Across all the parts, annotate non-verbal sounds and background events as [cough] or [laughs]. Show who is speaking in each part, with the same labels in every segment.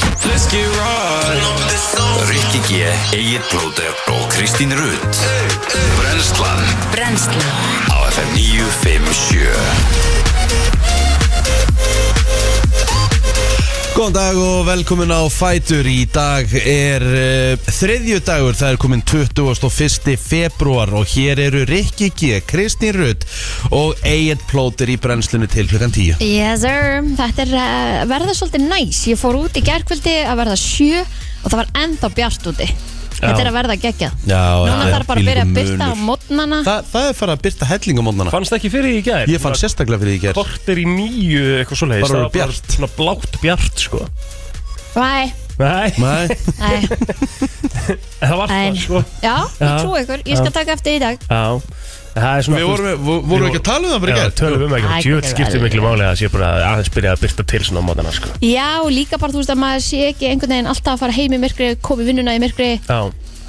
Speaker 1: Let's get right
Speaker 2: Rikki G, Egil Blóter og Kristín Rutt Brenslan
Speaker 3: Brennslan
Speaker 2: á FM 957
Speaker 4: Góðan dag og velkomin á Fætur Í dag er uh, þriðju dagur, það er komin 21. februar og hér eru Rikki G, Kristín Rutt og Egil Plóter í brennslinu til klukkan 10
Speaker 3: Yes sir, þetta er uh, verða svolítið næs Ég fór út í gerkvöldi að verða sjö og það var ennþá bjart úti Þetta er að verða geggjað
Speaker 4: Já,
Speaker 3: Núna
Speaker 4: já, já,
Speaker 3: þarf bara að byrja að
Speaker 4: þvílíkur
Speaker 3: byrta á
Speaker 4: munur.
Speaker 3: mótnana
Speaker 4: Þa, Það er farið að byrta helling á mótnana
Speaker 5: Fannst ekki fyrir í gær
Speaker 4: Ég fann sérstaklega fyrir því í gerð
Speaker 5: Kortir í nýju eitthvað svo leiðist
Speaker 4: Bara orðið bjart.
Speaker 5: Svona blátt bjart sko
Speaker 3: Æ,
Speaker 5: Nei,
Speaker 4: Nei,
Speaker 3: æ,
Speaker 5: það
Speaker 3: æ
Speaker 5: var það sko
Speaker 3: Já, ég
Speaker 5: Já.
Speaker 3: trú ykkur, ég skal taka eftir í dag
Speaker 5: Já Það er svona
Speaker 4: við vorum, vo- vorum ekki að tala um það
Speaker 5: Já,
Speaker 4: fyrir gerð
Speaker 5: tölum um ekki
Speaker 3: Æ,
Speaker 5: Djúvill
Speaker 3: þetta er
Speaker 5: skiptir
Speaker 3: vel.
Speaker 5: miklu máli að sé bara aðeins byrja að byrta til svona á mótana sko
Speaker 3: Já, og líka bara þú veist að maður sé ekki einhvern veginn alltaf að fara heim í myrkri, komi vinnuna í myrkri
Speaker 5: Já,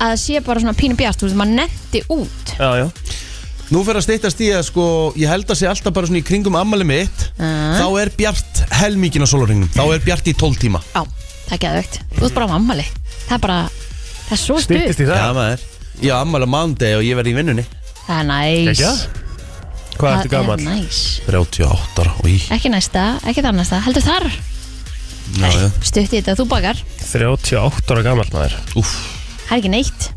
Speaker 3: að sé bara svona pínu bjart, þú veist, maður netti út
Speaker 5: já, já
Speaker 4: Nú fyrir að steytast í að sko, ég held að sé alltaf bara svona í kringum ammali mitt Þá er bjart helmingin á solaringnum, þá er bjart í 12 tíma
Speaker 3: Já, það er geðveikt. Þú ert bara á ammali Það er bara, það er svo stuð
Speaker 5: Stýttist í
Speaker 4: Já
Speaker 5: það
Speaker 4: maður, ég á ammali á mándegi og ég verði í vinnunni
Speaker 3: Það er næs
Speaker 5: Ekki? Hvað ertu
Speaker 3: Það er
Speaker 5: gammal?
Speaker 3: næs
Speaker 4: 38 ára, í,
Speaker 3: Ekki næsta, ekki þar næsta, heldur þar
Speaker 4: já, já,
Speaker 3: Stutt í þetta, þú bakar
Speaker 5: 38 ára gammal maður
Speaker 4: úff
Speaker 3: Það er ekki neitt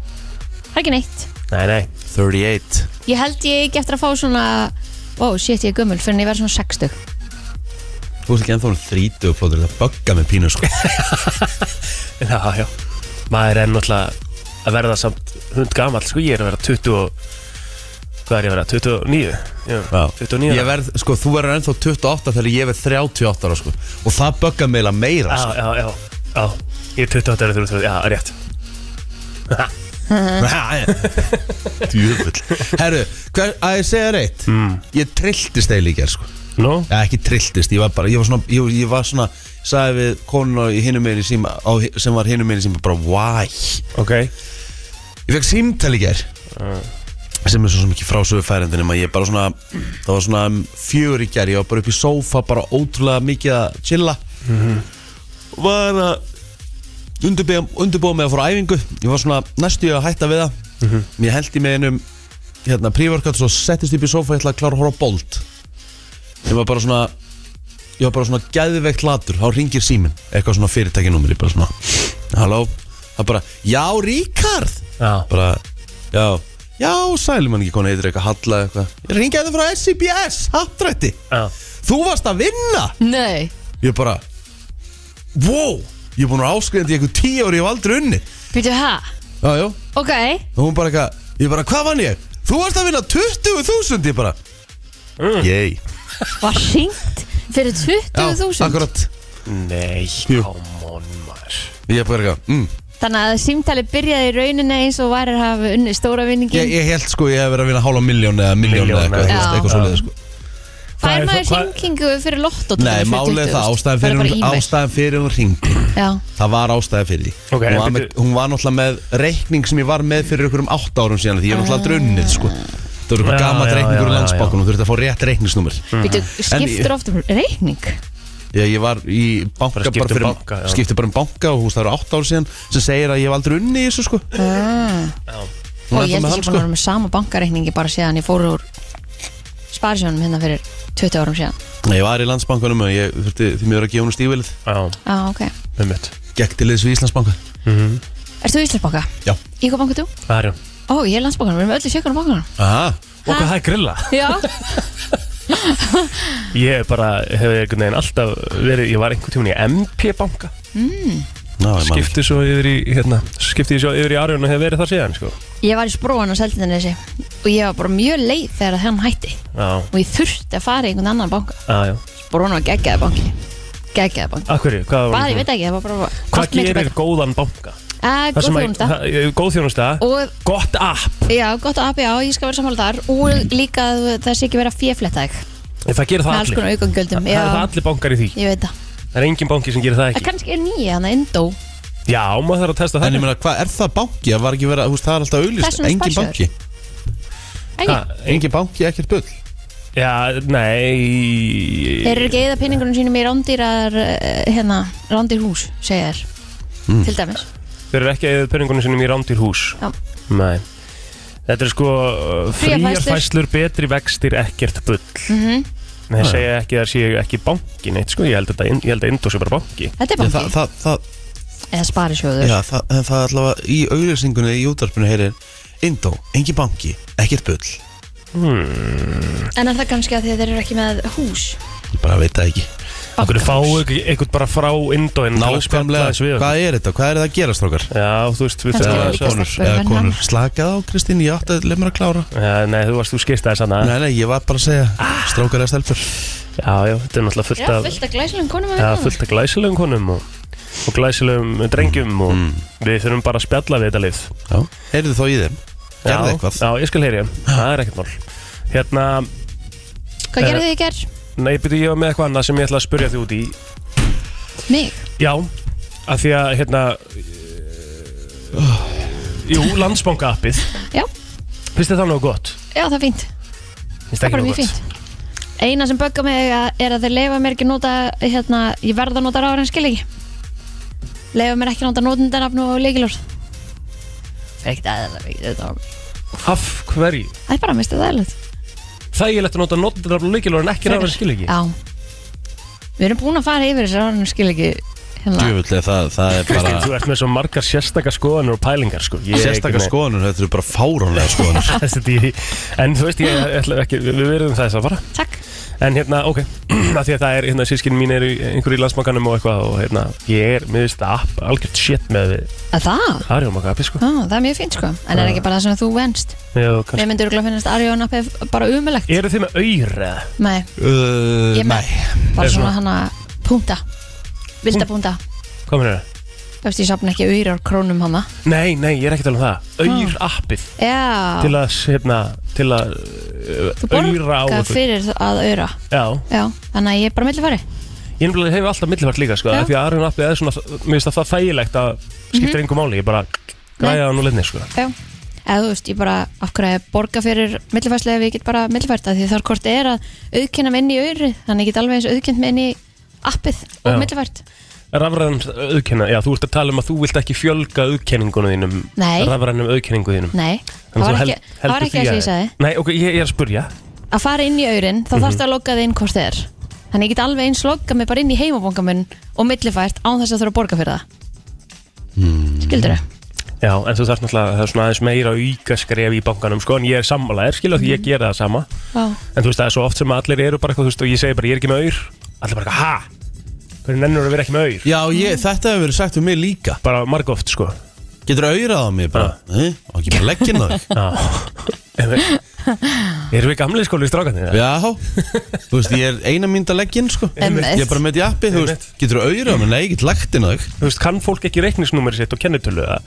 Speaker 3: Það er ekki neitt
Speaker 5: Nei, nei
Speaker 4: 38
Speaker 3: Ég held ég ekki eftir að fá svona Ó, shit, ég er gömul fyrir en ég verð svona 60
Speaker 4: Þú veist ekki ennþá um 30 plótur Það bögga með pínu [laughs] sko
Speaker 5: Já, já Maður er náttúrulega að verða samt hund gammal sko Ég er að vera 20 og Hvað er ég að vera? 29? Já, 29
Speaker 4: Ég verð, sko, þú verður ennþá 28 þegar ég verð 38 ára sko Og það bögga meila meira
Speaker 5: Já,
Speaker 4: sko
Speaker 5: já, já, já Ég er 28 ára 33, já, rétt
Speaker 4: Ah. Djöfull Herru, hver, að ég segja reitt mm. Ég trilltist eða líka sko
Speaker 5: Nú?
Speaker 4: Já, ekki trilltist, ég var bara, ég var svona Ég, ég var svona, sagði við konuna í hinum meginn í síma á, Sem var hinum meginn í síma, bara, why?
Speaker 5: Ok
Speaker 4: Ég fekk símtæli ger sem er svo sem ekki frásögu færendin um að ég bara svona, það var svona um, fjögur í ger, ég var bara upp í sófa bara ótrúlega mikið að chilla var að undirbúa, undirbúa mig að fóra æfingu ég var svona næstu að hætta við það mm ég held í mig einum hérna, prívorkat svo settist upp í sófa ég ætla að klára að horfa á bolt ég var bara svona ég var bara svona gæðveikt latur þá ringir síminn, eitthvað svona fyrirtækinúmer ég bara svona, halló það bara, já Ríkard
Speaker 5: Já,
Speaker 4: bara, já já, sælum hann ekki konu heitir eitthvað Halla eitthvað, ég ringi þetta hérna frá SCBS hattrætti,
Speaker 5: já
Speaker 4: þú varst að vinna
Speaker 3: Nei
Speaker 4: ég bara wow, ég er búin að áskriða þetta í eitthvað tíu ári, ég hef aldrei unni
Speaker 3: Býtu hæ?
Speaker 4: já, já,
Speaker 3: Ok
Speaker 4: og hún bara eitthvað, ég bara, hvað vann ég þú varst að vinna 20.000, ég bara
Speaker 5: Mm.
Speaker 4: yey,
Speaker 3: Var hringt fyrir 20.000
Speaker 4: akkurat
Speaker 5: Nei,
Speaker 4: Jú.
Speaker 5: come on maður
Speaker 4: ég bara eitthvað, mm.
Speaker 3: Þannig að símtali byrjaði í rauninni eins og væri að hafa unni stóra
Speaker 4: ég,
Speaker 3: vinningin
Speaker 4: ég held sko ég hef verið að vinna hálfa miljón eða miljón eða
Speaker 5: Milljón,
Speaker 4: eitthvað,
Speaker 5: já.
Speaker 4: eitthvað, eitthvað
Speaker 5: Já.
Speaker 4: svoleiðið sko
Speaker 5: Hvað
Speaker 3: Fær
Speaker 5: er-
Speaker 3: maður
Speaker 5: hvað-
Speaker 3: hringingu fyrir lotto til
Speaker 4: nei,
Speaker 3: dæmis fyrir
Speaker 4: málið er
Speaker 3: 20.000?
Speaker 4: það, ástæðan fyrir
Speaker 3: Fær
Speaker 4: hún,
Speaker 3: bara e-mail.
Speaker 4: ástæðan fyrir hún ringdi
Speaker 3: Já,
Speaker 4: Það var ástæði fyrir því
Speaker 5: Ok,
Speaker 4: hún, var
Speaker 5: en
Speaker 4: með,
Speaker 5: byrju-
Speaker 4: hún var náttúrulega með reikning sem ég var með fyrir ykkur um 8 árum síðan Því ég er náttúrulega aldrei unnið sko Það voru eitthvað
Speaker 5: Já,
Speaker 4: gamalt
Speaker 5: já,
Speaker 4: reikningur
Speaker 5: já,
Speaker 4: í
Speaker 5: Mm. já,
Speaker 4: landsbákunum Þú þurfti að fá rétt reikningsnúmer
Speaker 3: býtu, skiptur oft um reikning
Speaker 4: Ég, ég var í banka bara,
Speaker 5: Bara skipti um
Speaker 4: fyrir
Speaker 5: banka, já.
Speaker 4: Skipti bara um banka og þú veist, það eru 8 árum síðan Sem segir að ég hef aldrei unnið í þessu sko Hún
Speaker 3: Ah. Og
Speaker 4: er ennþá með
Speaker 3: ég held ekki
Speaker 4: hann
Speaker 3: búin að
Speaker 4: sko
Speaker 3: vera með sama bankareikningi bara síðan ég fór úr sparisjónum hérna fyrir 20 árum síðan
Speaker 4: Ég var í landsbankanum og ég þurfti því mér að gefa hún stífilið
Speaker 5: Já,
Speaker 3: ah, okay.
Speaker 5: með mitt
Speaker 4: Gekk til þessu Íslandsbanka
Speaker 3: Ert þú Íslandsbanka?
Speaker 4: Já
Speaker 3: Í hvað banka ert þú?
Speaker 5: Arjón
Speaker 3: Ó, ég er landsbankanum, við erum öllu sjökkunum bankanum
Speaker 4: Aha.
Speaker 5: Og hvað það er grilla?
Speaker 3: Já,
Speaker 5: Ég hef bara hef einhvern veginn alltaf verið Ég var einhvern tímann í MP-banka
Speaker 4: Ná, ég man ekki.
Speaker 5: Skipti svo yfir í, hérna Skipti svo yfir í Arjón og hef verið þar síðan, sko
Speaker 3: ég var í spróan á Seldinesi og ég var bara mjög leið þegar hann hætti
Speaker 5: Já,
Speaker 3: og ég þurfti að fara í einhvern annan banka
Speaker 5: já, já
Speaker 3: Spróan var geggjaði banki Geggjaði banki
Speaker 5: Akkurri, hvað var
Speaker 3: Bara, ég veit ekki, það var bara
Speaker 5: Hvað
Speaker 3: allt miklu
Speaker 5: gerir
Speaker 3: betra.
Speaker 5: góðan banka?
Speaker 3: Eh,
Speaker 5: Það
Speaker 3: Góð
Speaker 5: sem að-
Speaker 3: þjónusta
Speaker 5: það- Góð þjónusta
Speaker 3: Og
Speaker 5: Gott app
Speaker 3: já, gott að apja á, ég skal vera sammála þar og líka að þú- það sé ekki vera fjöfletta þig
Speaker 5: Það gerir
Speaker 3: með
Speaker 5: það
Speaker 3: alls
Speaker 5: allir
Speaker 3: konar aukangjöldum
Speaker 5: Það
Speaker 3: Já,
Speaker 5: er það allir bankar í því
Speaker 3: ég veit það
Speaker 5: Það er engin banki sem gerir það
Speaker 3: Það
Speaker 5: ekki
Speaker 3: kannski er nýja, þannig Indó
Speaker 5: Já, maður þarf að testa það
Speaker 4: En ég meina, hvað er það banki? Það var ekki verið, að- þú veist, það er alltaf auðlýst
Speaker 3: Persónu
Speaker 4: Engin
Speaker 3: sparisjóður.
Speaker 4: banki
Speaker 3: Æja,
Speaker 4: Engin banki, ekkert bull
Speaker 5: Já, nei
Speaker 3: þeir eru ekki eða peningunum sínum í rándýrar eh, hérna, rándýr hús, segja þér
Speaker 5: Hmm.
Speaker 3: til dæmis
Speaker 5: Þeir eru ekki að eða penningunum sinum í rándýr hús
Speaker 3: Já.
Speaker 5: Nei Þetta er sko uh,
Speaker 3: Fríar
Speaker 5: fríar
Speaker 3: færslur.
Speaker 5: fæslur, betri vextir, ekkert bull
Speaker 3: mm
Speaker 5: Nei, ég segja ekki að það sé ekki banki neitt sko, ég held að, ég held að Indó sé bara banki
Speaker 3: Þetta
Speaker 4: Já,
Speaker 3: er banki
Speaker 4: það, það, það,
Speaker 3: eða sparisjóður
Speaker 4: já, það, en það er allavega í auglýsingunni í útarpinu heyrir Indó, engi banki, ekkert bull
Speaker 3: En er það kannski að því að þeir eru ekki með hús
Speaker 4: Ég bara veit það ekki
Speaker 5: Akkur fáu ekki- eitthvað bara frá Indó en
Speaker 4: Nákvæmlega, hvað er þetta? Hvað er það að gera, strókar?
Speaker 5: Já, þú veist, við
Speaker 3: Kannski
Speaker 5: þurfum
Speaker 3: er
Speaker 5: að
Speaker 3: líka
Speaker 5: svo-
Speaker 3: stelpur,
Speaker 4: eða
Speaker 3: en
Speaker 4: konur
Speaker 3: hann-
Speaker 4: Slakað á, Kristín, ég átti að leið mér að klára
Speaker 5: Já, Nei, þú varst, þú skist það sann
Speaker 4: Nei, nei, ég var bara að segja Strókar eða stelpur
Speaker 5: Já, já, þetta er náttúrulega fullt
Speaker 3: Já,
Speaker 5: af
Speaker 3: fullt af glæsilegum konum að
Speaker 5: Já,
Speaker 3: vinna
Speaker 5: fullt af glæsilegum konum og, og glæsilegum
Speaker 4: Mm.
Speaker 5: drengjum og við þurfum bara að spjalla við þetta lið
Speaker 4: Já, heyrðu þá í þeim Gerðu eitthvað
Speaker 5: Já, ég skal heyri ég, það er ekkert mál Hérna,
Speaker 3: Hvað gerðu þið í gerð?
Speaker 5: nei, byrju ég var með eitthvað annað sem ég ætla að spurja því út í
Speaker 3: Mig?
Speaker 5: Já, af því að, hérna eh, Jú, landsbanka appið
Speaker 3: Já,
Speaker 5: Finnst þið það nóg gott?
Speaker 3: já það er fínt
Speaker 5: Finnst
Speaker 3: Það er
Speaker 5: ekki
Speaker 3: bara
Speaker 5: nógu
Speaker 3: mjög
Speaker 5: gott?
Speaker 3: fínt Eina sem böggar mig að- er að þeir leifa mér ekki að nota hérna, ég verða að nota ráður en skil ekki leifa mér ekki að nota notendanafn og leikilorð Það er ekkert aðeins það
Speaker 5: Af hverju?
Speaker 3: er bara að mista það eða
Speaker 5: Þægilegt að nota notendarafn og leikilur en ekki rafan skilíki
Speaker 3: Já Við erum búin að fara yfir þessi ráður en skil ekki hérna.
Speaker 4: Djöfull, það, það er bara
Speaker 5: Þú ert með svo margar sérstakar skoðanur og pælingar sko. Ég er ekki
Speaker 4: Sérstakar
Speaker 5: með-
Speaker 4: skoðanur, þetta eru bara fáránlega skoðanur
Speaker 5: Þessi dýri. En þú veist, ég ætla ekki, við verðum þess að fara
Speaker 3: Takk
Speaker 5: En hérna, ok, [clears throat] af því að það er, hérna, sískinn mín eru í- einhverju í landsmanganum og eitthvað og hérna, ég er, mér veist það app, algjört shit með
Speaker 3: að Það?
Speaker 5: Arjómaka appi, sko
Speaker 3: Á, það er mjög fínt sko En er ekki bara það sko- sem þú venst
Speaker 5: Já, kannski
Speaker 3: Mér myndur að finnast Arjón appið bara umulegt
Speaker 5: Eru þið með auður eða?
Speaker 3: Nei,
Speaker 4: [laughs] uh,
Speaker 3: Ég með. bara svona
Speaker 5: Er svona-
Speaker 3: hana Púnta Vilda púnta
Speaker 5: Hvað mér það?
Speaker 3: Þú veist, ég sapna ekki auðrar krónum hana
Speaker 5: Nei, nei, ég er ekki að tala um það Auður appið
Speaker 3: Já,
Speaker 5: til að, hérna, til að
Speaker 3: þú
Speaker 5: auðra á
Speaker 3: borgar
Speaker 5: okkur.
Speaker 3: fyrir að auðra
Speaker 5: Já,
Speaker 3: Já, þannig að ég er bara millifari
Speaker 5: ég nefnilega hefur alltaf millifært líka, sko
Speaker 3: Já.
Speaker 5: af Því að Arjón appið er svona, mér finnst að það þægilegt að skiptir engu máli, ég bara græja það nú lenni, sko
Speaker 3: Já, eða þú veist, ég bara af hverju að borga fyrir millifærslega ef ég get bara millifært að því þar hvort er að auðkynna mig inn í auðri þannig að ég get alveg eins auðkynnt mig inn í appið og
Speaker 5: Já.
Speaker 3: millifært
Speaker 5: Rafræðan auðkenna, já þú ert að tala um að þú vilt ekki fjölga auðkenningunum þínum
Speaker 3: Nei.
Speaker 5: Rafrænum auðkenningunum þínum
Speaker 3: Nei, það
Speaker 5: Þannig
Speaker 3: var ekki,
Speaker 5: þú held-
Speaker 3: það var
Speaker 5: heldur
Speaker 3: ekki
Speaker 5: því
Speaker 3: að ég sagði
Speaker 5: Nei, ok, ég, ég er að spurja
Speaker 3: að fara inn í auðrin,
Speaker 5: Mhm.
Speaker 3: þá mm þarfst að logga þið inn hvort þið er þannig að ég get alveg eins logga mig bara inn í heimabankamun og millifært án þess að þurfa að borga fyrir það
Speaker 5: Hmm.
Speaker 3: Skildur þau?
Speaker 5: Já, en þú þarf náttúrulega, það er svona aðeins meira auka skref í bankanum, sko, en ég er sammálaðir, skilja
Speaker 3: Mhm.
Speaker 5: því ég gera það sama
Speaker 3: Já,
Speaker 5: En þú veist, það er svo oft sem allir eru bara eitthvað, þú veist, og ég segi bara, ég er ekki með aur Allir bara, ha? Hvernig nennur að vera ekki með aur?
Speaker 4: Já, ég, þetta hefur verið sagt um mig líka
Speaker 5: Bara margóft, sko
Speaker 4: Getur auðrað á mig bara Nei, Og ekki bara leggin á þig
Speaker 3: [laughs]
Speaker 5: Já Erum við gamli skóli í strákanir?
Speaker 4: Já, þú veist, ég er eina mynd að leggin sko.
Speaker 3: Einmitt.
Speaker 4: Ég er bara með í appi, þú veist Getur auðrað á mig, nei, ég get lagt inn á þig
Speaker 5: Þú veist, kann fólk ekki reikningsnúmeri sitt og kennitölu? eða?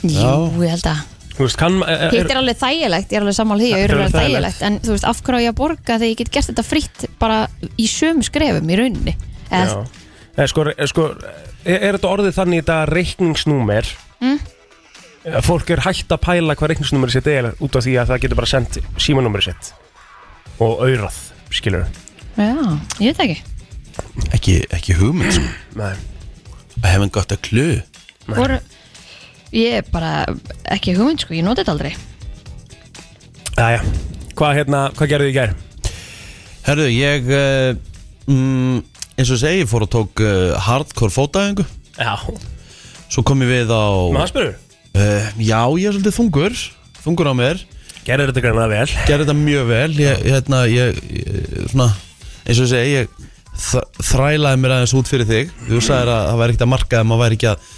Speaker 3: Jú, ég held að
Speaker 5: Þú veist, kann, e, er, er,
Speaker 3: Hitt er alveg þægilegt, ég er alveg sammála því að
Speaker 5: Þetta er
Speaker 3: auðvitað
Speaker 5: alveg
Speaker 3: er
Speaker 5: þægilegt.
Speaker 3: þægilegt en þú veist, af hverju á ég að borga þegar ég get gert þetta fritt bara í sömu skrefum í rauninni
Speaker 5: Já.
Speaker 3: eða,
Speaker 5: Eða sko, eða sko, er, er þetta orðið þannig í dag reikningsnúmer að fólk er hægt að pæla hvað reikningsnúmer sitt er út af því að það getur bara sendt símanúmer sitt og aurað, skilur
Speaker 3: já, ég veit það ekki
Speaker 4: Ekki, ekki hugmynd, sko
Speaker 5: Nei.
Speaker 4: I haven't got a clue
Speaker 3: Voru, ég er bara ekki hugmynd sko, ég noti þetta aldrei
Speaker 5: Jæja, hvað hérna, hvað gerðu þið í gær?
Speaker 4: Herðu, ég uh, mm, eins og ég segi, ég fór og tók uh, hardcore fótaðingu
Speaker 5: Já,
Speaker 4: Svo kom ég við á
Speaker 5: maður spyrur
Speaker 4: uh, Já, ég er svolítið þungur Þungur á mér
Speaker 5: Gerðu þetta greina vel
Speaker 4: gerði þetta mjög vel ég, hérna, ég, ég svona, eins og ég segi ég þ- þrælaði mér aðeins út fyrir þig þú sagðir að það væri ekkert að marka en maður væri ekki að,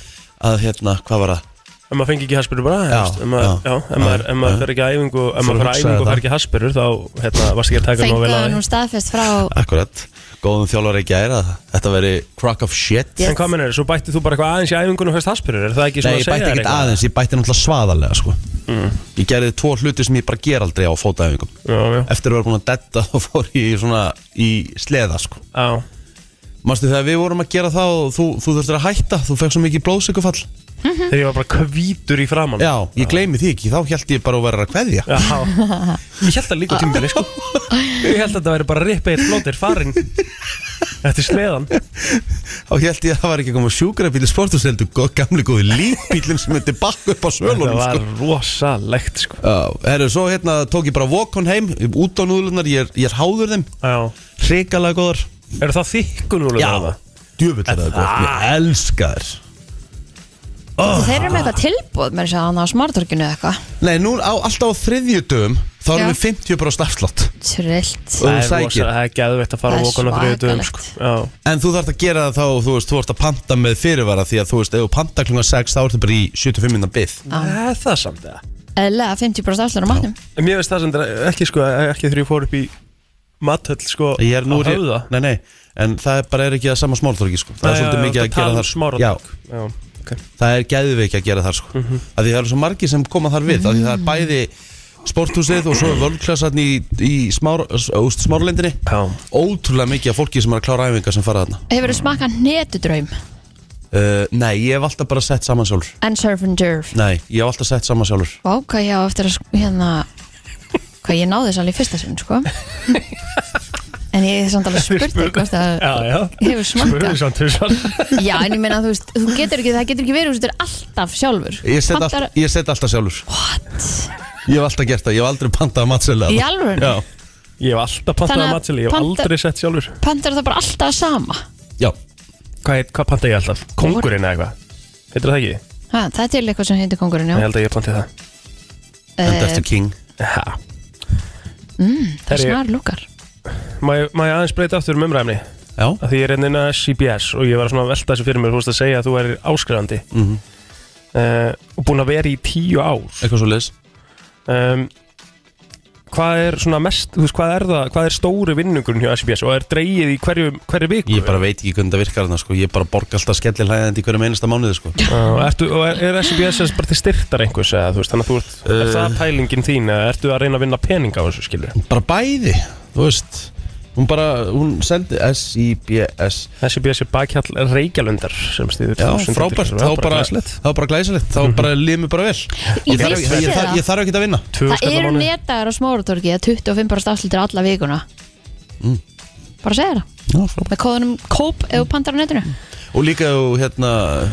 Speaker 4: að hérna, hvað var það
Speaker 5: Ef maður fengi ekki haspyrur bara
Speaker 4: Já,
Speaker 5: veist, ef maður-
Speaker 4: já,
Speaker 5: já, ef
Speaker 4: já,
Speaker 5: maður- ef maður
Speaker 4: já.
Speaker 5: fer ekki að æfingu ef
Speaker 4: Fór að
Speaker 5: maður fer að
Speaker 4: hugsa
Speaker 5: æfingu og
Speaker 4: þetta.
Speaker 5: fer ekki haspyrur þá hérna, varst ekki að taka nóg vel
Speaker 3: Fenguðu
Speaker 5: að
Speaker 3: nú
Speaker 5: þig
Speaker 3: staðfest frá
Speaker 4: akkurat, góðum þjálfari ekki að þetta væri crack of shit
Speaker 5: En hvað mennur, svo bætti þú bara eitthvað aðeins í æfingunum og fyrst haspyrur, er það ekki
Speaker 4: Nei,
Speaker 5: svona
Speaker 4: ég bætti
Speaker 5: þér
Speaker 4: ekkert
Speaker 5: eitthvað? Mm.
Speaker 4: aðeins, ég bætti náttúrulega svaðarlega sko. Ég gerði tvo hluti sem ég bara ger aldrei á fótaæfingum
Speaker 5: Já, já,
Speaker 4: [laughs] Eftir að vera búin að detta þá fór ég í svona í sleða sko.
Speaker 5: já
Speaker 4: Manstu þegar við vorum að gera það og þú, þú þurftir að hætta, þú fekk svo mikið blóðsökufall
Speaker 5: Þegar ég var bara kvítur í framann
Speaker 4: Já, ég gleymi því ekki, þá held ég bara að vera að kveðja
Speaker 5: Já. Ég held það líka tímabili sko Ég held að þetta væri bara rippið flótir farin Eftir sleðan
Speaker 4: [laughs] Þá held ég að það var ekki að koma sjúkrabíli sportus heldur gott gamli góði lífbílinn sem myndi bakka upp á
Speaker 5: Þetta
Speaker 4: svölunum
Speaker 5: var
Speaker 4: sko.
Speaker 5: rosalegt sko
Speaker 4: Já, herru, svo hérna tók ég bara vokon heim út á núðlunar, ég, er- ég er háður þeim
Speaker 5: Já.
Speaker 4: hrikalega góðar
Speaker 5: Eru það þykkun úr
Speaker 4: Já, djöfull er það gott, ég elska þér
Speaker 3: Þeir eru með eitthvað tilbúð með þess að hann á smartorkinu eða eitthvað
Speaker 4: Nei, nú á, alltaf á þriðjudögum þá erum
Speaker 3: Já.
Speaker 4: við 50 bara stafslátt Og
Speaker 3: Trillt
Speaker 5: Það
Speaker 4: þú
Speaker 5: er rosa-
Speaker 4: sækir
Speaker 5: það er geðveitt að
Speaker 3: Það
Speaker 5: fara
Speaker 3: er
Speaker 5: og okkur á þriðutum
Speaker 3: svakalegt.
Speaker 5: sko. Já.
Speaker 4: En þú þarft að gera það þá, þú veist, þú ert að panta með fyrirvara Því að þú veist, ef þú panta klunga 6 þá ertu bara í 75 minna byð
Speaker 5: Það er það samt eða
Speaker 3: Eðlega 50% afslur á matnum
Speaker 5: En Mér veist það sem þetta- ekki sko ekki þegar ég fór upp í mathöll sko
Speaker 4: Ég er nú
Speaker 5: á höfða
Speaker 4: Nei, nei, en það er bara er ekki að sama smáltorgi, sko Það er svolítið mikið að gera þar
Speaker 5: smára
Speaker 4: Já,
Speaker 5: um Já, ok
Speaker 4: það er geðveiki að gera þar, sko mm Því það eru svo margir sem koma þar við mm Því það er bæði sporthúsið og svo er völklassarni í, í smár, smárlendinni
Speaker 5: Já.
Speaker 4: Ótrúlega mikið af fólki sem er að klára æfingar sem fara þarna
Speaker 3: Hefur þú smakað netudraum
Speaker 4: uh, Nei, ég hef alltaf bara sett saman sjálfur
Speaker 3: and surf and turf
Speaker 4: Nei, ég hef alltaf sett saman sjálfur
Speaker 3: Vá, hvað ég á eftir að sk- hérna hvað ég náði þess alveg í fyrsta sinn sko En ég hef samt alveg spurt þig hvort að
Speaker 5: Já, já
Speaker 3: hefur
Speaker 5: Spurðu
Speaker 3: smakað
Speaker 5: samt þessar
Speaker 3: Já, en ég meina þú veist, þú getur ekki, það getur ekki verið þú veist, þetta er alltaf sjálfur
Speaker 4: Ég set,
Speaker 3: Pantar-
Speaker 4: all, ég set alltaf sjálfur What? Ég hef alltaf gert það, ég hef aldrei pantað að matselega
Speaker 3: Í alvöru?
Speaker 4: Já,
Speaker 5: Ég hef alltaf pantað
Speaker 3: Þannig
Speaker 5: að
Speaker 3: að
Speaker 5: matseli Ég hef
Speaker 3: panta-
Speaker 5: aldrei sett sjálfur
Speaker 3: Pantar það bara alltaf sama
Speaker 4: já
Speaker 5: Hvað, hvað panta ég alltaf? Kongurinn eða eitthvað? Heitir það ekki?
Speaker 3: ha, Það er til eitthvað sem heitir kongurinn, já
Speaker 5: Ég
Speaker 3: Eh,
Speaker 5: held að ég planti það
Speaker 4: Enda eftir king
Speaker 5: ha.
Speaker 3: Það er
Speaker 5: Herri-
Speaker 3: snar lúkar
Speaker 5: Má ég má ég aðeins breyta aftur um umræfni?
Speaker 4: Já,
Speaker 5: Af Því ég er hérna einnina CBS og ég var svona að velta þessu fyrir mér Þú veist að segja að þú er áskrifandi
Speaker 4: Mhm.
Speaker 5: uh, Og búin að vera í tíu ár
Speaker 4: eitthvað svo leis
Speaker 5: um, Hvað er svona mest Þú veist hvað er það Hvað er stóri vinnungurinn hjá CBS Og er dreigið í hverju, hverju viku
Speaker 4: Ég bara veit ekki hvernig það virkar þarna sko Ég bara borga alltaf skellir hlæðandi í hverjum einasta mánuði sko
Speaker 5: Já, ertu, og er, er SBS sem sagt bara til styrtar einhvers eða, þú veist, þannig að þú ert,
Speaker 4: Eh.
Speaker 5: er það pælingin þín eða ertu að reyna að vinna pening á þessu skilur
Speaker 4: Bara bæði, þú veist Hún bara, hún sendi S-I-B-S
Speaker 5: SBS er bakhjall Reykjalundar sem stýður
Speaker 4: Já,
Speaker 5: 1000
Speaker 4: frábært,
Speaker 5: til-
Speaker 4: þá bara
Speaker 5: glæsilegt.
Speaker 4: Þá bara glæsilegt, þá bara liðum við bara vel Ég þarf
Speaker 3: vissi
Speaker 4: ekki- ég
Speaker 3: það.
Speaker 4: þarf- ég þarf ekki að vinna
Speaker 5: Tvö
Speaker 3: Það
Speaker 5: skall á
Speaker 3: eru
Speaker 5: mánuði.
Speaker 3: netaðar á smáratorki að 25% afslutir alla vikuna
Speaker 4: Mm.
Speaker 3: Bara segja það
Speaker 4: Já, frábært.
Speaker 3: Með kóðunum kóp ef þú pantar á netinu
Speaker 4: Og líka ef þú, hérna,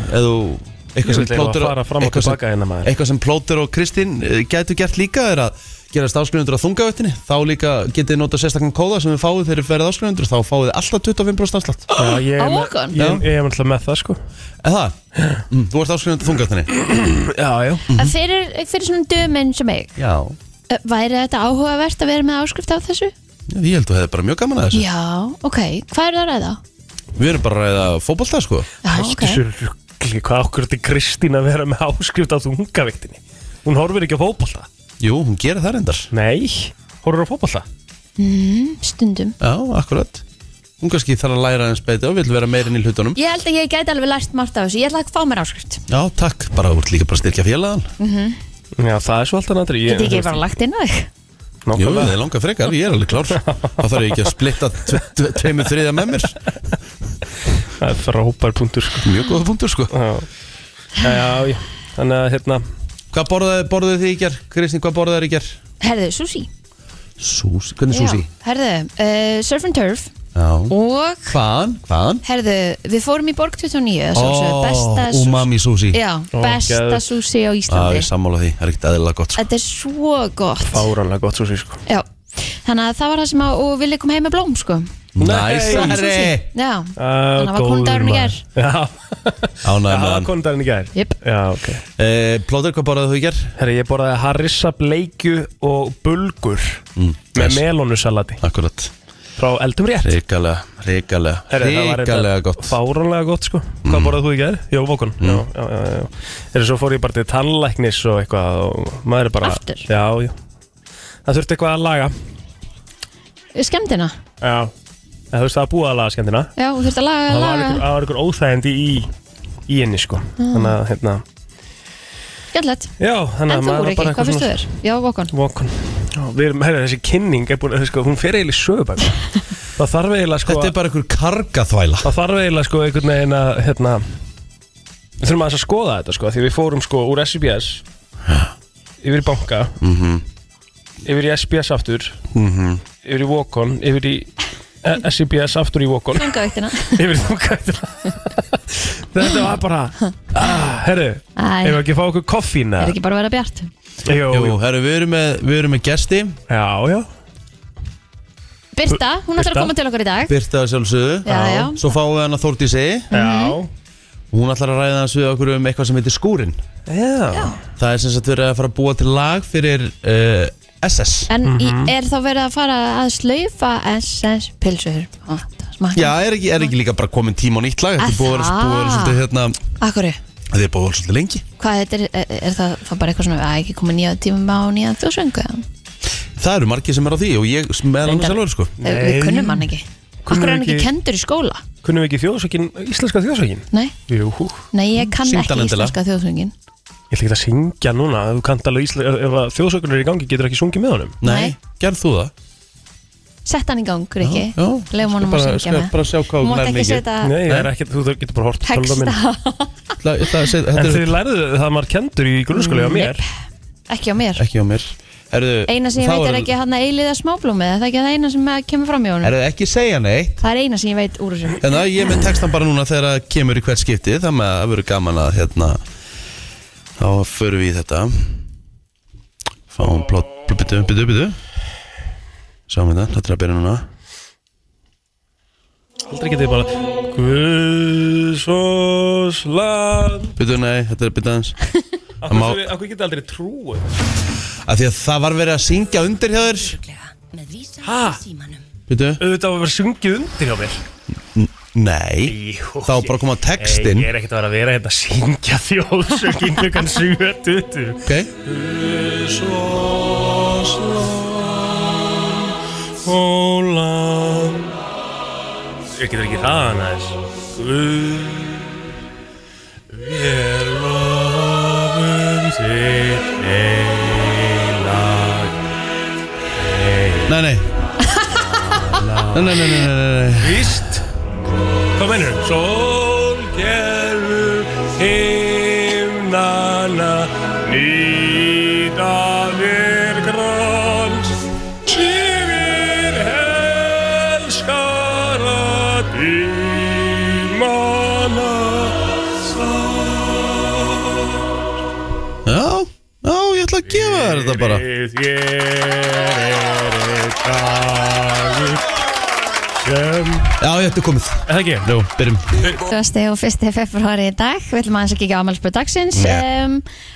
Speaker 4: ef þú
Speaker 5: Ég
Speaker 4: eitthvað sem
Speaker 5: ætla eiginlega að
Speaker 4: plótur
Speaker 5: fara fram og
Speaker 4: eitthvað sem-
Speaker 5: tilbaka hérna, maður.
Speaker 4: eitthvað sem plótur og Kristín eh, gætu gert líka er að gerast áskrifundur á þungavettinni þá líka getið nota sérstakann kóða sem við fáið þegar við verðið áskrifundur þá fáið þið alltaf 25% afslátt
Speaker 5: Já, ég er
Speaker 3: Á
Speaker 5: með-
Speaker 3: Walk-on?
Speaker 5: Ég ég er alltaf með það sko
Speaker 4: eða það, mm, þú ert áskrifundur á þungavettinni
Speaker 5: Já, já
Speaker 3: mm fyrir, fyrir svona döminn sem ég
Speaker 4: já,
Speaker 3: eh, Væri þetta áhugavert að vera með áskrift á þessu?
Speaker 4: ég held að þú hefði bara mjög gaman að þessu
Speaker 3: Já, ok, hvað er það að ræða?
Speaker 4: við erum bara að ræða fótbolta sko
Speaker 3: Já, ok
Speaker 5: Þessu ruggli, hvað okkur þetta Kristín að vera með áskrift á þungaviktinni Hún horfir ekki á fótbolta
Speaker 4: jú, hún gerir það reyndar
Speaker 5: Nei, horfir á fótbolta
Speaker 3: mm, Stundum
Speaker 4: já, akkurat hún kannski þarf að læra hans beiti og vil vera meirinn í hlutunum
Speaker 3: Ég held að ég gæti alveg lært margt af þessu Ég ætla að fá mér áskrift
Speaker 4: já, takk, bara þú ert líka bara að styrkja félagann
Speaker 5: Já, það er svo alltaf nættri
Speaker 3: Geti ekki bara lagt inn á þig
Speaker 4: Jú, það er langar frekar, ég er alveg klár þá þarf ég ekki að splitta tve- tve- tveimur þriðja með mér
Speaker 5: Það er frábær punktur sko
Speaker 4: Mjög góða punktur sko
Speaker 5: Já, já, já, já. Þannig að hérna
Speaker 4: Hvað borðaði, borðaði þið í ger? Kristín, hvað borðaði þið í ger?
Speaker 3: Herðu, sushi
Speaker 4: Súsi, hvernig súsi?
Speaker 3: Já, Herðu, uh, surf and turf
Speaker 4: Já
Speaker 3: Og,
Speaker 4: Hvaðan? Hvaðan?
Speaker 3: herðu, við fórum í Borg 29 oh, Besta sushi
Speaker 4: umami súsi
Speaker 3: Já,
Speaker 5: Ó,
Speaker 3: besta
Speaker 5: geðveikt.
Speaker 3: sushi á
Speaker 4: Það
Speaker 3: Íslandi
Speaker 4: er sammála því, það er ekkert eðlilega gott sko.
Speaker 3: Þetta er svo gott
Speaker 5: Fáranlega gott sushi sko
Speaker 3: Já, þannig að það var það sem að og við leikum heim með blóm sko
Speaker 4: Næsari
Speaker 3: Já,
Speaker 5: uh,
Speaker 3: þannig að var kóndagurinn í gær
Speaker 5: [laughs] Já, það
Speaker 4: Ánægð með
Speaker 5: var
Speaker 4: hann
Speaker 5: kóndagurinn í gær
Speaker 3: Jep.
Speaker 5: Já, ok
Speaker 4: Eh, Plóter, hvað borðaði þú í ger?
Speaker 5: Herri, ég borðaði harissa, bleikju og bulgur Með
Speaker 4: nice.
Speaker 5: melónusalati
Speaker 4: Akkurat
Speaker 5: Frá eldum rétt
Speaker 4: Ríkalega, ríkalega,
Speaker 5: Herri, það var
Speaker 4: ríkalega
Speaker 5: reyndar
Speaker 4: gott
Speaker 5: Fáranlega gott sko Hvað borðaði þú í gær? Jó, vokun já, já, já, já Herri, svo fór ég bara til tannlæknis og eitthvað og maður er bara
Speaker 3: Aftur?
Speaker 5: Já, já Það þurfti eitthvað að laga
Speaker 3: Skemmtina,
Speaker 5: Já Það þurfti að búa að laga skemmtina
Speaker 3: já, þú þurft að laga,
Speaker 5: það var
Speaker 3: laga Ah.
Speaker 5: ykkur, það var ykkur óþægindi í, í henni sko þannig að hérna
Speaker 3: Skemmtilegt
Speaker 5: já, þannig
Speaker 3: En
Speaker 5: að
Speaker 3: þú
Speaker 5: maður
Speaker 3: voru
Speaker 5: var bara
Speaker 3: ekki, hvað finnst þú
Speaker 5: svona-
Speaker 3: þér? Já, vokon
Speaker 4: [laughs]
Speaker 5: Walk on. Já, við erum, herri, þessi kynning er búin, sko, hún fer eiginlega í sögubæk Það þarf eiginlega sko
Speaker 4: Þetta er bara einhver kargaþvæla
Speaker 5: Það þarf eiginlega sko einhvern veginn að hérna, Við þurfum aðeins að skoða þetta sko Því við fórum sko úr SBS [gasps] Yfir í banka Mhm. Yfir í SBS aftur Yfir í Vokon Yfir í eh, SBS aftur í [laughs] Vokon
Speaker 3: Þungavíktina
Speaker 5: Yfir í þungaðina [laughs] Þetta var bara ah, Herru,
Speaker 3: Æ.
Speaker 5: ef við ekki að fá okkur koffína
Speaker 3: Er ekki bara að vera bjart?
Speaker 5: Jú,
Speaker 4: Jú, herru, við erum með, við erum með gesti
Speaker 5: Já, já
Speaker 3: Birta, hún ætlar
Speaker 5: Birta.
Speaker 3: að koma til okkar í dag
Speaker 4: Birta að sjálfsögðu
Speaker 3: Já, já
Speaker 4: Svo fáum við hann að Þórdísi
Speaker 5: Já,
Speaker 4: Hún ætlar að ræða hans við okkur um eitthvað sem heitir skúrin
Speaker 5: já.
Speaker 4: Það er sem sagt verið að fara að búa til lag fyrir uh, SS
Speaker 3: En mm
Speaker 5: Mhm.
Speaker 3: er þá verið að fara að slaufa SS pilsur og smakka?
Speaker 4: Já, er ekki, er ekki líka bara komin tíma á nýtt lag Þetta
Speaker 3: Er
Speaker 4: er búið að vera-
Speaker 3: það?
Speaker 4: búið að vera svolítið hérna
Speaker 3: Akkurri,
Speaker 4: Þetta er búið að vera svolítið lengi
Speaker 3: hvað þetta er, er, er það, það bara eitthvað svona að ekki koma nýja tíma á nýja þjóðsöngu?
Speaker 4: Það eru margir sem er á því og ég með hann
Speaker 3: Reyndar.
Speaker 4: sjálfur sko
Speaker 3: Við við kunnum hann ekki.
Speaker 5: Kunnum
Speaker 3: Akkur er hann ekki
Speaker 5: ekki-
Speaker 3: kendur í skóla?
Speaker 5: Kunnum við ekki þjóðsökin, íslenska þjóðsökin?
Speaker 3: Nei,
Speaker 5: Jú, hú.
Speaker 3: nei ég kann
Speaker 4: Syngdu hann
Speaker 3: ekki
Speaker 4: endilega.
Speaker 3: íslenska þjóðsöngin.
Speaker 5: ég ætla ekki að syngja núna ef þú kannt alveg íslenska, ef að þjóðsökun er í gangi getur ekki sungið með honum
Speaker 4: Nei,
Speaker 3: Nei.
Speaker 4: gerð þú það?
Speaker 3: Sett hann í gang, Riki.
Speaker 4: Já,
Speaker 3: Leifum honum að
Speaker 4: bara,
Speaker 3: syngja
Speaker 4: skal
Speaker 3: með.
Speaker 4: bara sjá hvað
Speaker 3: Þú
Speaker 4: hún
Speaker 3: mátt
Speaker 4: lær
Speaker 3: ekki
Speaker 4: mikið
Speaker 3: setja
Speaker 5: Nei, það er ekki, þú getur bara hort
Speaker 3: texta.
Speaker 4: Ætla- ég ætla að setja-
Speaker 5: En
Speaker 4: Þetta
Speaker 5: þið
Speaker 4: er
Speaker 5: lærðu það maður kendur í grunnskóli á mér
Speaker 3: [laughs] Ekki á mér.
Speaker 4: ekki á mér Herðu,
Speaker 3: Eina sem ég
Speaker 4: þá
Speaker 3: veit er
Speaker 4: eru-
Speaker 3: ekki hann að eiliða smáblómið, það er ekki það eina sem eh, kemur fram í honum.
Speaker 4: Er það ekki segja neitt?
Speaker 3: Það er eina sem ég veit úr þessu.
Speaker 4: Hérna, ég er með textan bara núna þegar það kemur í hvert skipti Þannig að það verður gaman að hérna Þá förum við í þetta Fáum plott Byttu, byttu, byttu Sjáum þetta, þetta er að byrja núna
Speaker 5: Aldrei getið bara Guðsós land
Speaker 4: Byttu, nei, þetta er byttu aðeins
Speaker 5: Akkur,
Speaker 4: má-
Speaker 5: má... akkur getið aldrei trúið
Speaker 4: Af því að það var verið að syngja undir hjá þér
Speaker 5: Ha?
Speaker 4: Byttu,
Speaker 5: Auðvitað var að vera sungið undir hjá mér
Speaker 4: nei
Speaker 5: Jú,
Speaker 4: Þá var bara að koma textin
Speaker 5: Ég er ekkert að vera að vera hérna að syngja þjóðsökin klukkan 7.20
Speaker 4: Ok,
Speaker 5: Guðsós land Ó land Ég getur ekki það hann aðeins Guð Við lofum þitt heilag
Speaker 4: nei, nei Nei, nei, nei, nei, nei, nei, nei.
Speaker 5: Víst Hvað mennur? Sólgerður himnana Nýtanir gráns Sýfir helskara Tímana
Speaker 4: Já, já, ég ætla að gefa þér þetta bara
Speaker 5: Þér er eitt dagur Sem
Speaker 4: Já, ég ætti komið
Speaker 5: Það ekki?
Speaker 4: Jú, byrjum
Speaker 3: Þjóðstegi og fyrsti februari í dag Við ætlum aðeins að kíkja á afmælisbyrð dagsins
Speaker 4: Nei.
Speaker 3: um,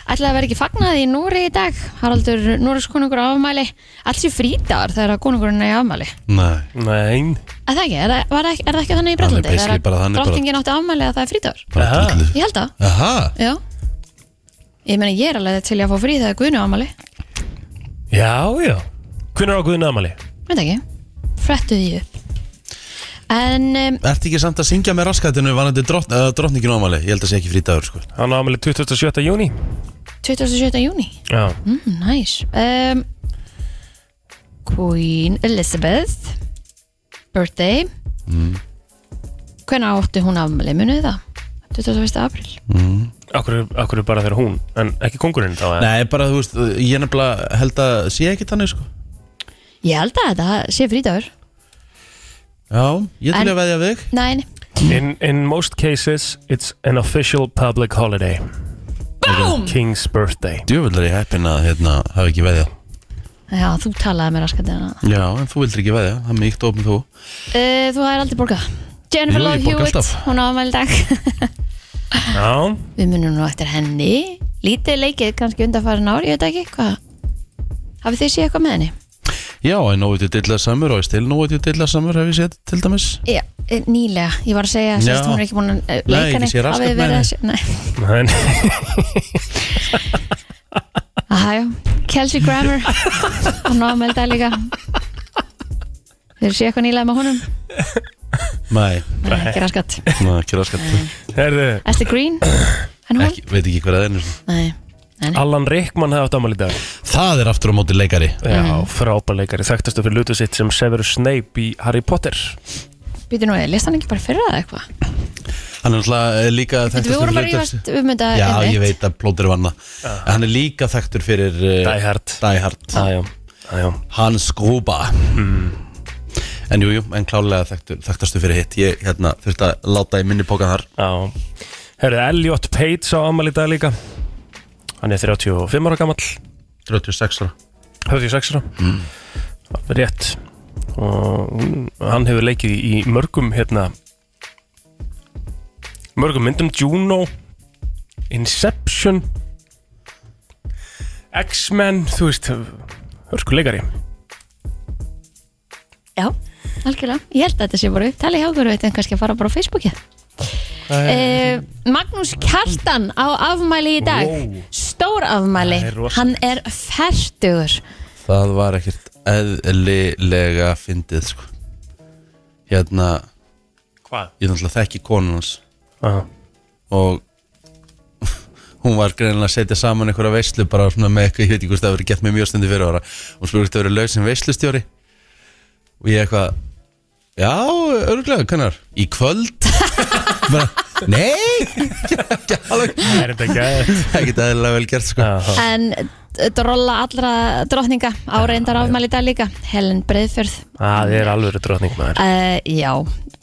Speaker 3: Ætlaði að vera ekki fagnað í Núri í dag Haraldur Núriks konungur á afmæli Alls í frídagar þegar að konungurinn er í afmæli
Speaker 4: Nei
Speaker 5: Nei
Speaker 3: Er það ekki? Er það, var ekki, er það ekki þannig í
Speaker 4: Hann er
Speaker 3: Bretlandi?
Speaker 4: basically bara- hann er bara-
Speaker 3: drottingin átti afmæli að það er frídagar
Speaker 4: Bara
Speaker 5: Aha.
Speaker 4: drullið.
Speaker 3: Ég held að,
Speaker 4: Aha,
Speaker 3: já Ég meina ég er alveg til í að fá frí þegar Guðni á afmæli
Speaker 5: Já, já Hvernig á Guðin Amali?
Speaker 3: Veit ekki, frettu því upp En um,
Speaker 4: ertu ekki samt að syngja með raskatinu vanandi drott, uh, drottningin ámali, ég held að sé ekki frítagur sko.
Speaker 5: Hann á ámæli 27. júni
Speaker 3: 27. júni
Speaker 5: Já
Speaker 3: Mm, Næs um, Queen Elizabeth Birthday mm. Hvenær átti hún afmæli munið þið það? 21. april
Speaker 5: Akkur, akkur er bara þegar hún En ekki kongurinn þá eða?
Speaker 4: Nei, bara þú veist, ég nefnilega held að sé ekki þannig sko.
Speaker 3: Ég held að þetta sé frítagur
Speaker 4: Já, ég til
Speaker 3: En-
Speaker 4: að veðja við þig.
Speaker 3: Nei, nei.
Speaker 5: in, in most cases It's an official public holiday Boom King's birthday
Speaker 4: Djöfull er ég heppin að hérna, hafa ekki veðja
Speaker 3: Já, þú talaði mér raskandi hana
Speaker 4: Já, en þú vildir ekki veðja, það er mjög opið þú
Speaker 3: uh, Þú hafði aldrei borgað
Speaker 4: Jú,
Speaker 3: Jennifer
Speaker 4: ég
Speaker 3: Love
Speaker 4: borga
Speaker 3: Hewitt,
Speaker 4: alltaf.
Speaker 3: hún á afmæli í dag
Speaker 5: Já
Speaker 3: Við munum nú eftir henni Lítið leikið kannski undanfarin ár, ég veit ekki hvað Hafið þið séð eitthvað með henni?
Speaker 4: Já, en nógut ég dilla samur og ég stil nógut ég dilla samur hef ég sett til dæmis
Speaker 3: Já, eh, nýlega, ég var að segja
Speaker 4: Já.
Speaker 3: sérst, hún er ekki búin að eh,
Speaker 4: Nei,
Speaker 3: leika
Speaker 4: ekki
Speaker 3: neitt
Speaker 4: sé raskat
Speaker 3: hafið þið
Speaker 4: með
Speaker 3: verið að
Speaker 4: henni.
Speaker 3: sjá- Nei.
Speaker 5: En, [laughs]
Speaker 3: Aha, já. Kelsey
Speaker 4: [laughs]
Speaker 3: Grammer hún á ámæli dag líka þeir séu eitthvað nýlega með honum
Speaker 4: Nei,
Speaker 3: Nei, ekki raskat
Speaker 4: ná, ekki raskat
Speaker 5: Herðu
Speaker 3: Esther Green, en hún?
Speaker 4: ekki, Veit ekki hver að það er nú.
Speaker 3: Nei,
Speaker 5: Allan Rickman hefði átt ámæli í dag
Speaker 4: Það er aftur á móti leikari
Speaker 5: Já, frábæleikari, þekktastu fyrir lutu sitt sem Severus Snape í Harry Potter
Speaker 3: Býtu nú, eða list hann ekki bara fyrir það eitthvað?
Speaker 4: Hann er náttúrulega eh, líka þekktur
Speaker 3: Við vorum að
Speaker 4: fyrir hlutverk-
Speaker 3: rífast um þetta
Speaker 4: Já,
Speaker 3: einmitt.
Speaker 4: ég veit að plótir vanna En Hann er líka þekktur fyrir uh,
Speaker 5: Die Hard.
Speaker 4: Die Hard.
Speaker 5: Æjá, æjá
Speaker 4: Hans Gruba
Speaker 5: Hmm.
Speaker 4: En jú, jú, en klálega þekktur, þekktastu fyrir hitt Ég hérna, þurfti að láta í minni pókan þar
Speaker 5: Já Herðu, Elliot Page á ámæli í dag líka Hann er 35 ára gamall
Speaker 4: 36 ára
Speaker 5: 36 ára Rétt Og mm, hann hefur leikið í mörgum hérna Mörgum myndum Juno Inception X-Men, þú veist Hörkuleikari
Speaker 3: Já, algjörlega. Ég held að þetta sé bara upptali hjá okkur, veitum kannski að fara bara á Facebooki. Eh, Magnús Kjartan á afmæli í dag
Speaker 5: Wow.
Speaker 3: Stór afmæli
Speaker 5: Það er rosalegt.
Speaker 3: Hann er fertugur
Speaker 4: Það var ekkert eðlilega fyndið sko. Hérna,
Speaker 5: Hvað?
Speaker 4: ég náttúrulega þekki konun hans
Speaker 5: Aha.
Speaker 4: og [laughs] hún var greinilega að setja saman einhverja veislu bara svona með eitthvað, ég veit ekki hvort það hafi verið gett með mjög stundi fyrir ára og spurði hvort það hafi verið laus sem veislustjóri og ég eitthvað já, örgulega, hvernar í kvöld [laughs] bara, nei, ekki alveg [laughs]
Speaker 5: Það er þetta ekki
Speaker 4: ekki eðlilega vel gert sko
Speaker 5: að
Speaker 3: En d- drolla allra drotninga á reyndar afmæli í dag líka Helen Breiðfjörð
Speaker 5: Það er alveg drotning maður
Speaker 3: uh, Já,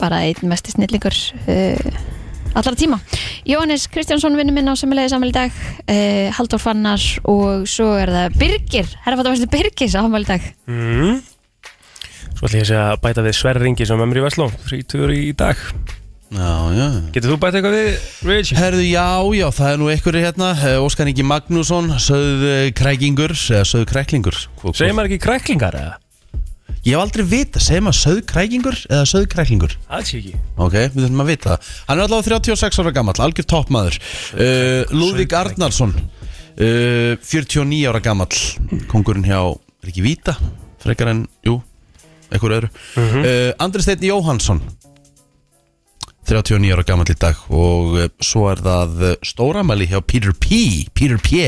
Speaker 3: bara einn mesti snillingur uh, allra tíma Jóhannes Kristjánsson vinnu minn á semilegis afmæli í dag uh, Haldur Fannar og svo er það Birgir Herrafættavæslu Birgis á afmæli í dag
Speaker 5: mm. Svo ætlum ég að segja að bæta við Sverringi sem er mér í Vestló Þrítur í dag
Speaker 4: já, já, já
Speaker 5: Getur þú bæta eitthvað við, Rich?
Speaker 4: Herðu, já, já, það er nú einhverju hérna eh, Óskar Ingi Magnússon, söðu krækingur eða söðu kræklingur Hvor-
Speaker 5: Segir maður ekki kræklingar eða?
Speaker 4: Ég hef aldrei vita, segir maður söðu krækingur eða söðu kræklingur
Speaker 5: Það sé ekki
Speaker 4: Ok, við þurfum að vita það Hann er allavega 36 ára gamall, algjör toppmaður uh, Lúðvík Arnarsson uh, 49 ára gamall Kongurinn hjá, er ekki Vita Frekar en, jú, einhver öðru uh Andri Steinn Jóhansson 39 ára gamall í dag og uh, svo er það uh, stóramæli hjá Peter P Peter P,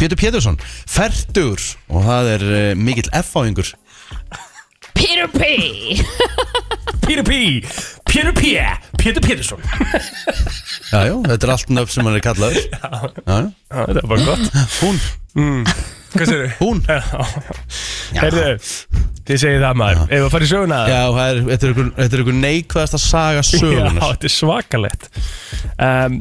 Speaker 4: Pétur Pétursson Fertur og það er uh, mikill F-fáingur
Speaker 3: Peter P
Speaker 5: Píru Pí, Píru Pí, Pétur Pétursson
Speaker 4: Já, jú, þetta er allt nöfn sem hann er kallaður Já, já.
Speaker 5: Það er bara Ah, gott Mm.
Speaker 4: Hún,
Speaker 5: Hvað segir þú?
Speaker 4: hún
Speaker 5: Herðu, þið segir það maður Ef að fara í söguna
Speaker 4: Já, það er, þetta er einhver, þetta er einhver neikvæðasta saga
Speaker 5: Já,
Speaker 4: sögunar
Speaker 5: þetta er svakalegt um,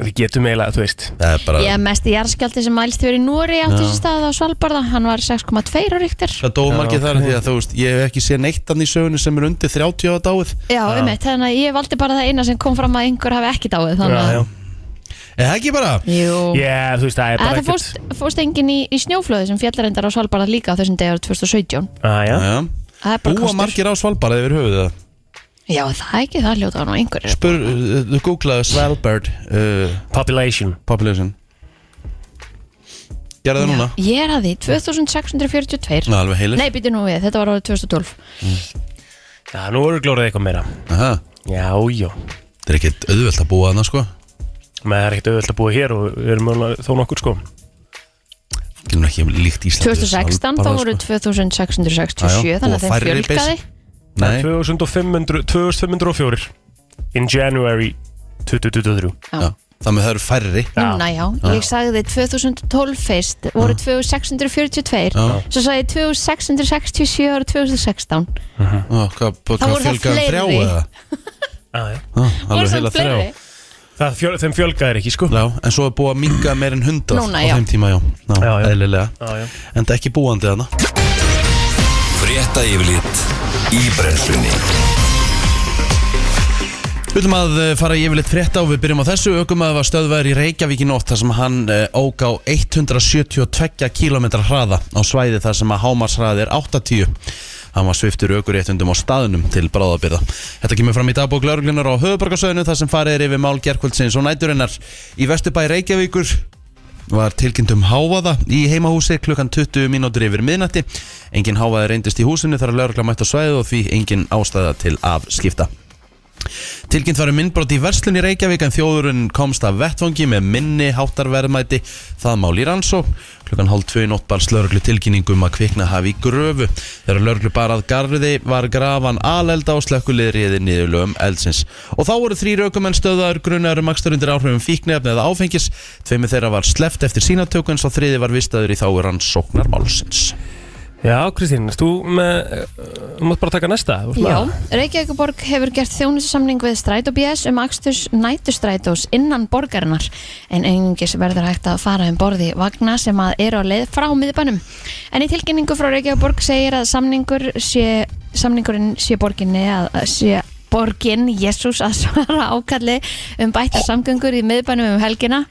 Speaker 5: Við getum eiginlega, þú veist
Speaker 4: Það er bara,
Speaker 3: Já, mest í jarðskjálti sem mælst verið í Núri átti þessi stað á Svalbarða, hann var 6,2 á ríktir.
Speaker 4: það dóu margir þar því að þú veist, ég hef ekki séð neittan í sögunni sem er undir 30 á dáið
Speaker 3: Já, um eitt, þannig að ég valdi bara það eina sem kom fram að einhver hafi ekki dáið, þannig að...
Speaker 4: Er það ekki bara?
Speaker 3: Jú.
Speaker 5: Já, þú veist, það er
Speaker 3: Að
Speaker 5: bara
Speaker 3: það fórst, fórst engin í, í snjóflöði sem fjallarendar á Svalbarða líka á þessum degur 2017.
Speaker 5: Æja,
Speaker 4: Já.
Speaker 3: Það er bara
Speaker 4: Búa margir á Svalbard yfir höfuð það
Speaker 3: Já, það er ekki það hljóta hann á einhverju.
Speaker 4: Spur, uh, þú googlaðu Svalbard uh,
Speaker 5: population
Speaker 4: population Gerðu það núna?
Speaker 3: Ég er að því 2642.
Speaker 4: Ná, alveg heilir
Speaker 3: Nei, býti nú við, þetta var árið 2012.
Speaker 5: Já, nú eru glórið eitthvað meira
Speaker 4: Aha.
Speaker 5: Já, já
Speaker 4: Það er ekkert auðvelt að búa þarna sko
Speaker 5: Maður er ekkert auðvitað að búa hér og við erum mögulega þó nokkur sko
Speaker 4: Getur nú ekki líkt Ísland sko.
Speaker 3: 2016, þá voru 2667,
Speaker 4: Já, já,
Speaker 3: þannig
Speaker 4: og
Speaker 3: að þeim
Speaker 4: færri
Speaker 3: fjölgaði.
Speaker 4: bys- Nei,
Speaker 5: 2500, 2504 In January 2023
Speaker 4: já. þannig að það eru færri
Speaker 3: Núna, já, ég sagði 2012 fyrst voru 2642
Speaker 4: Já.
Speaker 3: svo sagði ég 2667 ára 2016
Speaker 4: Ó, Hvað hvað-
Speaker 3: Það
Speaker 4: hvað
Speaker 3: voru það
Speaker 4: fjölgaði um þrjá
Speaker 3: fleiri.
Speaker 4: eða?
Speaker 5: ah,
Speaker 4: Ó,
Speaker 3: Voru
Speaker 4: Alveg
Speaker 3: samt
Speaker 4: heila þrjá
Speaker 3: fleiri?
Speaker 5: Það fjöl, þeim fjölgaðir ekki sko
Speaker 4: Já, en svo er búið að minga meir en hundrað á
Speaker 3: Núna, já.
Speaker 4: þeim tíma, já, já,
Speaker 5: Já, já.
Speaker 4: eðlilega
Speaker 5: Já, já.
Speaker 4: En það er ekki búandi þarna
Speaker 2: Frétta yfirlit í brennslunni
Speaker 4: Við viljum að eh, fara í yfirleitt frétta og við byrjum á þessu Ökumæður var stöðvæður í Reykjavík í nótt þar sem hann eh, ók á 172 km hraða á svæði þar sem að hámarshraði er 80 Hann var sviftur ökuréttundum á staðnum til bráðabyrða. Þetta kemur fram í dagbók lauruglunar á höfuborgarsöðinu þar sem farið er yfir mál gerkvöldsins og næturinnar í Vesturbæ Reykjavíkur var tilkynnt um hávaða í heimahúsi klukkan 20 mínútur yfir miðnætti. Engin hávaði reyndist í húsinu þar að laurugla mætt á svæðu og því engin ástæða til afskipta. Tilkynnt varum myndbrot í verslun í Reykjavík en þjóðurinn komst af vettfangi með minni háttarverðmæti það mál í rannsók. Klukkan hálf tvö í nótt barst lauruglu tilkynningum að kvikna hafi í gröfu. Þegar lauruglu bar að garði var grafan alelda og slökkuliðriði niðurlögum eldsins. Og þá voru þrý raukumenn stöðaður grunar um akstur undir áhrifum fíknefni eða áfengis. Tveimur þeirra var sleft eftir sínatöku en svo þriði var vistaður í þá rannsóknar málsins.
Speaker 5: Já, Kristín, erst þú með, uh, þú mátt bara taka næsta þú ert með
Speaker 3: Já,
Speaker 5: það.
Speaker 3: Reykjavíkuborg hefur gert þjónusamning við Strætó BS um aksturs nætustrætós innan borgarinnar en einungis verður hægt að fara um borði vagna sem að eru á leið frá miðbænum. En í tilkynningu frá Reykjavíkuborg segir að samningur sé, samningurinn sé borginni að, að sé borgin Jésús að svara ákalli um bættar samgöngur í miðbænum um helgina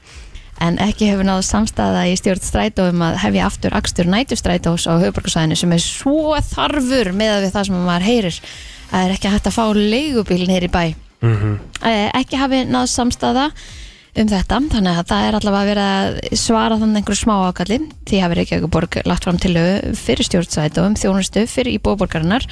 Speaker 3: en ekki hefur náðu samstæða í stjórn strætó um að hefja aftur akstur nætustrætós á höfuborgarsæðinu sem er svo þarfur með við það sem maður heyrir það er ekki hægt að fá leigubíl neyri bæ Eh, ekki hafi náðu samstæða um þetta, þannig að það er allavega verið að svara þannig einhverju smá ákalli því hafi Reykjavíkuborg lagt fram til fyrir stjórnstrætó um þjónustu fyrir íbúborgarinnar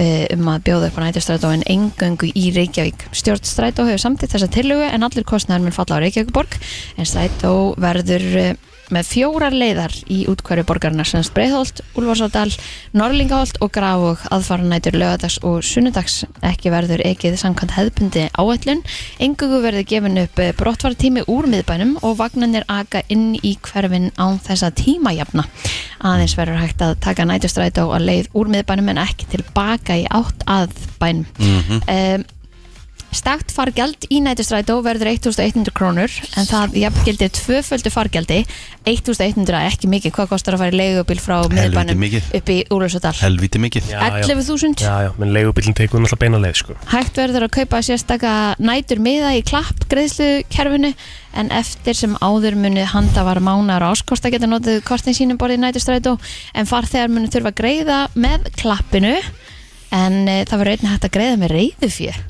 Speaker 3: eh, um að bjóða upp á nætustrætó en engöngu í Reykjavík. Stjórnstrætó hefur samtitt þessa tillögu en allir kostnæður mun falla á Reykjavíkuborg en strætó verður eh, með fjórar leiðar í útkværu borgarinnar sem Breiðholt, Úlfarsárdal, Norlingaholt og Grafog aðfara nætur lögadags og sunnudags ekki verður ekið samkvæmt hefðbundi áætlun engugu verður gefin upp eh, brottfartími úr miðbænum og vagnanir aga inn í hverfin án þessa tímajafna aðeins verður hægt að taka nætustrætó að leið úr miðbænum en ekki tilbaka í átt að bænum um, Stakt fargjald í nætustrætó verður 1100 krónur en það jafngildir tvöföldu fargjaldi 1100 er ekki mikið, hvað kostar að fara í leigubíl frá miðbænum
Speaker 4: mikið.
Speaker 3: upp í Úlfsvöldal
Speaker 4: Helviti mikið.
Speaker 5: Já, já.
Speaker 3: 11.000
Speaker 5: Já, já, menn leigubílinn tekur náttúrulega beina leið, sko.
Speaker 3: Hægt verður að kaupa sérstaka nætur miða í klapp greiðslukerfinu en eftir sem áður munu handa var mánar og áskosta geta notið kortin sínum borðið í nætustrætó en farþegar munu þurfa að greiða með klappinu en e, það verður einnig hægt að greiða með reyðufjö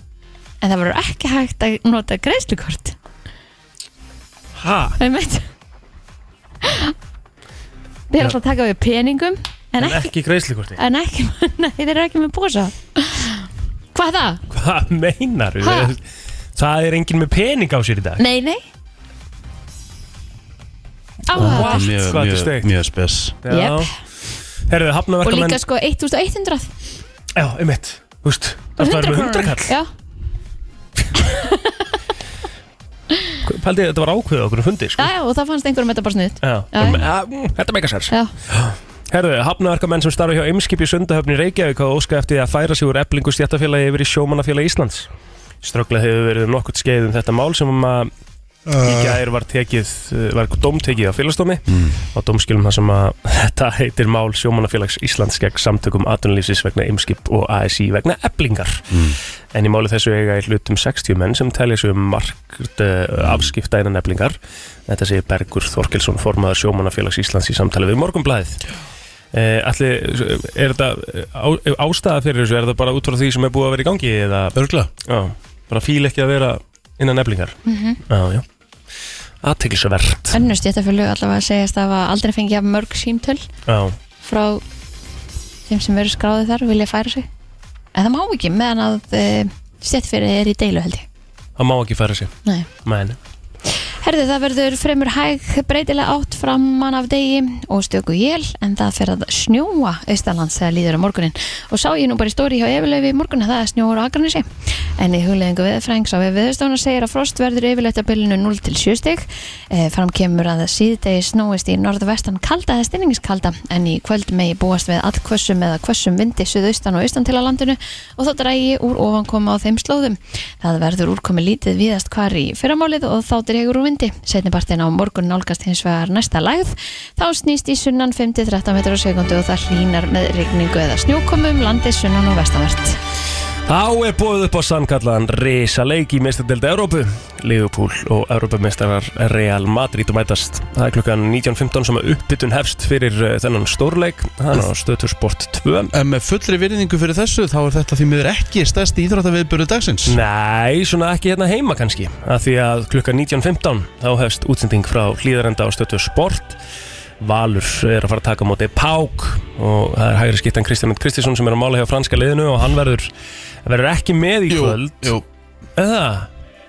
Speaker 3: en það verður ekki hægt að nota greiðslukort
Speaker 5: Ha?
Speaker 3: Einmitt. Þeir eru
Speaker 5: Já.
Speaker 3: alltaf að taka við peningum en
Speaker 5: En
Speaker 3: ekki,
Speaker 5: ekki greiðslikorti.
Speaker 3: en ekki [laughs] nei, þeir eru ekki með bósa Hvað er það?
Speaker 5: Hvað meinar
Speaker 3: Ha?
Speaker 5: Það er enginn með pening á sér í dag.
Speaker 3: Nei, nei Áhugavert.
Speaker 4: Þetta er mjög,
Speaker 5: Hvað þetta er
Speaker 4: mjög,
Speaker 5: steikt.
Speaker 4: mjög spes.
Speaker 5: Já.
Speaker 3: Jep.
Speaker 5: Herðu,
Speaker 3: Og
Speaker 5: hafnaverkamenn...
Speaker 3: líka sko 1100
Speaker 5: Já, um mitt. Þú veist,
Speaker 3: Og
Speaker 5: það er með
Speaker 3: 100
Speaker 5: 100
Speaker 3: krónur.
Speaker 5: kall.
Speaker 3: Já,
Speaker 5: Paldið, þetta var ákveðið okkur um fundi,
Speaker 3: já,
Speaker 5: sko.
Speaker 3: já, og það fannst einhverjum þetta bara snuð
Speaker 5: Já.
Speaker 3: Já.
Speaker 5: Um, ja, mm, Þetta meikar sér.
Speaker 3: Já,
Speaker 5: Herðu, hafnaverkamenn sem starfa hjá Eimskipi Sundahöfni í Reykjavík hafa óska eftir því að færa sig úr eblingu stjættafélagi yfir í sjómannafélagi Íslands. Ströglað hefur verið um nokkurt skeið um þetta mál sem að í gær var tekið, uh, var domtekið á félagsdómi á domskilum þar sem að [laughs] þetta heitir mál sjómannafélags Íslands gegn samtökum atvinnulífsins vegna ymskip og ASI vegna eblingar en í máli þessu eiga í hlutum 60 menn sem telja sig um markt uh, afskipta innan eblingar þetta segir Bergur Þorkelsson formaður sjómannafélags Íslands í samtali við Morgunblæðið Uh, ætli, er þetta eh, á, ástæða fyrir þessu, er þetta bara út frá því sem er búið að vera í gangi eða
Speaker 4: Örgla.
Speaker 5: Já, bara fíl ekki að vera innan neflingar Já, já Aðteglisvert
Speaker 3: önnust ég þetta fyrir allavega að segjast að hafa aldrei fengið jafn mörg símtöl
Speaker 5: Já,
Speaker 3: frá þeim sem eru skráðið þar vilja færa sig en það má ekki meðan að e, stjættfyrir er í deilu held ég
Speaker 5: það má ekki færa sig
Speaker 3: Nei
Speaker 5: Men,
Speaker 3: Herðu, það verður fremur hæg breytilega átt framan af degi og stöku jél en það fer að snjóa austalands þegar líður á morgunin og sá ég nú bara í stóri hjá yfirleifi í morgun að það er snjóur á Akranesi en í hugleðingu viðfrængs á viðstofna segir að frost verður yfirleitt að bylunu 0 til 7 stig e, fram kemur að síðdegi snúist í norðvestan kalda eða stinningskalda en í kvöld megi búast við allkvössum eða kvössum vindi suðaustan og austan til að landinu og þá drægi úr ofankoma á þeim slóðum. Það verður úrkomi lítið víðast hvar í fyrramálið og þá dregur úr vindi. Setnipartin á morgun nálgast hins vegar næsta lægð. Þá snýst í sunnan 5-13 metrar á sekundu og það hlínar með rigningu eða snjókomum landið sunnan og vestanvert.
Speaker 5: Þá er búið upp á sannkallaðan reysa leik í meistardeld Európu Liverpool og Európameistarar Real Madrid mætast Það er klukkan 19.15 sem að uppbytun hefst fyrir eh, þennan stórleik Hann á stöðtur sport 2
Speaker 4: En með fullri virðingu fyrir þessu þá er þetta því miður ekki stærsti íþróttaviðböru dagsins.
Speaker 5: Nei, svona ekki hérna heima kannski af því að klukkan 19.15 þá hefst útsending frá hlýðarenda á stötu sport Valur er að fara að taka á móti Pák og það er hægri skiptan Kristján Kristjánsson sem er að mála hjá franska liðinu og hann verður, verður ekki með í
Speaker 4: Jú,
Speaker 5: kvöld
Speaker 4: jú.
Speaker 5: Eða,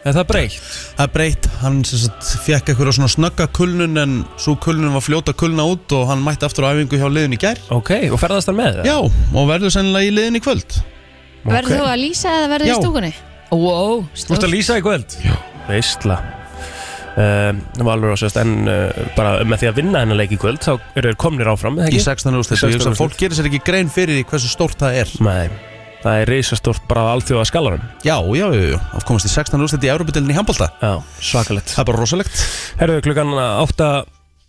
Speaker 5: er það breytt?
Speaker 4: Það er breytt, hann sem sagt fekk eitthvað svona snögga kulnun en svo kulnun var fljóta að kulna út og hann mætti aftur á æfingu hjá liðinu í gær
Speaker 5: Ok, og ferðast hann með það?
Speaker 4: Já, og verður sennilega í liðinu í kvöld
Speaker 3: Verður þú að lýsa eða verður
Speaker 4: Já.
Speaker 3: í stúkunni? Wow,
Speaker 5: Þú ert að lýsa í kvöld? Já Veistla Um, Valur og sérst en uh, bara með því að vinna hennar leik í kvöld þá eru þeir komnir áfram eða
Speaker 4: Í 16.
Speaker 5: ekki?
Speaker 4: úrslit og ég hugsa að fólk gerir sér ekki grein fyrir því hversu stórt það er
Speaker 5: Nei, það er reisastort bara á alþjóða skalanum
Speaker 4: Já, já, já, já, að komast í 16. úrslit í Európa-delinni í handbólta
Speaker 5: Já, svakalegt
Speaker 4: Það er bara rosalegt
Speaker 5: Herðu klukkan 8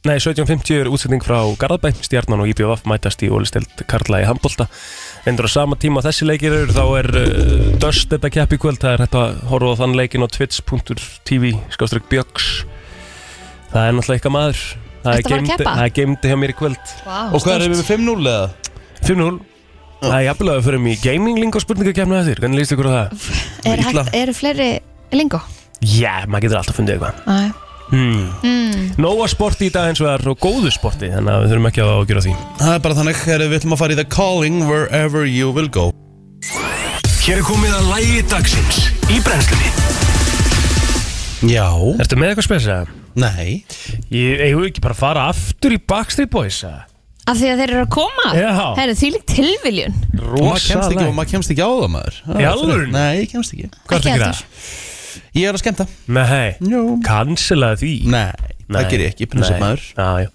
Speaker 5: Nei, 17.50 er útsending frá Garðabæ Stjarnan og IPVF mætast í ólisteld Karla í handbolta Endur á sama tíma og þessi leikir eru þá er uh, Döst þetta kepp í kvöld Það er hægt að horfa á þann leikin á twitch.tv skástrík bjöks Það er náttúrulega eitthvað maður Það
Speaker 3: Ertu að fara að
Speaker 5: geymdi-
Speaker 3: keppa?
Speaker 5: það er geimdi hjá mér í kvöld
Speaker 3: wow,
Speaker 4: Og hvað erum við með 5-0 eða?
Speaker 5: 5-0 Það er jafnilega að förum í gaming link og spurningakefna þér Hvernig líst ykkur á það?
Speaker 3: er
Speaker 4: illa?
Speaker 3: hægt, Eru fleiri lingó?
Speaker 5: Já, maður getur alltaf fundið eitthvað
Speaker 3: Æ.
Speaker 5: Hmm. Nóa sporti í dag eins og það er og góðu sporti þannig að við þurfum ekki að ágjöra því
Speaker 4: Það er bara þannig, herri, við ætlum að fara í The Calling Wherever You Will Go
Speaker 2: Hér er komið að lægi dagsins í brennslunni
Speaker 4: Já
Speaker 5: Ertu með eitthvað spesa?
Speaker 4: Nei
Speaker 5: Ég hefur ekki bara að fara aftur í Backstreet Boys eða?
Speaker 3: Af því að þeir eru að koma?
Speaker 5: Já.
Speaker 3: Það eru þvílík tilviljun
Speaker 4: Og maður kemst ekki,
Speaker 5: Rosaleg.
Speaker 4: og maður kemst ekki á það maður Það
Speaker 5: Í
Speaker 4: er
Speaker 5: alvörunni?
Speaker 4: fyrir- Nei, ég kemst ekki
Speaker 5: Hvað ertu
Speaker 3: Ekki
Speaker 5: að gera?
Speaker 3: heldur.
Speaker 4: Ég er að skemmta
Speaker 5: Nei,
Speaker 4: Jú
Speaker 5: cancelaði því
Speaker 4: Nei, það ger ég ekki, prinsip maður
Speaker 5: Já, já.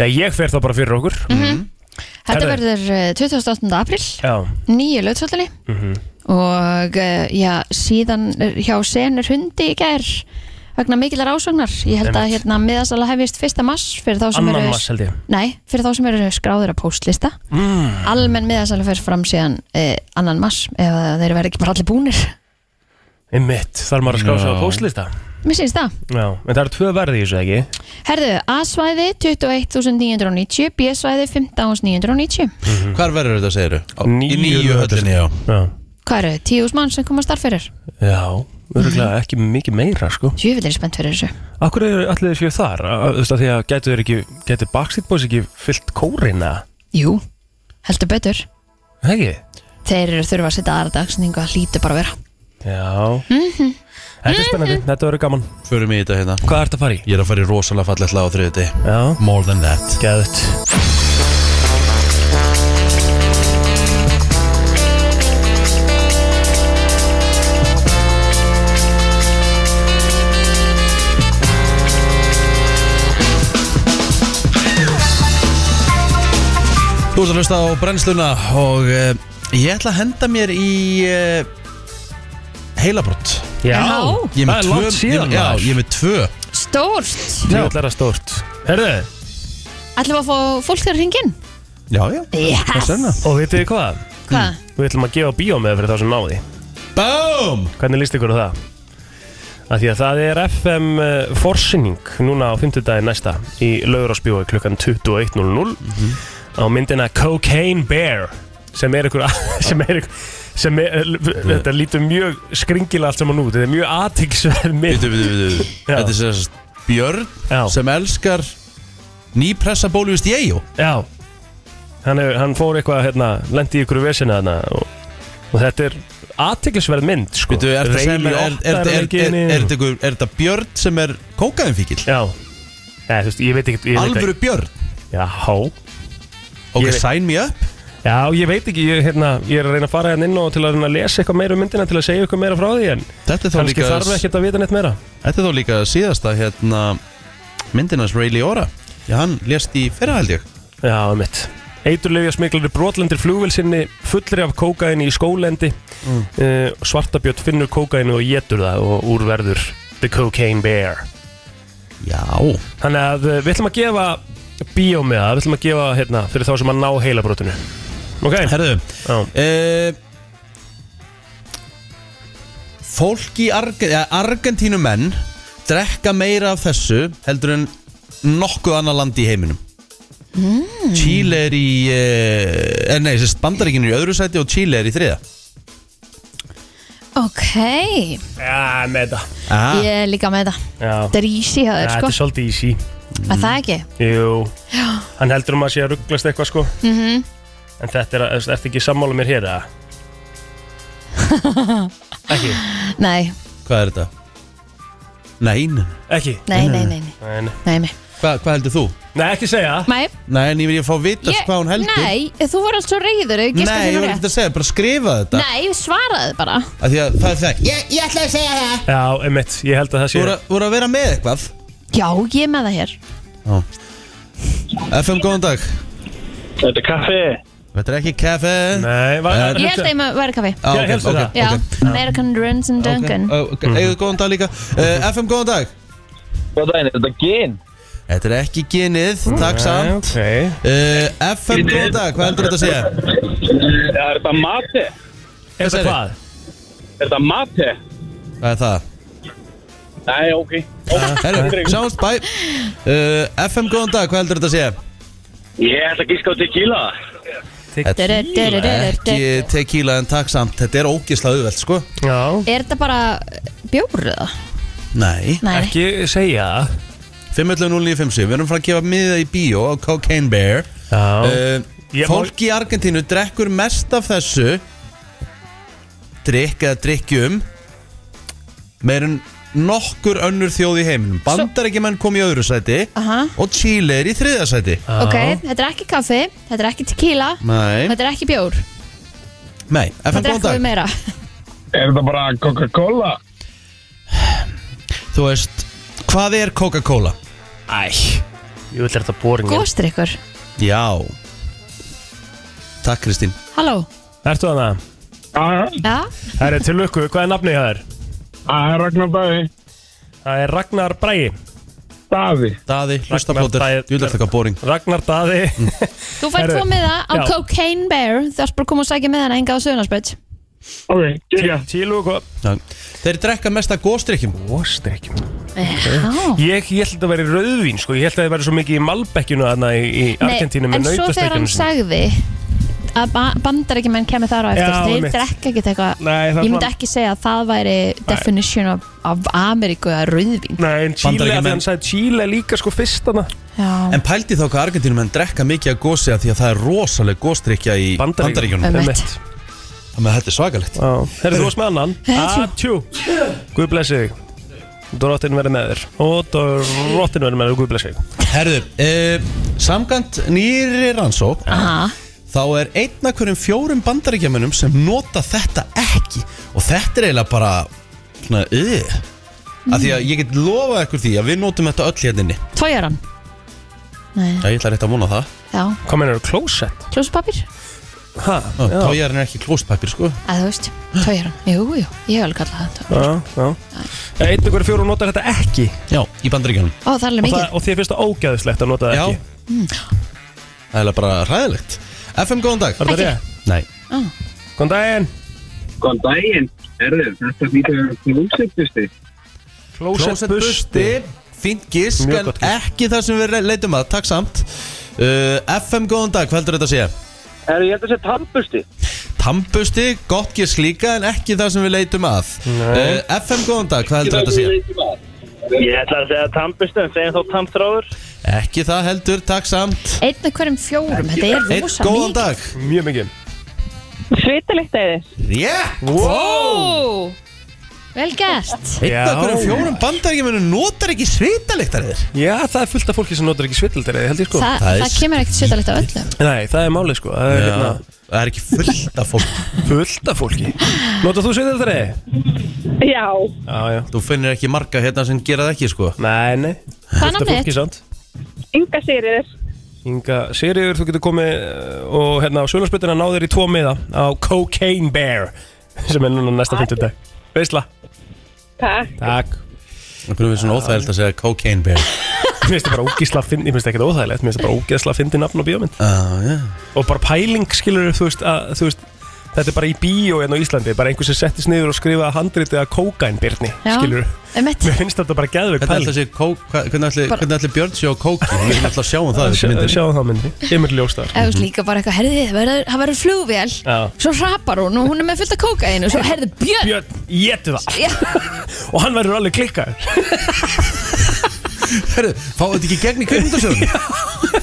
Speaker 5: já, ég fer þá bara fyrir okkur
Speaker 3: Þetta
Speaker 5: Herðu.
Speaker 3: verður eh, 28. april
Speaker 5: Já, Mhm.
Speaker 3: nýju lögtsvöldinni og eh, já, síðan er hjá senur hundi í gær vegna mikillar ásögnar ég held að
Speaker 5: Einmitt.
Speaker 3: hérna miðasala hefist fyrsta mass fyrir þá sem
Speaker 5: annan
Speaker 3: eru
Speaker 5: mass held ég
Speaker 3: nei, fyrir þá sem eru skráðir að póstlista mm. almenn miðasala fyrir fram síðan eh, annan mass ef að þeir verða ekki bara allir búnir [laughs]
Speaker 5: Einmitt, þarf maður að skrá sig á postlista
Speaker 3: mér syns það
Speaker 5: Já, en það eru tvö verði í þessu ekki
Speaker 3: Herðu, A-svæði 21.990 B-svæði 15.990
Speaker 5: Mm.
Speaker 4: Hvar verður þetta, segirðu? Á-
Speaker 5: Nýju
Speaker 4: Í nýju höllinni, já
Speaker 5: Já,
Speaker 3: Hvað eru, 10.000 mann sem koma að starf fyrir?
Speaker 5: já örgulega ekki mikið meira sko
Speaker 3: Jöfnvel er ég spennt fyrir þessu
Speaker 5: Akkur er allir séu þar? Þú veist að því að getur, ekki, getur Backstreet Boys ekki fyllt kórina?
Speaker 3: Jú, heldur betur
Speaker 5: Ekki?
Speaker 3: Þeir eru þurfa að setja aðra dagsningu að hlýta bara að vera
Speaker 5: Já Þetta er spennandi, þetta verður gaman
Speaker 4: Förum í þetta hérna
Speaker 5: Hvað ertu að fara í?
Speaker 4: Ég er að fara í rosalega fallet lag á þriðuti
Speaker 5: Já,
Speaker 4: More than that
Speaker 5: geðut
Speaker 4: Þú ert að hlusta á brennsluna og uh, ég ætla að henda mér í uh, heilabrott
Speaker 5: Já,
Speaker 4: Ég er
Speaker 5: það
Speaker 4: með
Speaker 5: er
Speaker 4: tvö-
Speaker 5: langt síðan
Speaker 4: ég, Já,
Speaker 5: maður.
Speaker 4: ég er með tvö
Speaker 3: Stórt!
Speaker 5: Ég ætla að stórt Herðu,
Speaker 3: Ætlum við að fá fólk þegar hringin?
Speaker 4: Já, já
Speaker 3: Yes!
Speaker 4: Senna
Speaker 5: og vitið þið hvað?
Speaker 3: Hvað?
Speaker 5: Við ætlum að gefa bíómið fyrir þá sem náði
Speaker 4: Bóm
Speaker 5: Hvernig líst ykkur á það? Að því að það er FM eh, forsyning núna á 50 dagi næsta í laugurásbjói klukkan 21.00
Speaker 4: Mhm.
Speaker 5: á myndina Cocaine Bear sem er ykkur [laughs] sem er ykkur sem er, þetta lítur mjög skringilega allt saman út, þetta er mjög aðtingsverð mynd
Speaker 4: Vitu, vitu, vitu
Speaker 5: Já.
Speaker 4: Þetta er sérst Björn
Speaker 5: Já.
Speaker 4: sem elskar nýpressa bólu vist ég
Speaker 5: Já, hann, er, hann fór eitthvað hérna, lendi í ykkur vesina þarna og, og þetta er aðtingsverð mynd sko.
Speaker 4: Vitu, er þetta sem er Er er- er- er- er-
Speaker 5: Reykjavík-
Speaker 4: er þetta einhver- er þetta Björn sem er kókaðinfíkil?
Speaker 5: Já, Nei, þú veist, ég veit ekki ég veit
Speaker 4: Alvöru
Speaker 5: ekki-
Speaker 4: Björn
Speaker 5: Já,
Speaker 4: Ok,
Speaker 5: Ég veit-
Speaker 4: sign me up
Speaker 5: Já, ég veit ekki, ég, hérna, ég er að reyna að fara hérna inn og til að reyna að lesa eitthvað meira um myndina til að segja eitthvað meira frá því en
Speaker 4: Þetta er þá
Speaker 5: kannski
Speaker 4: líka
Speaker 5: þarf ekki að vita neitt meira
Speaker 4: Þetta er þá líka síðasta hérna myndinans Ray Liotta Já, hann lést í fyrra held ég
Speaker 5: Já, mitt Eiturlefja smiklari brotlendir flugvilsinni fullri af kókaini í skólendi mm. Svartabjött finnur kókaini og getur það og úrverður The Cocaine Bear
Speaker 4: Já
Speaker 5: Þannig að eh, við ætlum að gefa bíómiða, við ætlum að gefa hérna fyrir þá sem að ná heilabrotinu Ok,
Speaker 4: Herðu
Speaker 5: já,
Speaker 4: uh, Fólk í Arge ja, Argentínumenn drekka meira af þessu heldur en nokkuð annað land í heiminum mm. Chile er í uh, Nei, þessi bandaríkinu í öðru sæti og Chile er í þriða
Speaker 3: Ok,
Speaker 5: já með þetta
Speaker 4: Aha,
Speaker 3: ég er líka með það
Speaker 5: Já,
Speaker 3: Þetta er easy hjá
Speaker 5: Ja,
Speaker 3: þér,
Speaker 5: þetta
Speaker 3: sko
Speaker 5: er svolítið easy
Speaker 3: Er það ekki?
Speaker 5: Jú, hann heldur um að sé að
Speaker 3: Mhm.
Speaker 5: rugglast eitthvað sko -hmm. En þetta er, er, er ekki sammála mér hér að Ekki,
Speaker 3: Nei,
Speaker 4: Hvað er þetta? Nein
Speaker 5: ekki
Speaker 3: nei, nei, nei, nei,
Speaker 5: Nei, nei.
Speaker 3: nei, nei.
Speaker 4: Hva, Hvað heldur þú?
Speaker 5: nei ekki segja það.
Speaker 3: Nei,
Speaker 4: Nei, en ég vil ég fá að vita hvað hún heldur
Speaker 3: Nei, þú voru alls svo reyður Nei,
Speaker 4: Nei, ég var ekkert að segja, bara skrifa þetta
Speaker 3: Nei, svaraði bara
Speaker 4: Af Því að það er þekkt Ég
Speaker 5: Já, emitt, ég held að það sé
Speaker 4: voru, voru að vera með eitthvað
Speaker 3: Já, ég er með það hér
Speaker 4: FM, góðan dag
Speaker 6: Þetta er kaffi
Speaker 4: Þetta er ekki kaffe
Speaker 5: Nei, var,
Speaker 4: Ég
Speaker 3: Ég held að ég með væri kaffi
Speaker 4: ah,
Speaker 5: Já, helstu það. Mhm.
Speaker 3: Já, Ah. American Runs and Duncan
Speaker 4: Eða góðan dag líka uh, FM, góðan dag
Speaker 6: Hvað það er, þetta er gin
Speaker 4: Þetta er ekki ginið, takk
Speaker 5: Nei,
Speaker 4: samt
Speaker 5: okay.
Speaker 4: uh, FM, góðan dag, hvað heldur þetta að segja?
Speaker 6: Er þetta mate?
Speaker 5: Er
Speaker 4: segirðu?
Speaker 5: það hvað?
Speaker 6: Er þetta mate?
Speaker 4: Hvað er það?
Speaker 6: Nei, ok
Speaker 4: Herru, sjáumst, bæ uh, FM, góðan dag, hvað heldur þetta að segja?
Speaker 6: Ég ætla að gíska á tequila
Speaker 4: Ekki tequila en takk samt Þetta er ógislega auðvelt, sko
Speaker 5: Já,
Speaker 3: Er þetta bara bjóruða?
Speaker 4: Nei
Speaker 3: Nei,
Speaker 5: ekki segja það
Speaker 4: 512957, við erum frá að gefa miða í bíó á Cocaine Bear
Speaker 5: Já,
Speaker 4: uh,
Speaker 5: Ég má-
Speaker 4: Fólk í Argentínu drekkur mest af þessu drikk eða drikkjum meir en nokkur önnur þjóð í heiminum Bandarækjumenn kom í öðru sæti
Speaker 3: Aha.
Speaker 4: og Chile er í þriða sæti
Speaker 3: ok, þetta er ekki kaffi Þetta er ekki tequila
Speaker 4: Nei,
Speaker 3: Þetta er ekki bjór
Speaker 4: nei,
Speaker 3: Það
Speaker 4: FM góðan
Speaker 3: drekkum við
Speaker 4: dag
Speaker 3: meira
Speaker 6: Er þetta bara Coca-Cola?
Speaker 4: Þú veist, hvað er Coca-Cola?
Speaker 5: æ Ég vil þetta boring
Speaker 3: Góstrykkur
Speaker 4: Já Takk Kristín
Speaker 3: Halló
Speaker 5: Ertu þannig?
Speaker 3: Já,
Speaker 5: Það er til lukku, hvað er nafnið það er?
Speaker 6: Það er Ragnar Bæði
Speaker 5: Það er Ragnar Bræi
Speaker 6: Daði
Speaker 4: Daði, hlustaplótur,
Speaker 5: Bæ-
Speaker 4: þú vil þetta boring
Speaker 5: Ragnar Daði [laughs]
Speaker 3: þú fær
Speaker 5: Herru,
Speaker 3: tvo miða á
Speaker 5: já.
Speaker 3: Cocaine Bear Þú ætti bara að koma og sækja miðana enga á Söðunarsbreyt
Speaker 6: Ok, kíkja
Speaker 5: Tílu og
Speaker 4: Já. Þeir drekka mest að góðstrykkjum
Speaker 5: Góstrekkjum
Speaker 3: Já
Speaker 5: Ég, ég held að þetta væri rauðvín sko, ég held að þetta væri svo mikið í Malbekkjunu þarna í, í
Speaker 3: Nei,
Speaker 5: Argentínu með
Speaker 3: en svo þegar hann
Speaker 5: nautastekkjunum sinni.
Speaker 3: sagði að ba bandarækjumenn kemur þar á eftir
Speaker 5: Já,
Speaker 3: þeir
Speaker 5: einmitt.
Speaker 3: drekka ekkert eitthvað
Speaker 5: Nei, það er
Speaker 3: ég myndi
Speaker 5: svona-
Speaker 3: ekki segja að það væri definition of, of Ameríku að rauðvín
Speaker 5: Nei, en Chile,
Speaker 4: Bandaríkjamenn.
Speaker 5: þegar hann sagði Chile líka sko fyrst hana
Speaker 3: já,
Speaker 4: En pældi þá hvað Argentínum en drekka mikið að gósi af því að það er rosaleg góstrykkja í bandaríkjunum
Speaker 3: Einmitt.
Speaker 4: Þannig að þetta er svakalegt
Speaker 5: Herðu, þú varst með annan
Speaker 3: Atjú.
Speaker 5: Atjú Guð blessi þig Drottin verið með þér Og drottin verið með þér, Guð blessi þig
Speaker 4: Herðu, uh, samkant nýri rannsók
Speaker 3: aha,
Speaker 4: þá er einn af hverjum fjórum bandaríkjamunum sem nota þetta ekki og þetta er eiginlega bara svona, yð Af því að ég get lofað ykkur því að við notum þetta öll hérna inni
Speaker 3: tójaran nei,
Speaker 4: Já, ég ætla rétt að vona það
Speaker 3: já,
Speaker 5: Hvað meinar þú, klósett?
Speaker 3: klósupapir
Speaker 5: Hæ?
Speaker 4: Já, Tójarinn er ekki klóstpapir, sko
Speaker 3: að þú veist, tójaran, jú, jú ég hef alveg kallað það tó-
Speaker 5: Já, já Eitt ykkur fjóru notar þetta ekki
Speaker 4: Já, í bandaríkjunum
Speaker 3: ó, það er alveg
Speaker 5: og,
Speaker 3: mikið
Speaker 5: það, og þið finnst það ógæðislegt að nota það
Speaker 4: Já
Speaker 5: ekki
Speaker 4: Það er eiginlega bara ræðilegt FM, góðan dag
Speaker 5: Er það
Speaker 3: Ekki.
Speaker 5: rétt?
Speaker 4: Nei
Speaker 5: Góðan daginn
Speaker 6: Góðan daginn Erðu, þetta býtur klósettusti
Speaker 5: Klósett
Speaker 4: Closet busti
Speaker 5: busti
Speaker 4: Fínt gísk
Speaker 5: Mjög
Speaker 4: en
Speaker 5: gott gisk.
Speaker 4: ekki það sem við leitum að Takk samt uh, FM góðan dag, hvað heldur þetta að segja?
Speaker 6: Erðu, ég held að þetta er tampusti
Speaker 4: Tambusti, gott gísk líka en ekki það sem við leitum að uh, FM góðan dag, hvað heldur þetta að segja?
Speaker 6: Ég ætla að segja tampusti en segjum þá tamþráður
Speaker 4: Ekki það heldur, takk samt
Speaker 3: einn af hverjum fjórum, þetta er
Speaker 4: Einn
Speaker 3: rosa
Speaker 4: góðan
Speaker 3: mikið
Speaker 4: dag
Speaker 5: Mjög mikið
Speaker 7: Svitaliktæði.
Speaker 4: yeah.
Speaker 3: Ó, vel gert
Speaker 4: Einn af
Speaker 5: Já.
Speaker 4: hverjum fjórum bandaríkjumunum notar ekki svitalíktarið
Speaker 5: Já, það er fullt af fólki sem notar ekki svitilderi, held ég sko
Speaker 3: Þa,
Speaker 4: það er-
Speaker 3: það kemur ekkert sjötalegt á öllum
Speaker 5: Nei, það er málið sko Það er hérna
Speaker 4: Það er ekki fullt af fólk
Speaker 5: fullt af fólki Notar þú svitilderi?
Speaker 7: Já.
Speaker 5: Já, já
Speaker 4: Þú finnir ekki marga hérna sem gera það ekki sko
Speaker 5: Nei, nei
Speaker 3: Hvað er
Speaker 5: Fullt af
Speaker 3: nafnið?
Speaker 5: fólki samt
Speaker 7: Inga Sigriður. Inga.
Speaker 5: Inga Sigriður, þú getur komið uh, og hérna á sjölunsbyttina náður í tvo miða á Cocaine Bear [laughs] sem er núna næsta
Speaker 7: Takk.
Speaker 5: 50 dag Veisla
Speaker 7: Takk.
Speaker 5: Takk
Speaker 4: Það kunum við svona óþægild að segja cocaine bear
Speaker 5: Mér finnst það bara ógísla að finna, ég finnst það ekkert óþægilegt Mér finnst það bara ógísla að finna nafn og bíómynd
Speaker 4: ah, yeah.
Speaker 5: Og bara pæling skilur þú veist, að, þú veist Þetta er bara í bíó en á Íslandi Bara einhver sem settist niður og skrifaði handritið að Cocaine Birni
Speaker 3: Já.
Speaker 5: Skilur
Speaker 3: Einmitt.
Speaker 5: Mér finnst þetta bara geðveik
Speaker 4: Hvernig ætla
Speaker 5: pæling
Speaker 4: sé kók, hva- hvernig ætli,
Speaker 3: Bara-
Speaker 4: hvernig ætli Björn sé á kóki? Við erum alltaf að sjá um það í þessu myndinni.
Speaker 5: Sjáðu það myndi Emil Ljóstar
Speaker 3: eða þú veist líka bara eitthvað, herði, það verður- það verður flugvél
Speaker 5: Já.
Speaker 3: svo rapar hún og hún er með fullt af kókaðinu og svo herði björn,
Speaker 5: Björn, getu það
Speaker 3: Já,
Speaker 5: Og hann verður alveg klikkar [laughs]
Speaker 4: Herru, fáið þetta ekki í gegn í kvikmyndasjóðum?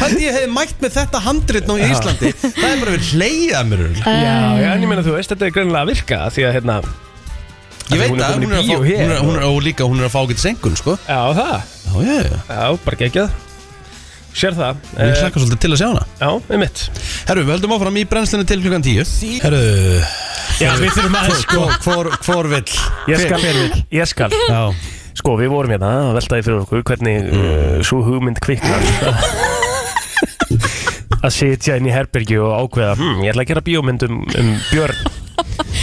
Speaker 4: Pæti ég hefði mætt með þetta handrit í Íslandi Það er bara verið hleyjað mér örugglega.
Speaker 5: Já, já, en ég meina þú veist, þetta er greinilega að virka Því að hérna,
Speaker 4: Ég veit
Speaker 5: Hún er
Speaker 4: að hún
Speaker 5: komin í
Speaker 4: er að fá
Speaker 5: bíó hér.
Speaker 4: hún er- hún er- Og líka hún er að fá getið sengun sko
Speaker 5: já það,
Speaker 4: Já, já, já
Speaker 5: já, bara geggjað Sér það
Speaker 4: Ég
Speaker 5: eh,
Speaker 4: hlakka svolítið til að sjá hana
Speaker 5: Já, með mitt
Speaker 4: Herru, við höldum áfram í brennslunni til klukkan 10 Herru,
Speaker 5: Já, við þurfum að sko
Speaker 4: hvor, hvor, hvor vill
Speaker 5: Ég skal, ég skal
Speaker 4: Já,
Speaker 5: Sko, við vorum hérna að veltaði fyrir okkur hvernig uh, svo hugmynd kviknar að sitja inn í herbergi og ákveða hm, ég ætla að gera bíómynd um, um björn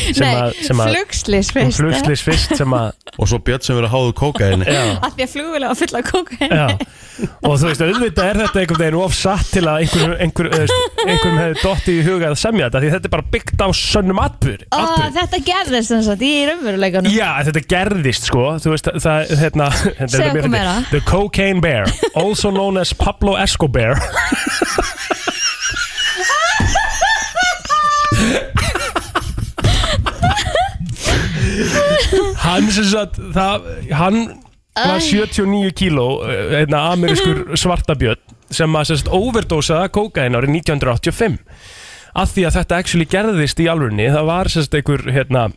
Speaker 5: sem
Speaker 3: Nei,
Speaker 5: að- sem að-
Speaker 3: flugslis
Speaker 5: um
Speaker 3: fyrst eh?"
Speaker 5: flugslis fyrst sem að
Speaker 4: og svo Björn sem verið að háðu kóka henni
Speaker 5: já,
Speaker 3: Af því að flugvila var fulla af kókaini
Speaker 5: já. og þú veist, auðvitað er þetta einhvern veginn of satt til að einhverjum einhver, einhver hefði dottið í huga að semja þetta því þetta er bara byggt á sönnum atbyr,
Speaker 3: Ó,
Speaker 5: atbyr.
Speaker 3: þetta gerðist sem sagt í raunveruleikanum
Speaker 5: Já, þetta gerðist sko Þú veist, það, hérna [laughs] þetta er
Speaker 3: Segðu okkur
Speaker 5: mjög fyndið.
Speaker 3: meira.
Speaker 5: The Cocaine Bear Also known as Pablo Escobar [laughs] Hann sem sagt það, Hann var
Speaker 3: Æ.
Speaker 5: 79 kíló eh, hérna, Amerískur
Speaker 3: [laughs]
Speaker 5: svartabjörn sem að sem sagt overdosaða kókain árið 1985 að því að þetta actually gerðist í alvörunni það var sem sagt einhver hérna,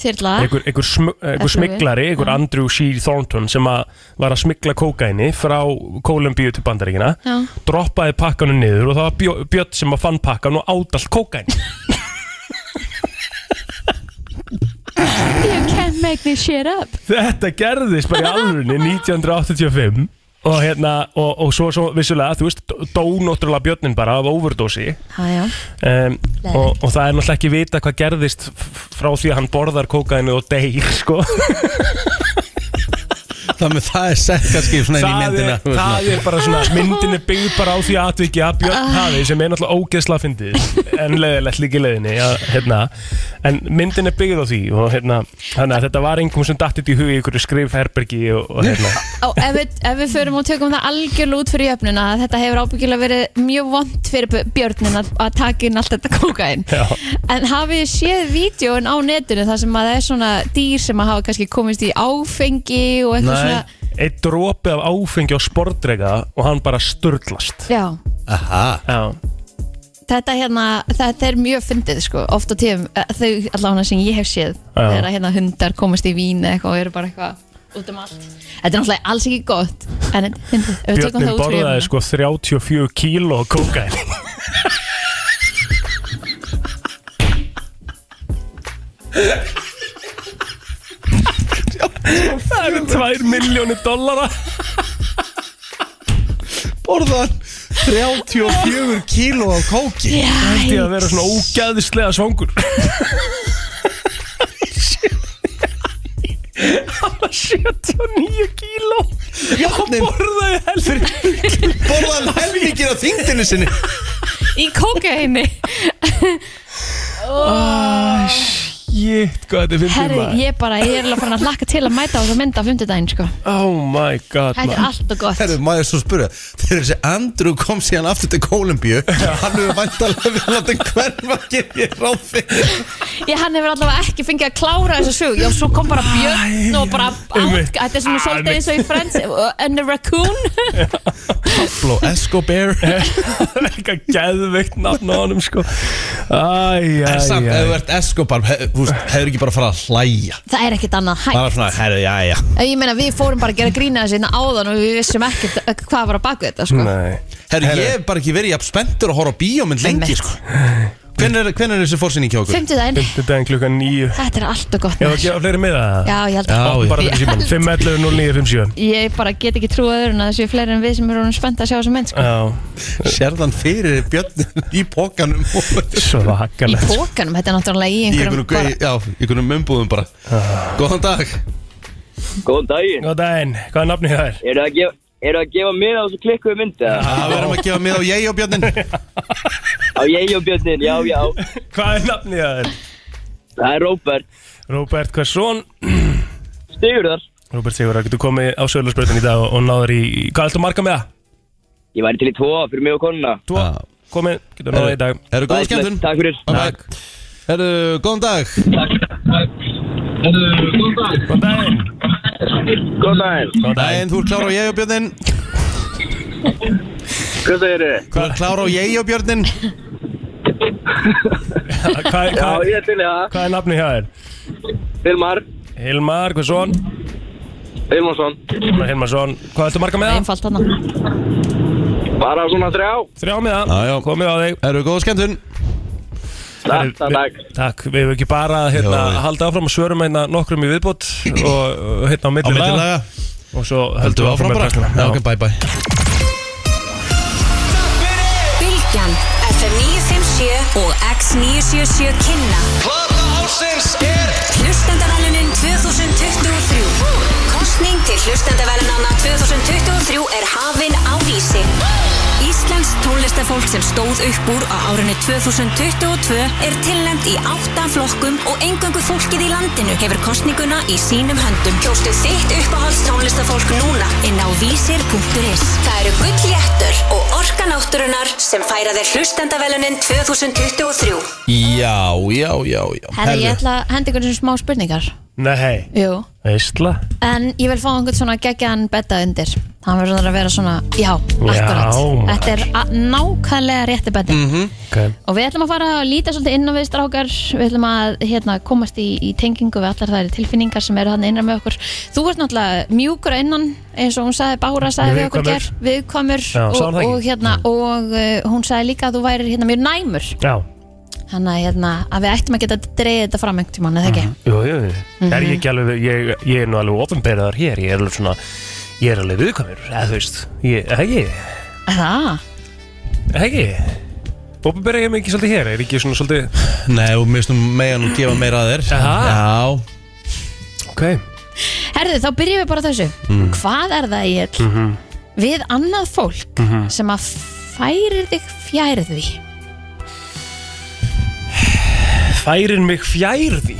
Speaker 3: Þyrla
Speaker 5: einhver, einhver, sm einhver
Speaker 3: Ætlum við.
Speaker 5: smiklari, einhver Andrew C. Thornton sem að var að smikla kókaini frá Kólumbíu til Bandaríkina
Speaker 3: Já.
Speaker 5: droppaði pakkanu niður og það var Bjö- Björn sem að fann pakkan og át allt kókaini
Speaker 3: You can't make this shit up
Speaker 5: þetta gerðist bara í alvörunni 1985 og hérna, og, og svo, svo vissulega, þú veist dó náttúrulega Björnin bara af overdosi
Speaker 3: Já, já
Speaker 5: um,
Speaker 3: Leðilegt.
Speaker 5: og, og það er náttúrulega ekki vita hvað gerðist f- frá því að hann borðar kókaini og deyr, sko
Speaker 4: Þannig að það er sett kannski svona inn í
Speaker 5: það
Speaker 4: myndina
Speaker 5: er, það er bara svona myndin er byggð bara á því atviki að Björn hafi sem er náttúrulega ógeðsla fyndið en leðilegt líka í leðinni að, hérna, en myndin er byggð á því og hérna, þannig að þetta var einhver sem dattið í hug í ykkur skrifherbergi og, og hérna,
Speaker 3: Og ef við, ef við förum og tökum það algjörlega út fyrir jöfnuna að þetta hefur ábyggilega verið mjög vond fyrir b- björnin að, að taka inn allt þetta kókain
Speaker 5: Já.
Speaker 3: En hafið þið séð vídjóin á netinu þar sem að það er svona dýr sem að hafa kannski komist í áfengi og eitthvað
Speaker 4: Nei.
Speaker 3: svona
Speaker 5: eitt dropi af áfengi á sportreika og hann bara sturglast
Speaker 3: Já,
Speaker 4: Aha,
Speaker 5: Já,
Speaker 3: þetta hérna, þetta er mjög fyndið sko, oft á tíum, eh, þau allavega sem ég hef séð,
Speaker 5: Já.
Speaker 3: þegar að, hérna hundar komast í vín eða eitthvað og eru bara eitthvað út um allt. Þetta er náttúrulega alls ekki gott, en þetta er fyndið, ef við tökum
Speaker 5: Björnin
Speaker 3: það út fyrir
Speaker 5: borðaði
Speaker 3: hérna.
Speaker 5: sko 34 kíló kókaini Það eru 2 miljónir dollara
Speaker 4: borðan 34 kíló af kóki
Speaker 5: Því að vera svona ógæðislega svangur Hann var 79 kíló Og
Speaker 4: Járnin
Speaker 5: borðaði heldur
Speaker 4: borðan helmingir á þingdinu sinni
Speaker 3: Í kókaini.
Speaker 5: Jétt, hvað þetta er fyrir
Speaker 3: Herri,
Speaker 5: maður
Speaker 3: ég bara, ég er alveg farin að hlakka til að mæta á þess að mynda á fymtudaginn sko.
Speaker 5: Oh my god
Speaker 3: Þetta er
Speaker 5: maður.
Speaker 3: alltaf gott.
Speaker 4: Herru, maður svo spura Þegar þessi Andrew kom síðan aftur til Kólumbíu Hann hefur vantalega verið að þetta hverfa Gerði ég ráð fyrir
Speaker 3: Ég, hann hefur allavega ekki fengið að klára þessa sög Já, svo kom bara björn og bara
Speaker 5: einmitt.
Speaker 3: át, Þetta er svona svolítið eins og í Friends uh, And the raccoon
Speaker 4: Bló Escobar En
Speaker 5: Það er eitthvað geðveikt nafn á honum sko Æj,
Speaker 4: samt,
Speaker 5: æj,
Speaker 4: ef þú
Speaker 5: æj
Speaker 4: ert Escobar hef- þú veist, Hefur ekki bara farað að hlæja
Speaker 3: [laughs] Það er ekkert annað hægt
Speaker 4: Það var svona, herru, já, já
Speaker 3: Ef Ég meina við fórum bara að gera grína þessi hérna áðan og við vissum ekkert eh, hvað var að baka þetta sko.
Speaker 5: Nei
Speaker 4: Herru, ég hef bara ekki verið jafn spenntur að horfa á bíómynd lengi
Speaker 3: Einmitt.
Speaker 4: sko. Hvernig er, hven er þessi fórsynning hjá okkur?
Speaker 3: Fimmtudaginn,
Speaker 5: Þetta er klukkan nýju
Speaker 3: þetta er alltaf gott
Speaker 5: Ég var
Speaker 3: maður.
Speaker 5: að gefa fleiri með það
Speaker 3: Já, ég held að
Speaker 4: Já,
Speaker 5: Bara
Speaker 3: Ég
Speaker 5: fyrir síman
Speaker 3: held-
Speaker 5: 511 0957
Speaker 3: Ég bara get ekki trúið öðru en að það séu fleiri en við sem erum spennt að sjá þessa menn sko.
Speaker 5: Já,
Speaker 4: Sérðan fyrir björnum í pókanum
Speaker 3: Í
Speaker 5: svakalegt sko.
Speaker 3: pókanum, þetta er náttúrulega í
Speaker 4: Í
Speaker 3: einhverjum
Speaker 4: einhverjum, bara... Ah. já, í einhverjum umbúðum bara Góðan dag
Speaker 8: Góðan daginn.
Speaker 5: Góð daginn, hvað er nafnið það er?
Speaker 8: Eru að gefa, eru að gefa mig á þessu klikkuðu myndi? eða?
Speaker 4: Það verðum Ah, að gefa mið á ég og björnin
Speaker 8: Á ég og Björnin, já, já.
Speaker 5: Hvað er nafnið það er?
Speaker 8: Það er Róbert.
Speaker 5: Róbert Hversson
Speaker 8: Stigur þar.
Speaker 5: Róbert Sigur, getur komið á Söðlarsbröðin í dag og, og náður í Hvað ertu marga með það?
Speaker 8: Ég væri til í tvo fyrir mig og konuna.
Speaker 5: Tvo,
Speaker 4: Já.
Speaker 5: komið, getur náður í dag
Speaker 4: Ah. Eru góða
Speaker 8: Glæsilegt.
Speaker 4: skemmtun?
Speaker 8: Takk fyrir.
Speaker 4: Takk Herru, góðan dag
Speaker 5: Góð daginn
Speaker 8: Góðan daginn.
Speaker 5: Góð
Speaker 4: Dæin, þú er klára á ég og björnin
Speaker 6: Hvað segir þið?
Speaker 4: Hvað klára á ég og Björnin?
Speaker 5: Hvað er,
Speaker 6: Já,
Speaker 5: hvað,
Speaker 6: ég er til í það.
Speaker 5: hvað er nafni hjá þér?
Speaker 6: Hilmar,
Speaker 5: Hilmar, hvað svon?
Speaker 6: Hilmarsson.
Speaker 5: Hilmarsson, hvað ertu marga með það?
Speaker 3: Einfalt þarna
Speaker 6: Bara svona þrjá.
Speaker 5: Þrjá með
Speaker 4: Já, já.
Speaker 5: það, komið á þig
Speaker 4: Erum við góða skemmtun?
Speaker 6: Takk, takk, takk.
Speaker 5: Við- Takk, við hefum ekki bara hérna,
Speaker 4: Jó, við-
Speaker 5: haldið áfram að svörum hérna nokkrum í viðbót og hérna á
Speaker 4: Á
Speaker 5: milli laga
Speaker 4: mittilaga
Speaker 5: og svo
Speaker 4: Höldum við áfram
Speaker 5: með
Speaker 4: bara?
Speaker 5: brennsluna.
Speaker 4: Já, ok, bye bye
Speaker 9: Bilgjan, FM 957 og X977 kynna
Speaker 2: Plata ásins er
Speaker 9: Hlustendavælunin 2023 Kostning til hlustendavælinanna 2023 er hafin á vísi Íslands tónlistafólk sem stóð upp úr á árunni 2022 er tilnæmt í átta flokkum og engangu fólkið í landinu hefur kostninguna í sínum höndum. Kjóstu þitt uppáhalds tónlistafólk núna inn á vísir.is. Það eru gull léttur og orka náttúrunar sem færa þér hlustendavælunin 2023.
Speaker 4: Já, já, já, já
Speaker 3: Herra, ég ætla að henda ykkur sem smá spurningar
Speaker 5: Nei,
Speaker 3: Jú
Speaker 5: veistla
Speaker 3: En ég vil fá einhvern svona geggjan betta undir Hann verður svona að vera svona, já, akkurat
Speaker 5: maður. Mhm.
Speaker 3: Þetta er a- nákvæmlega rétti betti
Speaker 5: okay.
Speaker 3: Og við ætlum að fara að líta svolítið inn á við strákar Við ætlum að hérna, komast í, í tengingu við allar þær tilfinningar sem eru hann innan með okkur Þú ert náttúrulega mjúkur að innan eins og hún sagði Bára sagði við okkur
Speaker 5: Viðkvæmur.
Speaker 3: ger Viðkomur
Speaker 5: Já,
Speaker 3: og,
Speaker 5: sagði hún það ekki?
Speaker 3: og, hérna, og uh, hún sagði líka að þú værir hérna, mjög næmur
Speaker 5: Já,
Speaker 3: Þannig að, hérna, að við ættum að geta dreigð þetta fram einhvern tímann, eða ekki?
Speaker 5: jú, jú, jú. Er ég ekki alveg, ég, ég er nú alveg ofinberðar hér, ég er alveg svona ég er alveg viðkvæmur, eða þú veist ég, hegi,
Speaker 3: Það,
Speaker 5: hegi ofinberðar ég mig ekki svolítið hér, er ekki svona svolítið
Speaker 4: Nei, og mistum mega nú gefa meira að þér
Speaker 5: Aha.
Speaker 4: Já,
Speaker 5: ok,
Speaker 3: herðu þá byrjum við bara á þessu
Speaker 4: Mhm.
Speaker 3: Hvað er það ég við annað fólk
Speaker 4: Mhm.
Speaker 3: sem að færir þig fjær því
Speaker 5: færir mig fjær því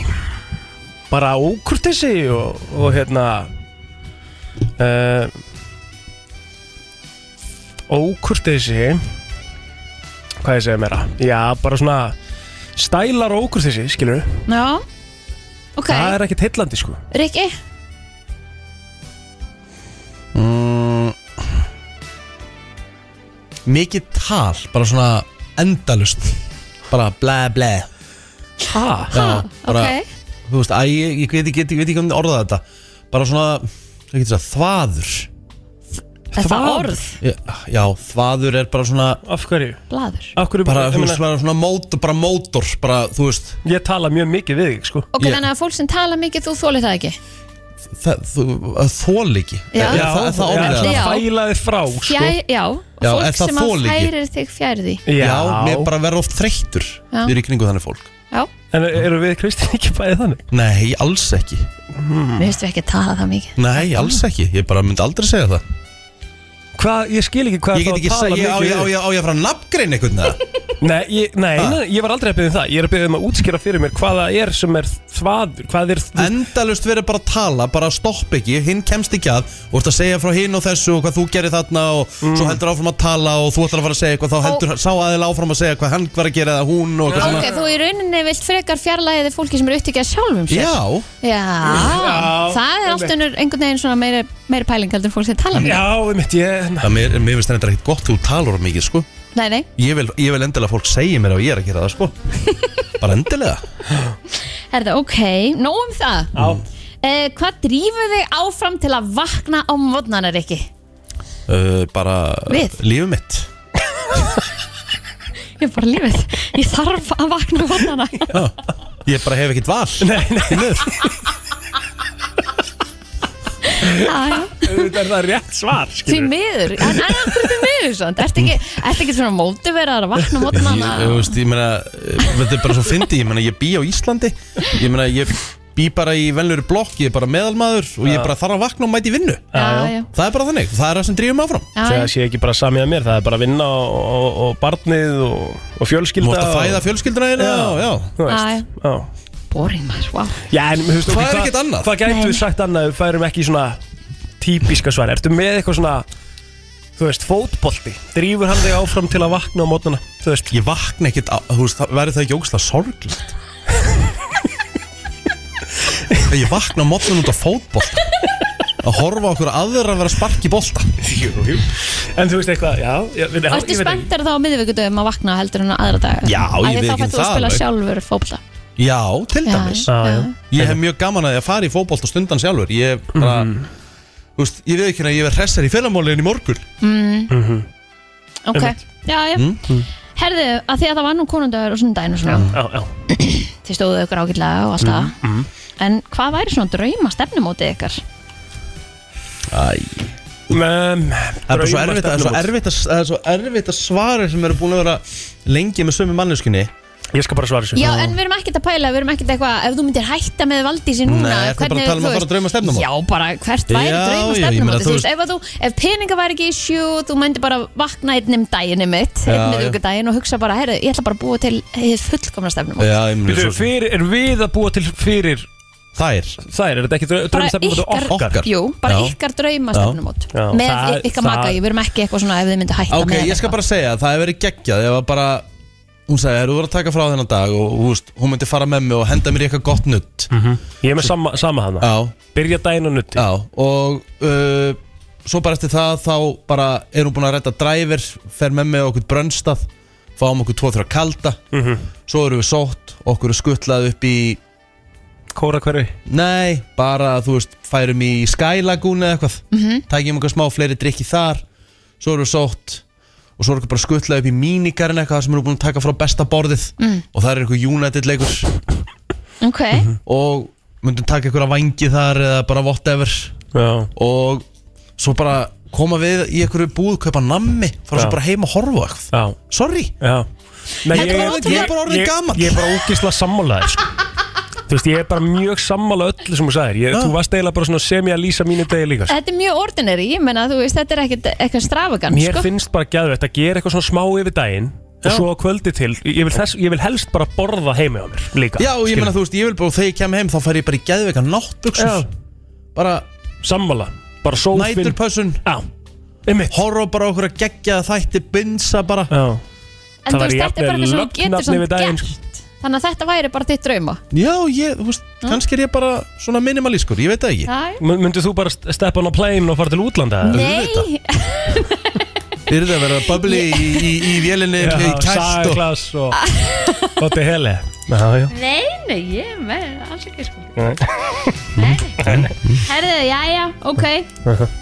Speaker 5: bara ókurtesi og, og hérna uh, ókurtesi hvað ég segja meira já, bara svona stælar og ókurtesi, skilur
Speaker 3: Já, ok,
Speaker 5: það er ekkert heillandi, sko
Speaker 3: Rikki
Speaker 4: mikið tal, bara svona endalust Bara ble, ble
Speaker 5: ha,
Speaker 4: Já, bara,
Speaker 3: Ah, ok.
Speaker 4: Þú veist, æ, ég, ég, veit, ekki- ég, veit ekki hvernig orða þetta Bara svona, það getur það, þvaður
Speaker 3: Er það orð?
Speaker 4: Já, já, þvaður er bara svona
Speaker 5: af hverju?
Speaker 3: Blaður
Speaker 5: Af hverju
Speaker 4: Bara,
Speaker 5: ég
Speaker 4: þú
Speaker 5: meina,
Speaker 4: veist, bara svona mótor, bara mótor Bara, þú veist,
Speaker 5: ég tala mjög mikið við þig, sko
Speaker 3: Ok,
Speaker 4: Ég-
Speaker 3: þannig að fólk sem tala mikið, þú þólir það ekki
Speaker 4: það, þú, þól ekki
Speaker 3: Já.
Speaker 4: Er, er, það- er það orðið
Speaker 5: já,
Speaker 4: það?
Speaker 3: Já.
Speaker 5: fæla þig frá, sko
Speaker 3: Fjær, já,
Speaker 4: Já, er
Speaker 3: fólk
Speaker 4: það
Speaker 3: sem að
Speaker 4: þolið ekki?
Speaker 3: færir þig fjær því
Speaker 4: Já, mér bara verður oft þreyttur
Speaker 3: Já.
Speaker 4: Við erum í kringu þannig fólk
Speaker 3: Já,
Speaker 5: en eru við Kristinn ekki bæðið þannig?
Speaker 4: Nei, alls ekki Mm.
Speaker 3: við veistum ekki að tala það mikið
Speaker 4: Nei, alls ekki, ég bara myndi aldrei segja það
Speaker 5: Hvað, ég skil ekki hvað
Speaker 4: Ég get ekki
Speaker 5: tala
Speaker 4: segja, ég- á
Speaker 5: mikið
Speaker 4: ég á
Speaker 5: við.
Speaker 4: ég á ég að fara að nafngreina einhvern veginn
Speaker 5: Nei, ég, nei, nei, ég var aldrei að byrja um það Ég er að byrja um að útskýra fyrir mér hvað það er sem er þvaður Hvað er þú
Speaker 4: Endalust verður bara að tala, bara stopp ekki Hinn kemst ekki að, og ert að segja frá hinn og þessu Og hvað þú gerir þarna og svo heldur áfram að tala Og þú ætlar að fara að segja eitthvað Þá heldur sá aðeins áfram að segja hvað hann var að gera eða hún og eitthvað
Speaker 3: Ok, þú í rauninni vilt frekar fjarlæðið fólki sem eru upptikið að sjálfum sér
Speaker 4: Já,
Speaker 3: Já, það er allt önnur einhvern veginn svona meiri, meiri pæling heldur en fólk sem tala mikið
Speaker 5: Já, ég mitt, ég
Speaker 4: það mér, mér finnst þetta ekkert gott þú talar of mikið sko
Speaker 3: Nei, nei,
Speaker 4: Ég vil, ég vil endilega að fólk segja mér að ég er að gera það sko Bara endilega
Speaker 3: er það ok, nóg um það
Speaker 5: Já,
Speaker 3: uh, Hvað drífur þig áfram til að vakna á mótnanar ekki?
Speaker 4: uh, Bara
Speaker 3: Við?
Speaker 4: lífið mitt
Speaker 3: Ég er bara lífið, ég þarf að vakna á mótnana
Speaker 4: Já. Ég bara hef ekkert val
Speaker 5: nei, nei,
Speaker 3: Því
Speaker 5: þetta er það rétt svar skilurðu.
Speaker 3: miður, en en af hverju því miður svona? Ertu ekki, ertu ekki svona mótiveraðar að vakna á mótnana?
Speaker 4: Ég, þú veist, ég meina, eh, þetta er bara svo fyndi, ég meina, ég bý á Íslandi, ég meina, ég bý bara í venlur blokk, ég er bara meðalmaður og ég bara þarf að vakna og mæti vinnu.
Speaker 3: Já, já,
Speaker 4: Það er bara þannig, það er það sem drýjum áfram.
Speaker 3: já,
Speaker 5: Það
Speaker 3: já.
Speaker 5: sé ekki bara samið að mér, það er bara vinna og, og, og barnið og, og
Speaker 4: Þú
Speaker 5: fjölskylda
Speaker 4: mátt að
Speaker 5: og-
Speaker 4: fæða fjölskylduna þína, já, já.
Speaker 5: Þú
Speaker 3: Já,
Speaker 5: veist, já
Speaker 3: Boring maður, wow
Speaker 5: Já, en þú veist,
Speaker 4: Hvað
Speaker 5: ok,
Speaker 4: er ekkert annað?
Speaker 5: Hvað gætu
Speaker 3: Nei.
Speaker 5: við sagt annað, ef við færum ekki í svona típiska svar Ertu með eitthvað svona, þú veist, fótbolti Drífur hann þig áfram til að vakna á mótnana, þú veist
Speaker 4: Ég vakna ekkert, á- þú veist, það verður það ekki ógslag sorglegt. Ég vakna á mótnum út á fótboll. að horfa á okkur aðra að vera að sparki bolta
Speaker 5: Jú, jú En þú veist eitthvað, já, já, já, já
Speaker 3: Ertu spenntar þá á miðvíkudöfum að vakna heldur en á aðra daga?
Speaker 4: Já, ég
Speaker 3: Af því
Speaker 4: viðurkenni
Speaker 3: Þá fættu að
Speaker 4: það
Speaker 3: spila
Speaker 4: alveg.
Speaker 3: sjálfur fótbolta
Speaker 4: Já, til
Speaker 3: Já,
Speaker 4: dæmis
Speaker 5: Já, já.
Speaker 4: Ég hef mjög gaman að ég að fara í fótbolta stundan sjálfur Ég bara, þú veist, ég veit ekki að ég verð hressar í fyrramáli en í morgun
Speaker 3: Ok, já, já
Speaker 4: Mm,
Speaker 3: Herðu, að því að það var nú konundagur og sunnudaginn og svona
Speaker 5: Já, já
Speaker 3: Þið stóðu ykkur ágætlega og allt það
Speaker 4: Mm,
Speaker 3: En hvað væri svona drauma stefnumótið ykkar?
Speaker 4: Æ,
Speaker 5: um,
Speaker 4: Það er bara svo erfitt, að, svo erfitt að, það er svo erfitt að svara sem eru búin að vera lengi með sömu manneskunni
Speaker 5: Ég skal bara svara þessu
Speaker 3: Já, en við erum ekkert að pæla, við erum ekkert eitthvað Ef þú myndir hætta með Valdísi núna
Speaker 4: Nei, ertu bara að
Speaker 3: hvernig-
Speaker 4: tala um að
Speaker 3: þú
Speaker 4: fara
Speaker 3: veist-
Speaker 4: drauma stefnumót?
Speaker 3: Já, bara hvert væri
Speaker 4: Já,
Speaker 3: drauma
Speaker 4: já, ég meina,
Speaker 3: stefnumótið
Speaker 4: þú
Speaker 3: Þú veist, ef, að þú, ef peninga væri ekki issue Þú myndir bara vakna einnum daginn mitt
Speaker 4: Já,
Speaker 3: Einnum
Speaker 4: já.
Speaker 3: daginn og hugsa bara, herru, ég ætla bara að búa til Þið fullkomna stefnumót
Speaker 4: Já, ég mjög
Speaker 5: Býtu,
Speaker 4: svo
Speaker 5: fyrir, er við að búa til fyrir
Speaker 4: Þær
Speaker 5: þær? Er þetta ekki
Speaker 3: bara
Speaker 5: drömmstefnum
Speaker 3: ykkar,
Speaker 4: okkar.
Speaker 3: Jú, bara
Speaker 4: Já.
Speaker 3: ykkar drauma stefnumót
Speaker 5: Já.
Speaker 3: með
Speaker 5: Það-
Speaker 3: það, ykkar
Speaker 5: það-
Speaker 3: maka, við erum ekki eitthvað svona ef þið myndu hætta
Speaker 4: Ok,
Speaker 3: með
Speaker 4: ég skal bara segja að það hefur verið geggjað Ég var bara, hún sagði, "Heyrðu, þú voru að taka frá þennan dag og þú veist, hún myndi fara með mig og henda mér í eitthvað gott nutt
Speaker 5: Ég er með sama, sama hana
Speaker 4: Já,
Speaker 5: Byrja daginn og nutti
Speaker 4: já og uh, svo bara eftir það þá bara er hún búin að redda driver fer með mig á okkur brönnstað fáum okkur 2-3 kalda svo erum við sótt, okkur er skuttlað upp í
Speaker 5: Kóra hverfi
Speaker 4: Nei, bara þú veist, færum í Sky Lagoon eða eitthvað Tækjum einhver smá fleiri drikki þar Svo erum við sótt Og svo erum við bara skutlað upp í mínikarinn eitthvað þar Sem erum búin að taka frá besta borðið Og það er eitthvað United leikur
Speaker 3: bara Ok,
Speaker 4: Mhm. Og myndum taka einhverja vangi þar Eða bara whatever
Speaker 5: Já
Speaker 4: Og svo bara koma við í einhverju búð Kaupa nammi, fara
Speaker 5: Já.
Speaker 4: svo bara heim og horfa á eitthvað
Speaker 5: Já,
Speaker 4: Sorry
Speaker 5: já Nei,
Speaker 3: Þetta var ótrúlega-
Speaker 4: Ég er bara orðinn
Speaker 5: ég-
Speaker 4: gamall.
Speaker 5: Ég er bara ógislega sammálaðir
Speaker 3: [laughs]
Speaker 5: sko. Þú veist, ég er bara mjög sammálað öllu sem þú sagðir ég,
Speaker 4: Já.
Speaker 5: Þú varst eiginlega bara svona sem ég að lýsa mínu degi líka sko.
Speaker 3: þetta er mjög ordinary ég menna, þú veist, þetta er ekkert eitthvað strafagans
Speaker 5: Mér
Speaker 3: sko.
Speaker 5: finnst bara gæðvegt að gera eitthvað svona smá yfir daginn Og svo að kvöldi til ég vil, þess, ég vil helst bara borða heimi á mér líka
Speaker 4: Já, og ég meina þú veist, ég vil bara og Þegar ég kem heim þá fær ég bara í geðveika náttbuxur
Speaker 5: Já.
Speaker 4: Bara
Speaker 5: Sammála Bara sófinn
Speaker 4: næturpössun
Speaker 5: Já, einmitt
Speaker 4: horfa bara á okkur að gegja þætti binsa bara
Speaker 5: Já,
Speaker 3: en þú veist,
Speaker 5: væri
Speaker 3: þetta er bara eitthvað
Speaker 5: jafnvel
Speaker 3: sem þú getur
Speaker 5: lögnafni
Speaker 3: samt
Speaker 5: við daginn, sko.
Speaker 3: gert þannig að þetta væri bara þitt drauma
Speaker 4: já, ég, þú veist, kannski er ég bara svona minimalískur, ég veit það ekki
Speaker 3: Það er-
Speaker 5: M- Myndir þú bara st- steppa hann á plane og fara til útlanda? eða?
Speaker 3: Nei, [laughs]
Speaker 4: þið eru að vera bubbly í, í, í vélinni
Speaker 5: Já,
Speaker 4: í kæst og
Speaker 5: Sagerglas og Otti Hele Já, já
Speaker 3: nei, nei, ég með alls ekki sko Herðu, jæja, ok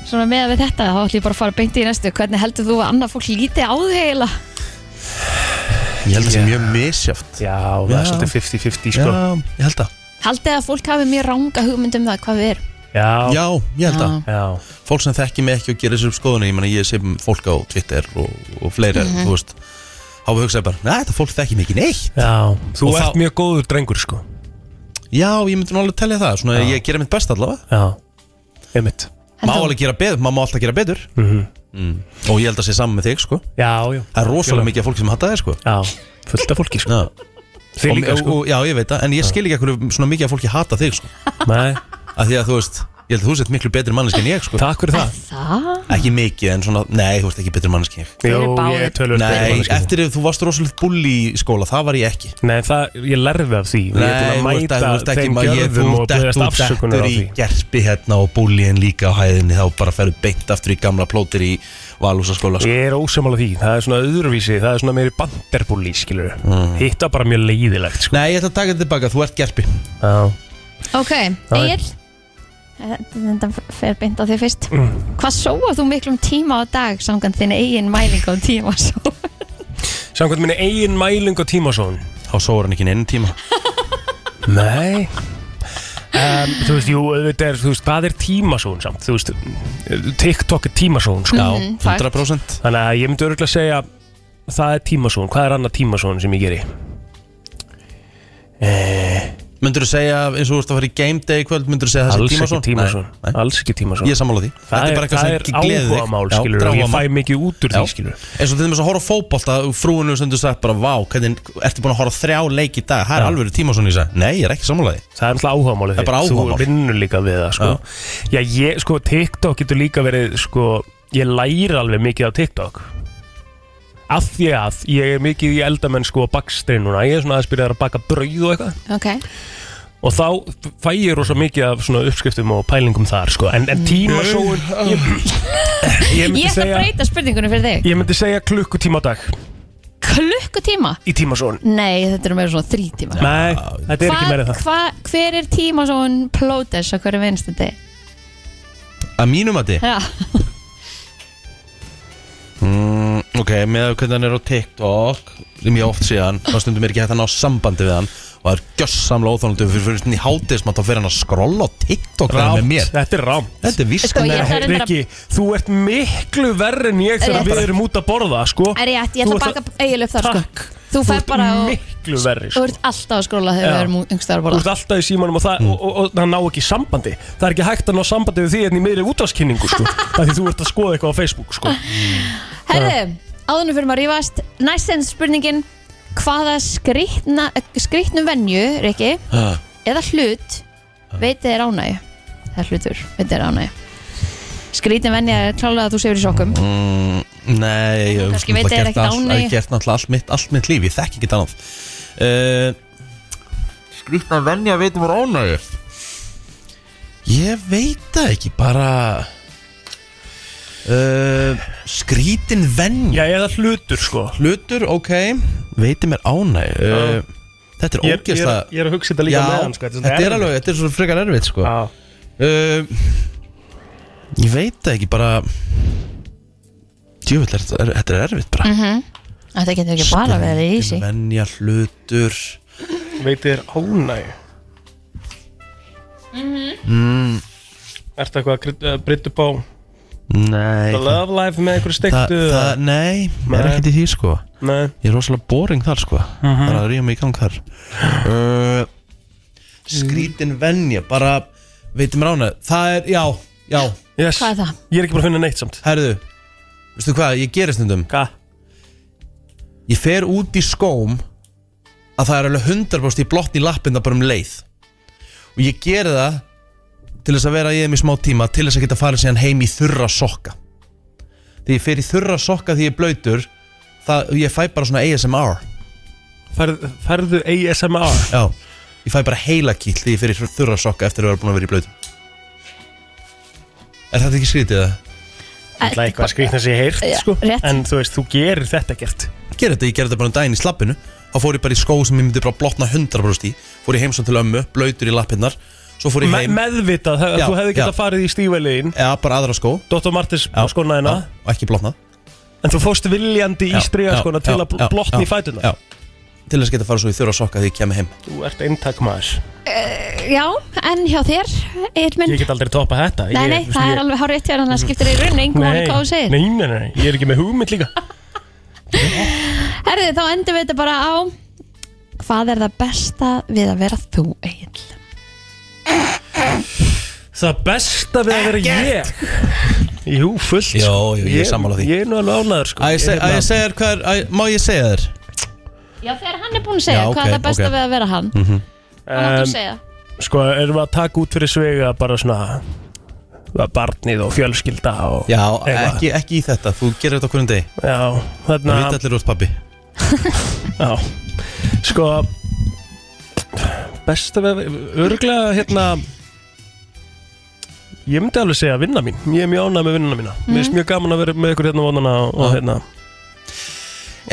Speaker 3: Svona með við þetta, þá ætlum ég bara að fara beint í næstu Hvernig heldur þú að annað fólk líti á þig eiginlega?
Speaker 4: ég held að það sé mjög misjátt
Speaker 5: Já, það
Speaker 4: Já.
Speaker 5: er svolítið 50-50
Speaker 4: já,
Speaker 5: sko
Speaker 4: ég held að
Speaker 3: Haldið að fólk hafi mér ranga hugmynd um það hvað við erum
Speaker 5: Já,
Speaker 4: já, ég held að
Speaker 5: já
Speaker 4: fólk sem þekki mig ekki og gerir sér upp skoðunni ég meina ég sé um fólk á Twitter og, og fleiri, þú veist þá hugsaði bara, næ, þetta fólk þekki mig ekki neitt
Speaker 5: Já, þú
Speaker 4: Og
Speaker 5: ert
Speaker 4: þá-
Speaker 5: mjög góður drengur sko
Speaker 4: já, ég myndi nú alveg telja það, svona ég gerir mitt best allavega
Speaker 5: Já, einmitt
Speaker 4: má
Speaker 3: þú-
Speaker 4: alveg gera betur, maður má alltaf gera betur
Speaker 5: Mhm.
Speaker 4: mm. og ég held að sé saman með þig, sko
Speaker 5: Já, já
Speaker 4: Það er rosalega mikið af fólki sem hattar þig sko
Speaker 5: Já, fullt af fólki sko
Speaker 4: Já,
Speaker 5: Þið líka
Speaker 4: og,
Speaker 5: sko
Speaker 4: og, já ég veit það, en ég skil ekki að hverju svona mikið af fólki hata þig sko
Speaker 5: Nei,
Speaker 4: Af því að þú veist, ég held að þú sett miklu betri manneski en ég sko
Speaker 5: takk fyrir það
Speaker 3: Það?
Speaker 4: Ekki mikið en svona, nei þú veist ekki betri manneski en ég
Speaker 3: Þeir eru
Speaker 5: Jú, ég
Speaker 3: báðir-
Speaker 5: er tölvöld
Speaker 4: Nei, eftir ef þú varst rosalega bulli í skóla, það var ég ekki
Speaker 5: Nei, það, ég lærði af því og Ég er
Speaker 4: Nei, þú
Speaker 5: búin
Speaker 4: veist
Speaker 5: að
Speaker 4: að- þú
Speaker 5: mæta
Speaker 4: veist ekki
Speaker 5: þeim
Speaker 4: maður, ég
Speaker 5: gjörðum
Speaker 4: þú
Speaker 5: og
Speaker 4: dett-
Speaker 5: beðast
Speaker 4: þú
Speaker 5: afsökunar
Speaker 4: dettur
Speaker 5: á
Speaker 4: í
Speaker 5: því
Speaker 4: gerpi hérna og búlíin líka á hæðinni þá bara ferðu beint aftur í gamla plótir í valúsaskóla sko.
Speaker 5: Ég er ósamála því, það er svona öðruvísi, það er svona meiri banderbúli, skilur Hitta bara mjög leiðilegt, sko
Speaker 4: Nei, ég ætla að taka þetta tilbaka, þú ert gerpi
Speaker 5: Já.
Speaker 3: Ok,
Speaker 5: Já,
Speaker 3: Egil Þetta fer beint á þig fyrst
Speaker 5: Mm.
Speaker 3: Hvað sóað þú miklum tíma á dag samkvæmt þinn eigin um mæling á tíma svo?
Speaker 5: Samkvæmt minni eigin mæling og tímasón
Speaker 4: Þá sóður hann ekki inn tíma
Speaker 5: Nei um, Þú veist, jú, auðvitað er, þú veist, hvað er tímasón samt? Þú veist, TikTok er tímasón, sko
Speaker 4: Já,
Speaker 3: Mhm, takk.
Speaker 4: 100%
Speaker 5: Þannig að ég myndi örgulega segja, það er tímasón, hvað er annað tímasón sem ég geri?
Speaker 4: Myndur segja, eins og þú ert að fara í game day í kvöld Myndur segja þessi
Speaker 5: Alls
Speaker 4: tíma
Speaker 5: ekki tímasón, alls ekki tímasón
Speaker 4: Ég er sammála því
Speaker 5: Það er, það er áhugamál, skilur, og ég fæ mikið út úr því, skilur
Speaker 4: Eins og til þess að horfa á fótbolta Frúinu stundur sagt bara, vá, hvernig Ertu búin að horfa á þrjá leik í dag Það er
Speaker 5: Já.
Speaker 4: alveg tíma svona í þess að Nei, ég er ekki sammála því
Speaker 5: Það er alltaf áhugamálið
Speaker 4: Það er bara
Speaker 5: þitt.
Speaker 4: áhugamál.
Speaker 5: Þú vinnur líka við það sko. Já. ég, sko, TikTok getur líka verið sko, Ég læri alveg mikið á TikTok Af því að Ég er mikið í eldamenn sko bakstri núna Ég er svona aðeins byrjaður að baka brauð og eitthvað
Speaker 3: Ok,
Speaker 5: og þá fæ ég rosa mikið af svona uppskriftum og pælingum þar sko. en, en tímasóun ég,
Speaker 3: Ég
Speaker 5: ég, myndi
Speaker 3: ætla að
Speaker 5: segja,
Speaker 3: breyta spurningunum fyrir þig
Speaker 5: ég myndi segja klukkutíma á dag
Speaker 3: Klukkutíma?
Speaker 5: í tímasóun
Speaker 3: Nei, þetta eru meira svona þrý tíma
Speaker 5: Nei, þetta er ekki meira en það
Speaker 3: hva, Hver er tíma svona plótes á hverju vinstundi?
Speaker 4: Að mínum að þið
Speaker 3: Já,
Speaker 4: mm, Ok, með að hvernig hann er á TikTok sem ég oft sé hann, þá stundum er ekki hægt að ná sambandi við hann og það er gjössamlega óþálandi fyrir fyrir stundin í hátismat þá fyrir hann að skrolla á TikTok þegar hann er með
Speaker 5: Rámt,
Speaker 4: mér
Speaker 5: þetta er rámt
Speaker 4: Þetta er víst
Speaker 3: Sko, ég-
Speaker 4: að
Speaker 3: ætla
Speaker 5: Nei,
Speaker 3: reyndar að-
Speaker 5: Rikki, þú ert miklu verri en ég þegar
Speaker 3: Rétt.
Speaker 5: við erum út að borða sko.
Speaker 3: er ég ætti, ég ætla
Speaker 5: Þú
Speaker 3: að
Speaker 5: ert
Speaker 3: baka eigil upp þar
Speaker 5: Takk.
Speaker 3: sko Þú
Speaker 5: Þú
Speaker 3: fær
Speaker 5: ert
Speaker 3: bara og
Speaker 5: miklu verri
Speaker 3: Þú
Speaker 5: sko.
Speaker 3: ert alltaf að skróla þegar
Speaker 5: Já.
Speaker 3: við erum yngstar að
Speaker 5: Þú
Speaker 3: borða
Speaker 5: ert alltaf í símanum og það,
Speaker 4: Mm.
Speaker 5: og, og, og það ná ekki sambandi Það er ekki hægt að ná sambandi við því enn í miðri
Speaker 3: [laughs]
Speaker 5: útvarskynningu sko. Það er því þú ert að skoða eitthvað á Facebook sko.
Speaker 3: Herðu, áðunum fyrir maður rífast Næstens spurningin Hvaða skrýtna, skrýtnum venju, Riki
Speaker 4: Ha.
Speaker 3: Eða hlut
Speaker 5: Ah.
Speaker 3: Veitið er ánægju Það er hlutur, veitið er ánægju Skrýtnum venja er klálega að þú sefur í sokkum
Speaker 4: Mm, nei, ég
Speaker 3: Kannski
Speaker 4: náttúrulega
Speaker 3: veit þeir
Speaker 4: gert
Speaker 3: ekkert á
Speaker 4: allt-
Speaker 3: mig.
Speaker 4: ég gert náttúrulega allt mitt, allt mitt líf, ég þekk ekki annað uh, Skrýtna venja um veitum var ánægir Ég veit það ekki, bara uh, Skrítin venja
Speaker 5: Já, eða hlutur sko.
Speaker 4: Hlutur, ok, veitum er ánæg uh, Þetta er
Speaker 5: ég, ég,
Speaker 4: ógeðslega
Speaker 5: ég er að hugsa þetta líka
Speaker 4: Já,
Speaker 5: meðan sko.
Speaker 4: þetta er alveg, þetta er svo frekar erfitt sko
Speaker 5: Já.
Speaker 4: uh, Ég veit það ekki bara Djöfull, er þetta er, þetta er erfitt bara
Speaker 3: Þetta getur ekki bara verið í sig
Speaker 4: Venja hlutur
Speaker 5: Veitir er ánæg
Speaker 4: Mm-hmm.
Speaker 5: Mm. Ertu eitthvað að krydd- að brytta upp á
Speaker 4: Nei
Speaker 5: The Love Life með
Speaker 4: það,
Speaker 5: einhverju steiktu
Speaker 4: það, Nei, ég er
Speaker 5: Nei. Mhm.
Speaker 4: ekkert í því sko
Speaker 5: Nei,
Speaker 4: Ég er rosalega boring þar sko Það er að ríða mig í gang þar uh, Skrítin venja Bara, veitum rána Það er, já, já,
Speaker 5: yes.
Speaker 3: Hvað er það?
Speaker 5: Ég er ekki bara að finna neitt samt
Speaker 4: herðu Veistu hvað, ég gerist stundum
Speaker 5: Hvað?
Speaker 4: Ég fer út í skóm að það er alveg 100% í blotni lappinda bara um leið og ég geri það til þess að vera ég með smá tíma til þess að geta farið síðan heim í þurra sokka þegar ég fer í þurra sokka því ég er blöytur það, ég fæ bara svona ASMR
Speaker 5: Færð, Færðu ASMR
Speaker 4: já, ég fæ bara heila kýll því ég fer í þurra sokka eftir að vera búin að vera í blöytum Er þetta ekki skrítið það?
Speaker 5: Það er eitthvað skrýtna sem ég heyrt
Speaker 3: Já,
Speaker 5: sko.
Speaker 3: rétt.
Speaker 5: En þú veist, þú gerir þetta gert
Speaker 4: gera þetta, ég gerði þetta bara um daginn í slappinu þá fór ég bara í skó sem ég myndi bara blotna 100% í fór ég heim svo til ömmu, blöytur í lappinnar svo fór ég
Speaker 5: Me
Speaker 4: heim,
Speaker 5: Meðvitað, já,
Speaker 4: Já,
Speaker 5: þú hefði getað
Speaker 4: já.
Speaker 5: farið í stífæliðin
Speaker 4: eða bara aðra skó
Speaker 5: Dr. Martins
Speaker 4: Já,
Speaker 5: skona hérna
Speaker 4: já, og ekki blotnað
Speaker 5: En þú fóst viljandi
Speaker 4: Já,
Speaker 5: í stríðaskona
Speaker 4: já,
Speaker 5: til
Speaker 4: já,
Speaker 5: að
Speaker 4: já,
Speaker 5: blotna í
Speaker 4: já,
Speaker 5: fætuna
Speaker 4: já. til þess að geta fara svo í þurra sokka þegar ég kemur heim
Speaker 5: Þú ert eintak maður
Speaker 3: Já, en hjá þér, Eirminn
Speaker 5: Ég get aldrei topa þetta
Speaker 3: Nei,
Speaker 5: ég,
Speaker 3: nei,
Speaker 5: þú veist,
Speaker 3: það
Speaker 5: ég- Mm.
Speaker 3: er alveg hár rétt hjá hann að skiptir í runni, engum hann hvað þú segir
Speaker 5: nei, nei, nei, nei, ég er ekki með hugmynd líka
Speaker 3: Herðu, þá endur við þetta bara á Hvað er það besta við að vera þú, Egil?
Speaker 5: Það besta við að vera ég Jú, fullt
Speaker 4: Já,
Speaker 5: sko.
Speaker 4: já, ég er sammála því.
Speaker 5: Ég er nú alveg ánæður sko.
Speaker 4: að ég, seg, að ég segja þér hvað er, að, má ég segja þér
Speaker 3: Já, þegar hann er búinn að segja
Speaker 4: Já,
Speaker 3: hvað
Speaker 4: ok,
Speaker 3: er það besta
Speaker 4: ok.
Speaker 3: við að vera hann Hvað máttu að
Speaker 5: um,
Speaker 3: segja?
Speaker 5: Sko, erum við að taka út fyrir svega bara svona bara barnið og fjölskylda og
Speaker 4: já,
Speaker 5: eitthvað.
Speaker 4: ekki, ekki í þetta, þú gerir þetta á hverjum degi
Speaker 5: Já,
Speaker 4: það
Speaker 5: þarna
Speaker 4: veit allir út pabbi
Speaker 5: Já, sko Besta við Örglega hérna Ég myndi alveg segja vinna mín Ég er mjög ánægð með vinnuna mína Mér finnst mjög gaman að vera með ykkur hérna vonana og hérna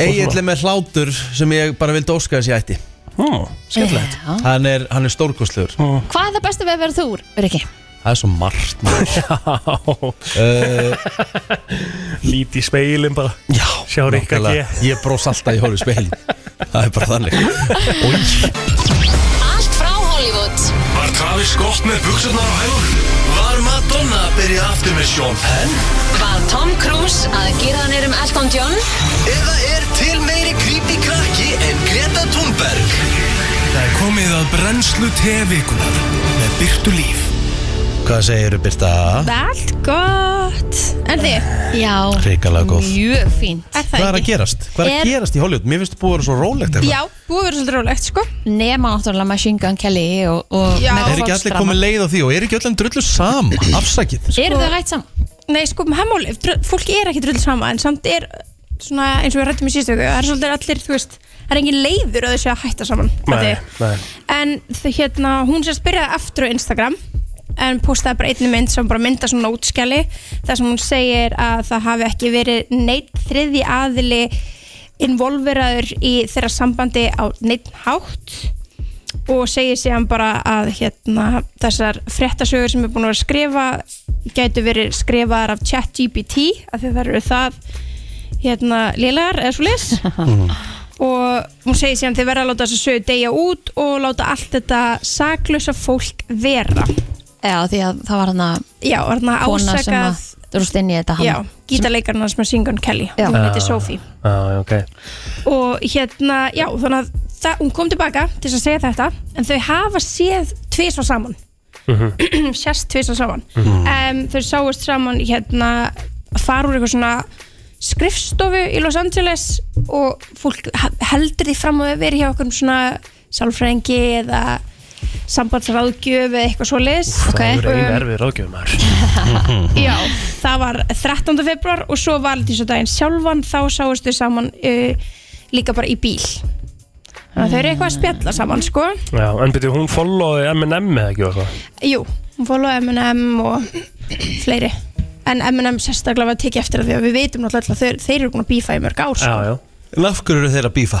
Speaker 4: Egil er með hlátur sem ég bara vildi óska þess ég ætti
Speaker 5: hmm, Skemmtilegt
Speaker 3: Já.
Speaker 4: hann er, hann er stórkostlegur
Speaker 5: Mm.
Speaker 3: Hvað er það besta við að vera þú, Riki?
Speaker 4: það er svo margt maður.
Speaker 5: [laughs]
Speaker 4: Eh,
Speaker 5: Líti í speilin bara
Speaker 4: já,
Speaker 5: Sjá Rikka
Speaker 4: nákvæmlega.
Speaker 5: G.
Speaker 4: ég brós alltaf í horfið speilin það er bara þannig
Speaker 9: Allt frá Hollywood
Speaker 2: Var Travis gott með buksunar á hægunum? Var Madonna að byrja aftur með Sean Penn?
Speaker 9: Var Tom Cruise að gera hann erum Elton John?
Speaker 2: Eða er til meiri creepy krakki en Greta Thunberg? Það er komið að brennslu tevikunar með Byrtu Líf.
Speaker 4: hvað segir þú Birta?
Speaker 10: Allt gott En þið,
Speaker 3: Já,
Speaker 4: Hrikalega góð.
Speaker 3: mjög fínt
Speaker 10: er
Speaker 4: hvað er
Speaker 10: það
Speaker 4: að
Speaker 10: ekki?
Speaker 4: gerast? hvað er
Speaker 3: Er-
Speaker 4: að gerast í Hollywood? mér finnst þú búið að vera svo rólegt eitthvað.
Speaker 10: Já, búið að vera svolítið rólegt sko
Speaker 3: Nema náttúrulega Machine Gun Kelly og, og
Speaker 10: Já.
Speaker 4: er ekki allir komið leið á því og er ekki öllum drullu saman? afsakið
Speaker 3: Eru þau hægt saman?
Speaker 10: Nei, sko, hemmál, uh, fólk er ekki drull sama En samt er, svona, eins og við rættum í síðustöku Það er svolítið allir, þú veist það er engin leiður að þau séu að hætta saman fattaðu?
Speaker 5: Nei, nei.
Speaker 10: En þau- hérna, hún sérst byrjaði aftur á Instagram en postaði bara einni mynd sem bara mynda svona útskjali þar sem hún segir að það hafi ekki verið neitt þriði aðili involveraður í þeirra sambandi á neitt hátt og segir síðan bara að hérna, þessar fréttasögur sem er búin að vera að skrifa gætu verið skrifaðar af ChatGPT af því að það eru það hérna, lélegar eða svo og hún segir síðan þið verða að láta þessa sögu deyja út og láta allt þetta saklösa fólk vera
Speaker 3: Já, því að það var hann að
Speaker 10: Já, var þarna
Speaker 3: Kona sem að
Speaker 10: ásakað-
Speaker 3: drúst inn í þetta
Speaker 10: Já,
Speaker 3: hann
Speaker 10: gítarleikarinn hans með Singon Kelly
Speaker 3: Já.
Speaker 10: hún heiti
Speaker 5: Ah.
Speaker 10: Sophie
Speaker 5: Já, ok
Speaker 10: og hérna, já, þannig að það, hún kom tilbaka til þess að segja þetta en þau hafa séð tvisvar saman [clears throat] sérst tvisvar saman
Speaker 7: Mhm.
Speaker 10: um, þau sáist saman hérna að fara úr eitthvað svona skrifstofu í Los Angeles og fólk he- heldur því fram að vera hjá okkur svona sálfræðingi eða sambandsráðgjöf eða eitthvað svo leis
Speaker 5: Það eru einu erfið ráðgjöfum þar
Speaker 10: Já, það var 13. februar og svo var þessu daginn sjálfan þá sáist þau saman uh, líka bara í bíl þannig að þau eru eitthvað að spjalla saman sko
Speaker 5: Já, en byrju, hún followði M&M eða ekki og eitthvað
Speaker 10: Jú, hún fólaði M&M og fleiri en M&M sérstaklega var tekið eftir af því að við vitum náttúrulega að þeir, þeir eru búin að bífa í mörg ár sko.
Speaker 4: já En af hverju eru þeir að bífa?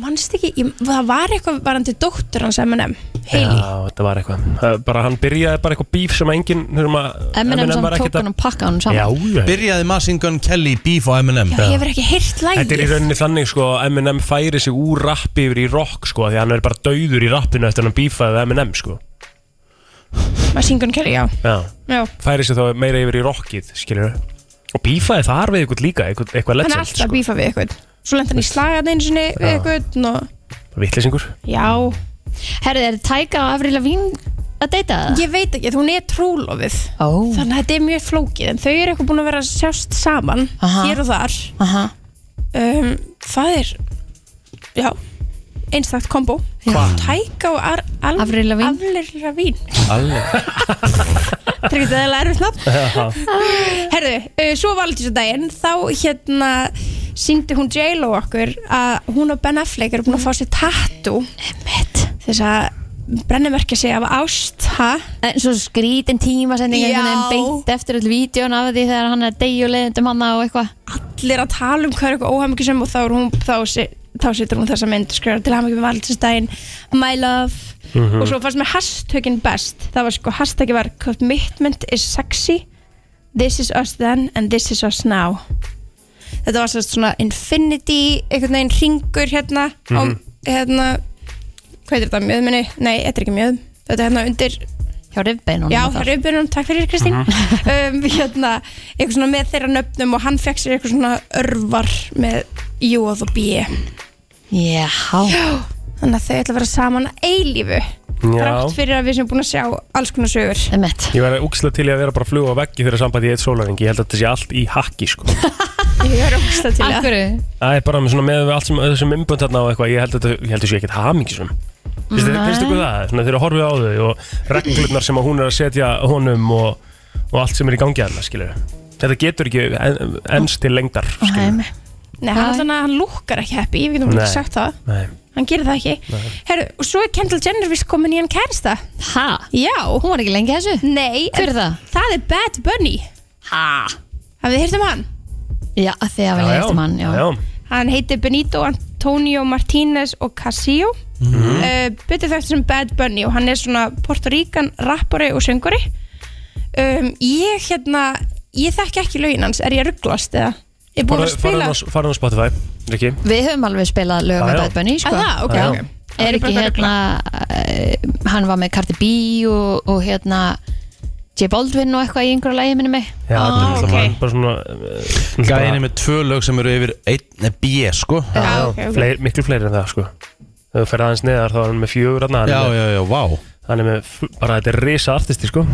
Speaker 10: Manst ekki, ég, það var eitthvað varandi dóttur hans M&M Heili
Speaker 5: Já, þetta var eitthvað Það- Bara hann byrjaði bara eitthvað bíf sem enginn þurfum að
Speaker 3: M&M
Speaker 5: M&M
Speaker 3: sem
Speaker 5: var
Speaker 3: tók
Speaker 5: ekkert
Speaker 3: hann
Speaker 5: að
Speaker 3: og pakka hann saman
Speaker 4: Byrjaði Machine Gun Kelly bíf á M&M
Speaker 10: Ég hefur ekki heyrt
Speaker 5: Þetta er í
Speaker 10: lægið
Speaker 5: rauninni þannig sko að M&M færi sig úr rappi yfir í rock sko Því að hann er bara dauður í rappinu eftir að hann bífaði við M&M sko
Speaker 10: Maður syngun kæri, já
Speaker 5: Já
Speaker 10: Já.
Speaker 5: Færi sig þá meira yfir í rockið, skilur Og bífaði þar við eitthvað líka, eitthvað, eitthvað
Speaker 10: Hann er
Speaker 5: legend sko.
Speaker 10: alltaf að bífa við eitthvað Svo lent hann í slagan einu sinni við
Speaker 5: Já.
Speaker 10: eitthvað og
Speaker 5: sko Vittlisingur
Speaker 10: Já
Speaker 3: Herðu, er Tæka og Avril Lavigne að deyta það?
Speaker 10: Ég veit ekki, hún er trúlofið
Speaker 3: oh.
Speaker 10: Þannig að þetta er mjög flókið En þau eru eitthvað búin að vera að sjást saman
Speaker 3: Aha.
Speaker 10: Hér og þar
Speaker 3: Aha.
Speaker 10: um, Það er Já, einstakt kombo
Speaker 5: Hvað?
Speaker 10: Tæka og Ar Al
Speaker 3: Avril Lavigne.
Speaker 10: Avril Lavigne [laughs]
Speaker 5: Alveg
Speaker 10: Það er ekki það erfitt nafn
Speaker 5: Já.
Speaker 10: Herðu, uh, svo valdísadaginn Þá hérna Sýndi hún J-Lo okkur Að hún og Ben Affleck eru búin að fá sér tattoo Emmett Þess að brennimerkja sig af ást ha?
Speaker 3: En svo skrítin tímasending einhvern veginn beint eftir öll vídjón af því þegar hann er degi og leiðendum hann og eitthvað
Speaker 10: allir að tala um hvað er eitthvað óhæmmingisum og þá, er hún, þá, si- þá situr hún þessa mynd og skrifar til hæmmingum við valdinsdægin my love
Speaker 7: Mhm.
Speaker 10: og svo fannst mér hashtökin best það var sko hashtagi var commitment is sexy this is us then and this is us now þetta var sérst svona infinity einhvern veginn ringur hérna
Speaker 7: Mhm.
Speaker 10: á hérna hvað er þetta mjöðminni? Nei, þetta er ekki mjöð þetta er hérna undir
Speaker 3: hjá rifbeinunum
Speaker 10: Já,
Speaker 3: og þar.
Speaker 10: rifbeinunum, takk fyrir Kristín [laughs] um, hérna, eitthvað svona með þeirra nöfnum og hann fekk sér eitthvað svona örvar með Jú og þú bíi
Speaker 3: Já
Speaker 10: Þannig að þau ætla að vera saman að eilífu Þrátt fyrir að við sem búin að sjá alls konar sögur
Speaker 3: Emmett
Speaker 5: Ég var úkslega til í að vera bara að fluga á veggi þegar sambandi í eitt sólaringi Ég held að þetta sé allt í hakki sko
Speaker 10: Ég er ógsta til
Speaker 3: Af hverju?
Speaker 5: Það er bara með, svona, með við allt sem þessum umbönd þarna og eitthvað, ég held að þetta, ég held að þetta sé ekkert hamingisum. Finnst þið-
Speaker 3: Nei.
Speaker 5: finnst ykkur það? Svona, þeir eru að horfið á þau og reglurnar sem að hún er að setja honum og, og allt sem er í gangi að hana, skilur. Þetta getur ekki en, ens til lengdar.
Speaker 3: Nei,
Speaker 10: Nei, hann, allan að hann lúkkar ekki happy, við getum
Speaker 5: Nei.
Speaker 10: ekki sagt það
Speaker 5: Nei.
Speaker 10: Hann gerir það ekki
Speaker 5: Nei.
Speaker 10: Herru, og svo er Kendall Jenner vist komin í hann kærsta
Speaker 3: Ha?
Speaker 10: Já
Speaker 3: Hún var ekki lengi þessu?
Speaker 10: Nei
Speaker 3: Hver er það?
Speaker 10: Það er Bad Bunny
Speaker 3: Ha?
Speaker 10: Hafið þið heyrt um hann?
Speaker 3: Já, af því að við hefðum hann já.
Speaker 10: Hann heitir Benito Antonio Martínez og Casio mm
Speaker 3: Mhm.
Speaker 10: Betur þekkt sem Bad Bunny og hann er svona portoríkan rappari og söngari um, Ég hérna, ég þekki ekki lögin hans, er ég rugglast eða? Ég er búin að spila
Speaker 5: Farðan á Spotify, Rikki.
Speaker 3: Við höfum alveg spilað lög
Speaker 5: Já,
Speaker 3: með
Speaker 5: já.
Speaker 3: Bad Bunny sko.
Speaker 10: Að það, ok,
Speaker 3: Já.
Speaker 10: ok.
Speaker 3: Er ekki hérna eh, Hann var með Cardi B og, og hérna J Baldwin og eitthvað í einhverju lægi minni mig
Speaker 5: Já,
Speaker 3: Ah,
Speaker 5: þetta er náttúrulega
Speaker 3: ok.
Speaker 5: bara- bara svona... eh,
Speaker 4: Gæðinni
Speaker 5: bara-
Speaker 4: með tvö lög sem eru yfir einn B sko
Speaker 5: Já,
Speaker 4: ok, ok.
Speaker 5: Fleir, miklu fleiri en það sko Þegar þú ferð aðeins neðar þá er hann með fjögur hann
Speaker 4: Já,
Speaker 5: já, já, vá Hann er með, f- bara þetta er risa artisti sko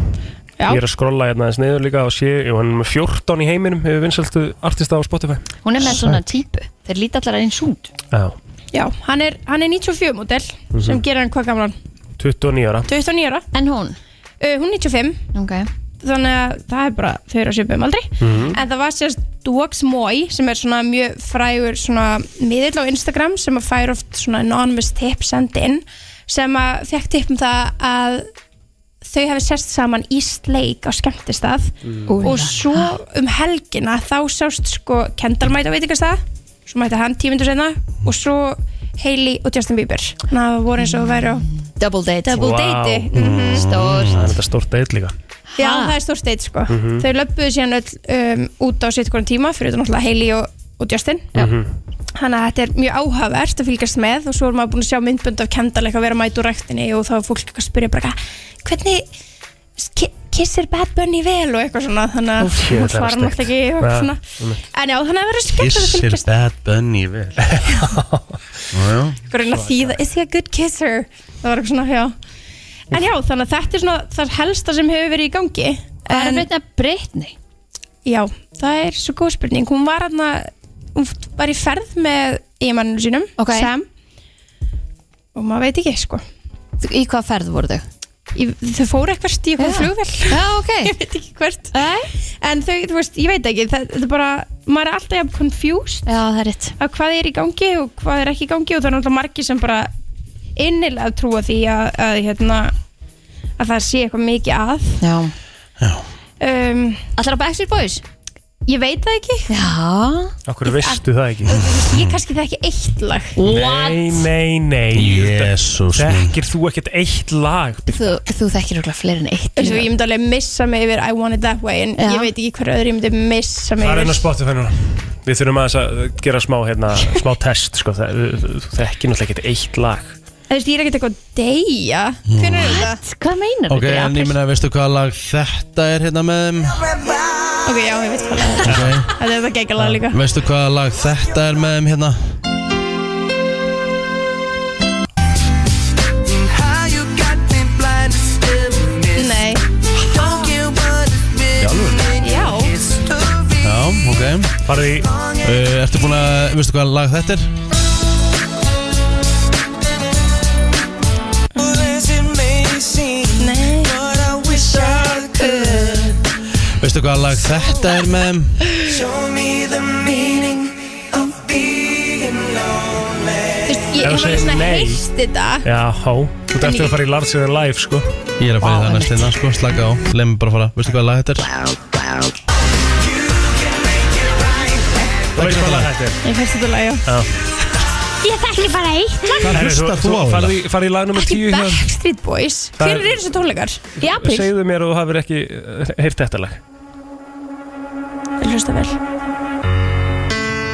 Speaker 10: Já.
Speaker 5: Ég er að skrolla hérna aðeins neður líka og sé, jú, hann er með 14 í heiminum hefur vinsæltu artista á Spotify
Speaker 3: Hún er með svona típu Þeir líti allar eins út
Speaker 5: Já,
Speaker 10: Já, hann er, hann er 94 model
Speaker 5: Mhm.
Speaker 10: sem gerir hann hvað gamlan?
Speaker 5: 29 ára
Speaker 10: 29 ára
Speaker 3: En hún?
Speaker 10: Uh, hún 95
Speaker 3: okay.
Speaker 10: þannig að það er bara þau eru á svipum aldrei
Speaker 11: Mhm.
Speaker 10: en það var sérst Dogs Moy sem er svona mjög frægur svona miðill á Instagram sem að fær oft svona anonymous tips send inn sem að fekk tipp um það að þau hefði sérst saman í sleik á skemmtistað
Speaker 11: Mm.
Speaker 10: og
Speaker 11: Úlala.
Speaker 10: svo um helgina þá sást sko Kendall mæta á veitingastað svo mæta hann tímundur senna og svo Hailey og Justin Bieber þannig að það voru eins og væri á
Speaker 3: Double date
Speaker 10: Double date
Speaker 11: Mm.
Speaker 10: mhm.
Speaker 3: Stórt
Speaker 5: Það er þetta stórt date líka
Speaker 10: Já, það er stórt date sko
Speaker 5: Mhm.
Speaker 10: Þau löpuðu síðan öll um, út á sitt hvernig tíma fyrir þetta náttúrulega Hailey og, og Justin
Speaker 5: Mhm.
Speaker 10: Þannig að þetta er mjög áhugavert að fylgjast með og svo er maður búin að sjá myndbönd af Kendall eitthvað vera mæt úr rektinni og þá er fólk eitthvað að spyrja bara eitthvað, hvernig ki- kissir Bad Bunny vel og eitthvað svona þannig að
Speaker 4: Úff,
Speaker 10: hún
Speaker 4: shit, það er
Speaker 10: svarar nátt
Speaker 4: steikt.
Speaker 10: ekki og eitthvað
Speaker 4: Ja,
Speaker 10: svona
Speaker 4: einmitt.
Speaker 10: En já, þannig að það verður skemmt að
Speaker 4: Kissir
Speaker 10: fylgjast
Speaker 4: Bad Bunny vel Já, já.
Speaker 10: Grunna þýða, is he a good kisser? Það var eitthvað svona, já En já, þannig að þetta er svona það helsta sem hefur verið í gangi Hvað er þetta breytni? Já, það er svo góð spurning Hún var aðna, hún var í ferð með eiginmanninu sínum,
Speaker 3: Ókei.
Speaker 10: Sam Og maður veit ekki, sko Í hvað ferð voru þau? þau fóru eitthvað stíð, eitthvað flugvel Já, ok Ég veit ekki hvert Nei. En þau, þú veist, ég veit ekki Það, það er bara, maður er alltaf jafn confused [laughs] Já, það er rétt Að hvað er í gangi og hvað er ekki í gangi Og það er náttúrulega margir sem bara innilega trúa því að, að, hérna, að það sé eitthvað mikið að
Speaker 3: Já
Speaker 10: um, Allar á Backstreet Boys? Ég veit það ekki Já
Speaker 5: Akkur veistu það ekki
Speaker 10: Ég kannski það ekki eitt lag
Speaker 5: Nei, nei, nei Jésús Þekkir þú ekkert eitt lag
Speaker 10: Þú, þú þekkir okkur fleiri en eitt Ég myndi alveg missa mig yfir I want it that way En ég veit ekki hver öðru ég myndi missa mig
Speaker 5: Það er
Speaker 10: yfir
Speaker 5: enn að spotta það núna Við þurfum aðeins að gera smá, hérna, smá test sko. Það- Þú þekkir náttúrulega ekkert eitt lag
Speaker 10: Þú veist, ég er ekkert eitthvað að deyja Hvernig er þetta? Hvað meinar
Speaker 4: Ok, en ég meina, veistu hvaða lag þetta er hérna með þeim?
Speaker 10: Ok, já, ég veit hvað það er
Speaker 4: Ok.
Speaker 10: Þetta er það geggjala líka
Speaker 4: Veistu hvaða lag þetta er með þeim hérna?
Speaker 10: Nei
Speaker 11: Já
Speaker 4: Já, ok
Speaker 5: Farði
Speaker 4: uh, Ertu búin að, veistu hvaða lag þetta er? Veistu hvaða lag þetta er með þeim?
Speaker 10: Ég
Speaker 5: Ef
Speaker 10: hef
Speaker 5: þú segir
Speaker 10: alveg svona
Speaker 5: nei.
Speaker 10: heist þetta
Speaker 5: Já, hó Þú ert eftir að fara í Lars eða live sko.
Speaker 4: Ég er að fara í það næst hérna, sko, slaka á Leif mig bara að fara, veistu hvaða lag þetta er?
Speaker 5: Þú veist hvað lag þetta er
Speaker 10: Ég finnst þetta lag, já Ég þekki bara eitt
Speaker 5: Herri, þú- þú farð í- farð í lag nummer 10 hérna.
Speaker 10: Backstreet Boys
Speaker 5: Það er-
Speaker 10: Hver eru þessu tónleikar? Í apríl
Speaker 5: Segðu mér að þú hafir ekki eh, heyrt þetta lag
Speaker 10: Hlusta vel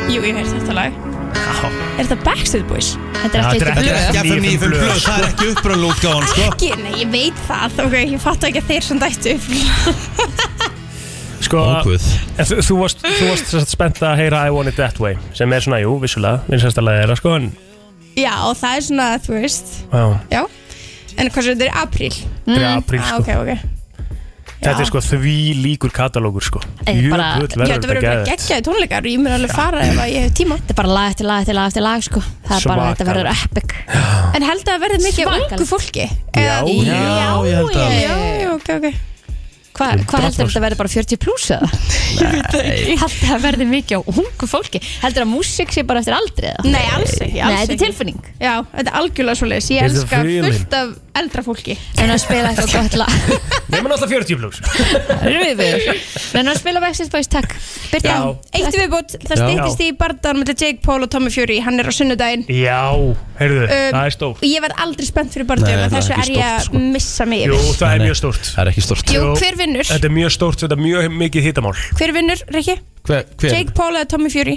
Speaker 10: Jú, ég hef þetta lag Er þetta Backstreet Boys? Þetta
Speaker 4: það er ekki uppröðlu útgáðan, sko
Speaker 10: Ekki, nei, ég veit það Ok, ég fattu ekki að þeir sem dættu
Speaker 5: Sko, en þú, þú varst, þú varst sem sagt spennt að heyra I Want It That Way sem er svona, jú, vissulega, vinsast að laga þeirra sko, en
Speaker 10: [laughs] Já, og það er svona, þú veist
Speaker 5: já,
Speaker 10: Já, en hvað sem þetta er apríl
Speaker 5: Þetta er apríl,
Speaker 10: ah,
Speaker 5: sko.
Speaker 10: Ok, ok
Speaker 5: þetta er sko því líkur katalógur sko
Speaker 3: Eða bara-
Speaker 5: Jöfull
Speaker 10: Já, þetta verður bara
Speaker 5: geðveikt.
Speaker 10: geggjaði tónleikar og Ég mun alveg fara ef að ég hef tíma
Speaker 3: Þetta er bara lag eftir lag eftir lag eftir lag sko Það er bara,
Speaker 5: Svakalegt.
Speaker 3: þetta verður epic
Speaker 10: En held að það verði mikið af ungu fólki
Speaker 5: Já, já, ég held að
Speaker 10: Já, já, ok, ok
Speaker 3: Hva, Hvað heldur þetta verður bara 40 pluss eða? Nei Það verður mikið á ungu fólki Heldur að músík sé bara eftir aldri eða?
Speaker 10: Nei, alls ekki,
Speaker 3: Nei,
Speaker 10: alls
Speaker 3: þetta er
Speaker 10: ekki.
Speaker 3: tilfinning
Speaker 10: Já, þetta er algjörlega svo leiðis Ég
Speaker 5: It's a
Speaker 10: elska
Speaker 5: feeling.
Speaker 10: fullt af eldra fólki
Speaker 3: En að spila eitthvað gott lag
Speaker 10: [laughs]
Speaker 5: Nei, menn alltaf 40 plugs
Speaker 3: Röður En að spila Backstreet Boys, takk
Speaker 10: Birta,
Speaker 5: Já.
Speaker 10: eitt viðbútt Það
Speaker 5: Já.
Speaker 10: stýttist í barndan með Jake Paul og Tommy Fury Hann er á sunnudaginn
Speaker 5: Já, heyrðu,
Speaker 10: Um,
Speaker 5: það er stórt
Speaker 10: Og ég verð aldrei spennt fyrir
Speaker 5: Nei,
Speaker 10: barndan
Speaker 5: það
Speaker 10: og
Speaker 5: er
Speaker 10: þessu
Speaker 5: ekki
Speaker 10: er ég að
Speaker 5: stórt,
Speaker 10: missa mig
Speaker 5: Jú,
Speaker 10: yfir
Speaker 5: það er mjög stórt Það
Speaker 4: er ekki stórt
Speaker 10: Jú, hver vinnur?
Speaker 5: Þetta er mjög stórt, þetta er mjög mikið hitamál
Speaker 10: Hver vinnur, Rikki?
Speaker 4: Hver, hver?
Speaker 10: Jake Paul eða Tommy Fury?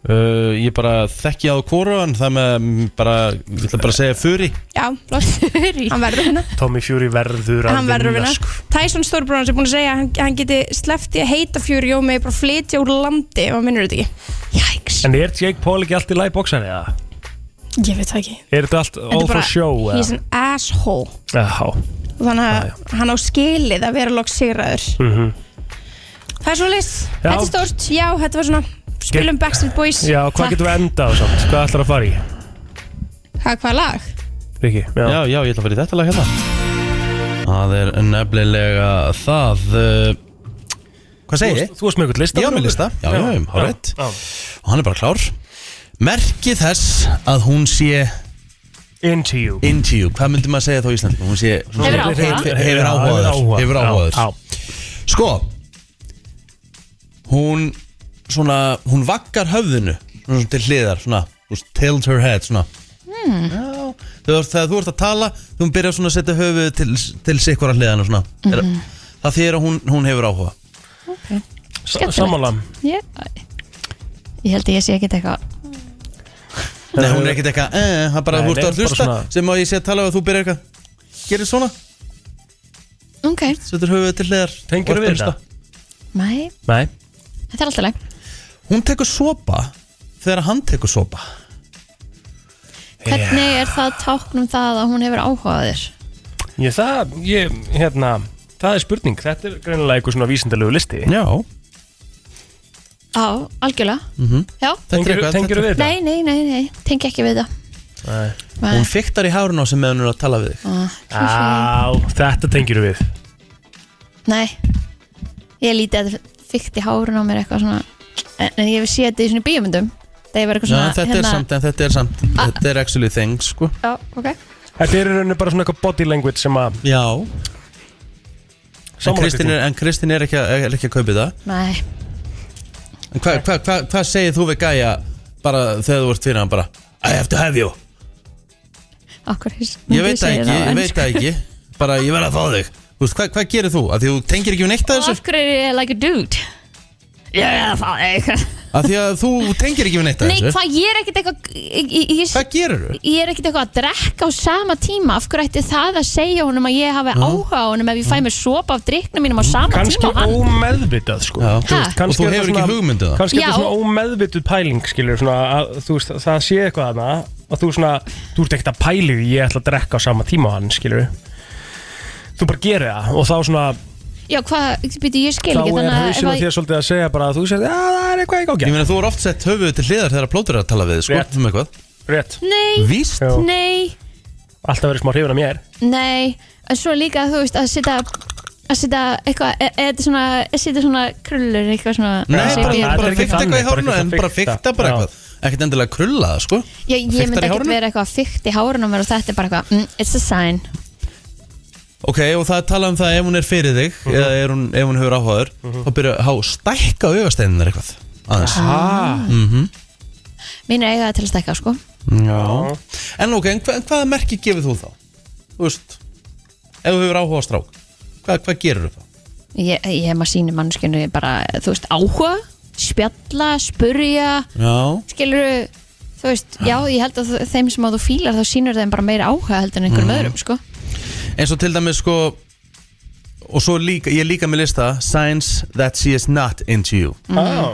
Speaker 4: Uh, ég bara þekki á kóruðan, það með mm, bara, ég ætla bara að segja furi
Speaker 10: Já, loss [laughs] Hann verður að vinna
Speaker 5: Tommy Fury verður að
Speaker 10: Hann verður að vinna
Speaker 5: sko.
Speaker 10: Tyson Stórbróðan sem er búin að segja að hann, hann geti sleppt í að heita Fury og með bara flytja úr landi og minnur þetta ekki
Speaker 5: En er Jake Paul ekki allt í lagi boxan eða?
Speaker 10: Ég veit það ekki
Speaker 5: Er þetta allt all for show
Speaker 10: He's
Speaker 5: eða?
Speaker 10: an asshole
Speaker 5: Já,
Speaker 10: Þannig að hann á skilið að vera loks sigraður
Speaker 5: mhm
Speaker 10: Það er svo leys,
Speaker 5: Já.
Speaker 10: þetta er stórt Já, þetta var svona, spilum Backstreet Boys
Speaker 5: Já, hvað
Speaker 10: Takk.
Speaker 5: getum við endað á samt? Hvað ætlar að fara í?
Speaker 10: Ha, Hvað lag?
Speaker 5: Riki, já.
Speaker 4: já, já, ég ætla að fara í þetta lag hérna Það er nefnilega það uh, Hvað segir þið?
Speaker 5: Þú varst með eitthvað lista
Speaker 4: Já, með lista, já, já, já, hárétt Og hann er bara klár Merki þess að hún sé
Speaker 5: Into you
Speaker 4: Into you, hvað myndi maður segja þá í Íslandi? Hún sé
Speaker 5: Hefur áhuga.
Speaker 4: Hefur- Hefur áhugaður
Speaker 5: Hefur
Speaker 4: Hefur
Speaker 5: áhuga,
Speaker 4: áhugaður Sko Hún svona Hún vaggar höfðinu Svona til hliðar Svona þú veist, Tilt her head Svona
Speaker 11: Hmm.
Speaker 4: Þegar, þegar þú ert að tala Þú byrjar svona að setja höfuð til, til sikkvara hliðan og svona
Speaker 3: Mhm.
Speaker 4: Það þýðir að hún, hún hefur áhuga
Speaker 3: okay.
Speaker 4: S- sammála.
Speaker 3: ég, ég held að ég sé ekkert eitthvað
Speaker 4: Nei, hún er ekkert eitthvað eh, Það er bara
Speaker 5: Nei,
Speaker 4: að þú ert
Speaker 5: nei,
Speaker 4: að
Speaker 5: bara
Speaker 4: hlusta
Speaker 5: svona-
Speaker 4: Sem að ég sé að tala og þú byrjar eitthvað Gerir svona,
Speaker 3: ok,
Speaker 4: setur höfuð til hliðar og ert
Speaker 5: Tengirðu við
Speaker 4: að hlusta.
Speaker 3: mæ,
Speaker 5: Nei
Speaker 3: þetta er alltaf leik
Speaker 4: Hún tekur sopa Þegar hann tekur sopa
Speaker 3: hvernig er það táknum það að hún hefur áhugaður
Speaker 5: Ég það, ég, hérna Það er spurning, þetta er greinilega eitthvað svona vísindalegu listi
Speaker 4: Já
Speaker 3: á, algjörlega
Speaker 4: Mhm.
Speaker 3: já,
Speaker 4: Tengirðu- eitthvað- tengirðu við þetta?
Speaker 3: nei, nei, nei, nei, tengi ekki við það
Speaker 5: Nei.
Speaker 3: Nei.
Speaker 4: Hún fiktar í hárun á sem meðan hún er að tala við þig
Speaker 3: Ah,
Speaker 5: Á, þetta tengir við
Speaker 3: nei, ég líti að þetta fykt í hárun á mér eitthvað svona en, en ég hef séð þetta í svona bíumundum það er bara eitthvað
Speaker 4: Já,
Speaker 3: svona hérna-
Speaker 4: en þetta, er samt, en þetta er samt Þetta er actually thing sko.
Speaker 3: já, ok
Speaker 5: Þetta er í rauninni bara svona eitthvað body language sem að
Speaker 4: Já En
Speaker 5: Sammála
Speaker 4: Kristín er, en Kristín er, ekki, að- er ekki að kaupi það
Speaker 3: nei,
Speaker 4: En Hvað hva, hva, hva segir þú við gæja bara þegar þú ert fyrir hann bara I have to have you
Speaker 3: okkur
Speaker 4: Ég veit það ekki, ég veit það ekki Bara ég verð að fá þig Þú veist, hvað, hvað gerir þú? Af því þú tengir ekki við neitt að
Speaker 3: og
Speaker 4: þessu
Speaker 3: sko, af hverju er ég like a dude ég er að fá eitthvað
Speaker 4: Af því að þú tengir ekki við neitt að
Speaker 3: Nei,
Speaker 4: þessu
Speaker 3: hvað, ég er ekkert eitthvað ég- ég- ég-
Speaker 4: Hvað gerirðu?
Speaker 3: Ég er ekkert eitthvað að drekka á sama tíma Af hverju ætti það að segja honum að ég hafi áhuga á honum Ef ég fæ mér sopa af drikknum mínum á sama
Speaker 5: Kanski
Speaker 3: tíma og hann
Speaker 5: ómeðvitað sko já,
Speaker 3: Ha?
Speaker 4: Og þú hefur ekki hugmynd um það?
Speaker 5: Kanski er
Speaker 3: Já.
Speaker 5: þetta svona ómeðvituð pæling skilur svona að þú veist það sé eitthvað hana og þú svona, þú ert ekkert að pæli því ég ætla að drekka á sama tíma á hann skilur Þú bara gerir það og þá svona
Speaker 3: Já, hvað, býtu, ég skil
Speaker 5: þá
Speaker 3: ekki
Speaker 5: er
Speaker 3: Þannig að ef
Speaker 5: hausinn á
Speaker 3: að
Speaker 5: þér svolítið að segja bara að þú sér að það er eitthvað ekki
Speaker 4: Ég meina þú er oft sett höfuðu til hliðar þegar plótur er að tala við þig, sko, um eitthvað
Speaker 5: Rétt
Speaker 3: Nei,
Speaker 4: Víst?
Speaker 5: Já.
Speaker 3: nei,
Speaker 5: Alltaf verið smá hrifin af mér
Speaker 3: nei En svo líka, þú veist, að setja að setja eitthvað, e- e- þetta er svona að setja svona krullur, eitthvað svona
Speaker 4: Nei,
Speaker 3: að setja
Speaker 4: bara,
Speaker 3: í-
Speaker 4: bara, bara fykta eitthvað í hárna en bara
Speaker 5: fikta.
Speaker 4: fykta bara eitthvað ekkert endilega krulla það sko
Speaker 3: Já, ég
Speaker 4: Fiktar
Speaker 3: myndi
Speaker 4: í
Speaker 3: ekkert
Speaker 4: hárinu?
Speaker 3: vera eitthvað fykt í hárunum og þetta er bara eitthvað, mm, it's a sign
Speaker 4: ok, og það er talað um það ef hún er fyrir þig eða er hún, ef hún hefur áhugaður þá byrja að há stækka augasteinunar eitthvað aðeins
Speaker 3: Ah.
Speaker 4: Mhm.
Speaker 3: Mín er eiga til að stekka, sko
Speaker 4: Já. en ok, en hva, hvaða merki gefur þú þá? þú veist ef þú hefur áhuga á strák hvað, hvað gerir þú þá?
Speaker 3: Ég, ég hef maður sýnir mannskjönu bara, þú veist, áhuga, spjalla, spurja,
Speaker 4: já,
Speaker 3: skilur þú veist, já, ég held að þú- þeim sem að þú fílar þá sýnur þeim bara meira áhuga heldur en einhverjum
Speaker 4: Mhm.
Speaker 3: öðrum, sko.
Speaker 4: eins og til dæmis sko og svo líka, ég er líka með lista signs that she is not into you
Speaker 3: Ah.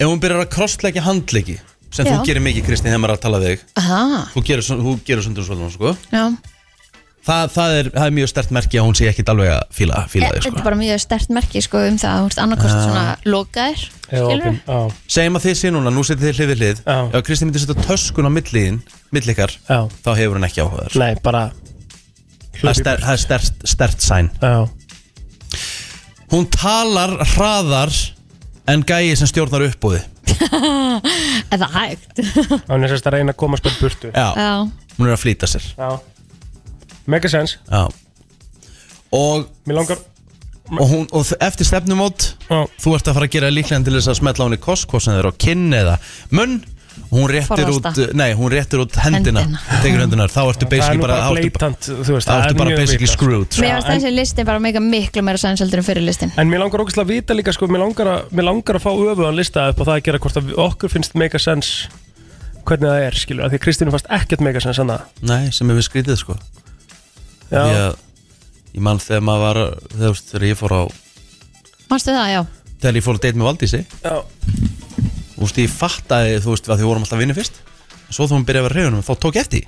Speaker 4: ef hún byrjar að krossleggja handleggi sem
Speaker 3: Já.
Speaker 4: þú gerir mikið Kristín þegar maður er að tala við þig
Speaker 3: Aha,
Speaker 4: þú gerir, svo- þú gerir sundur og svolítið sko.
Speaker 3: já.
Speaker 4: Þa, það, er, það er mjög stert merki að hún sé ekkit alveg að fíla, fíla
Speaker 5: Eh,
Speaker 4: þig
Speaker 3: E, Þetta
Speaker 4: sko.
Speaker 3: er bara mjög stert merki, sko, um það að þú veist, annarkost
Speaker 4: Já.
Speaker 3: svona lokaðir, skilur
Speaker 4: segjum að þið sé núna, nú setið þið hlið við hlið ef Kristín myndi setja töskun á milliðin millikar,
Speaker 5: Já.
Speaker 4: þá hefur hún ekki áhuga þér.
Speaker 5: Nei, bara
Speaker 4: það er, ster, það er stert, stert sæn
Speaker 5: Já.
Speaker 4: hún talar hraðar en gæi sem stjórnar uppbúði
Speaker 3: Eða hægt.
Speaker 5: Hann er sérst að reyna að komast bara burtu
Speaker 4: Já.
Speaker 3: Já.
Speaker 4: hún er að flýta sér
Speaker 5: Já. Mega sens
Speaker 4: Já. og
Speaker 5: Mér langar
Speaker 4: og, hún, og þ- eftir stefnumót þú ert að fara að gera líklega til þess að smetla hún í koskvosin þeirra og kinn eða munn og hún réttir
Speaker 5: Forðast
Speaker 4: út,
Speaker 5: það.
Speaker 4: nei, hún réttir út hendina, tekur hendunar, þá ertu
Speaker 5: Það er
Speaker 4: basically
Speaker 5: nú
Speaker 4: bara,
Speaker 5: bara
Speaker 4: þá ertu
Speaker 5: blatant, þú veist,
Speaker 4: þá
Speaker 5: það
Speaker 4: ertu
Speaker 5: er
Speaker 4: bara
Speaker 5: mjög
Speaker 4: basically
Speaker 5: vitað. sko.
Speaker 4: screwed sko.
Speaker 3: Mér finnst
Speaker 5: en-
Speaker 3: þessi listi bara mega miklu meira sænseldur en fyrir listin.
Speaker 5: En mér langar ógæslega að vita líka sko, mér langar að, mér langar að fá öfuðan lista upp á það að gera hvort að við- okkur finnst mega sens hvernig það er, skilur, af því að Kristínu fannst ekkert mega sens annað.
Speaker 4: nei, sem hefur skrítið sko
Speaker 5: Já.
Speaker 4: því að ég man þegar maður var þegar, veist, þegar ég fór á
Speaker 3: Manstu það, já?
Speaker 4: þegar ég fór að date með Valdísi
Speaker 5: Já.
Speaker 4: þú veist, ég fattaði, þú veist, að því vorum alltaf vinni fyrst en svo þú hún byrjaði að vera reyðunum, þá tók ég eftir því.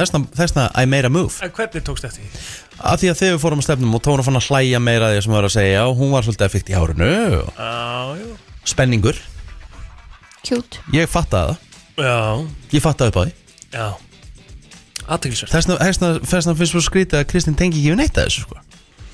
Speaker 4: þessna, þessna I made a move
Speaker 5: En hvernig tókst eftir því?
Speaker 4: að því að þegar við fórum að stefnum og tóra fann að hlæja meira að því sem var að segja og hún var svolítið að fyrkt í hárinu og
Speaker 5: Já, já.
Speaker 4: spenningur,
Speaker 3: Cute.
Speaker 4: ég fattaði
Speaker 5: Já.
Speaker 4: það ég fattaði upp á því
Speaker 5: Já. aðteglisverð
Speaker 4: Þessna, þessna, þessna finnst svo skrítið að Kristinn tengi ekki við neitt að þessu sko.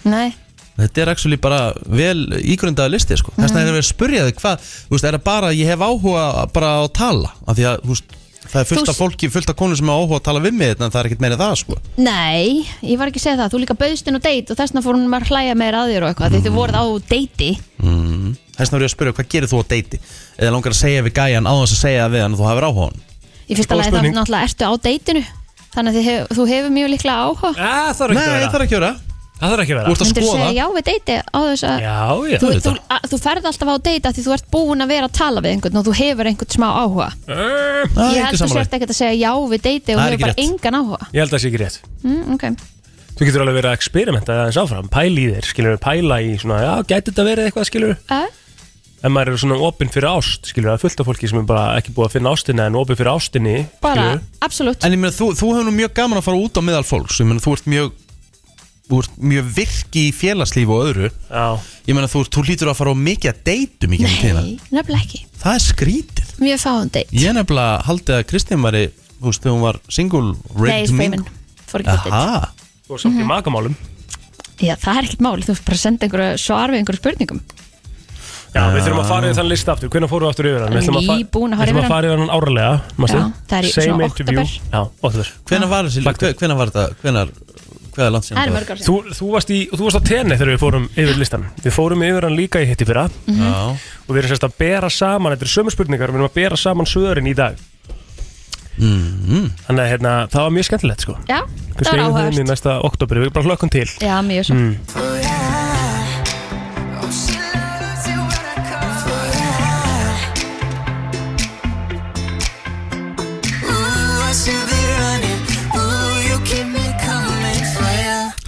Speaker 3: Nei
Speaker 4: Þetta er actually bara vel ígrundaða listi sko. Þessna er að vera að spurja þig hvað Þú veist, er það bara að ég hef áhuga bara á að tala af því að, þú veist, það er fullt
Speaker 3: Þú-
Speaker 4: af fólki fullt af konur sem hafa áhuga að tala við mig en það er ekkert meira það sko.
Speaker 3: Nei, ég var ekki að segja það, þú líka baust inn á date og þessna fór hún maður að hlæja meira að þér og eitthvað því þið voruð á deiti
Speaker 4: mm. Þessna er ég að spurja hvað gerir þú á deiti eða langar að segja við gæjan á þess að segja við hann að þú hefur áhuga á hann
Speaker 3: Í fyrsta
Speaker 4: Góð
Speaker 3: lagi þá
Speaker 4: spurning.
Speaker 3: náttúrulega ertu á deitinu Þannig að þið hef, þú hefur mjög líklega áhuga
Speaker 5: ah, Það
Speaker 4: Nei, það þarf ekki að vera
Speaker 5: Það þarf ekki að vera
Speaker 4: Þú ert að skoða
Speaker 3: segja já við deiti á þess að
Speaker 5: Já, já
Speaker 3: þú, þú, að, þú ferð alltaf á deita því þú ert búin að vera að tala við einhvern og þú hefur einhvern smá áhuga
Speaker 5: Það
Speaker 3: Ég held þú sért ekkert að segja já við deiti og
Speaker 5: Það er
Speaker 3: hefur
Speaker 5: ekki
Speaker 3: bara
Speaker 5: rétt.
Speaker 3: engan áhuga
Speaker 5: Ég held að það sé ekki rétt
Speaker 3: mm, okay.
Speaker 5: Þú getur alveg verið að experimenta aðeins áfram Pæla í þér, skilur við pæla í svona Já, gæti þetta verið eitthvað, skilur við
Speaker 3: Eh?
Speaker 5: En maður eru svona opinn fyrir ást, skilur Það er fullt af fólki sem er bara ekki búið að finna ástina En opinn fyrir ástinni,
Speaker 3: Bara,
Speaker 5: skilur
Speaker 3: absolutt
Speaker 4: En ég meina, þú, þú hefur nú mjög gaman að fara út á meðal fólks Ég meina, þú ert mjög Þú ert mjög virki í félagslíf og öðru
Speaker 5: Já
Speaker 4: Ég meina, þú, þú lítur að fara á mikið að
Speaker 5: um
Speaker 4: deytum í gegnum tíðina
Speaker 3: Nefnilega ekki,
Speaker 4: Það er skrítið
Speaker 3: mjög fáum deit
Speaker 4: Ég er nefnilega haldið að Kristín var Þú veist, þegar hún var single ready
Speaker 3: Nei,
Speaker 4: to
Speaker 3: feimin,
Speaker 4: mingle.
Speaker 3: fór ekki á date
Speaker 4: Aha
Speaker 5: Og samt
Speaker 3: Mhm.
Speaker 5: í magamálum
Speaker 3: Já, það er ekkert mál, þú ert bara að senda einhverju svar við einhverju spurningum
Speaker 5: Já, við þurfum að fara yfir þann lista aftur Hvernig fórum við aftur yfir hann? Við ætlum fa-
Speaker 3: Nýbúin að fara
Speaker 5: við ætlum
Speaker 3: yfir hann.
Speaker 5: fara yfir hann árlega manstu?
Speaker 3: Já, það er í
Speaker 5: Same
Speaker 3: svona
Speaker 5: interview.
Speaker 3: október.
Speaker 5: Já, oktober
Speaker 4: Hvenær var þessi, hve- hvenær var þetta Hvenær, hvað er langt síðan
Speaker 3: Það er
Speaker 4: var?
Speaker 3: mörg ár síðan.
Speaker 5: Þú, þú, varst í, þú varst á tenni þegar við fórum yfir listan Við fórum yfir hann líka í hitti fyrra
Speaker 3: Mm.
Speaker 4: Já.
Speaker 5: Og við erum sérst að bera saman Þetta er sömu spurningar, við erum að bera saman svörin í dag
Speaker 4: mm.
Speaker 5: Þannig að hérna, það var mjög skemmtilegt sko
Speaker 3: Já, það
Speaker 5: Kannski
Speaker 3: var
Speaker 5: eigum
Speaker 3: áhugavert
Speaker 5: þeim í næsta oktober, við erum bara hlökkum til
Speaker 3: Já, mjög svo
Speaker 5: Mm.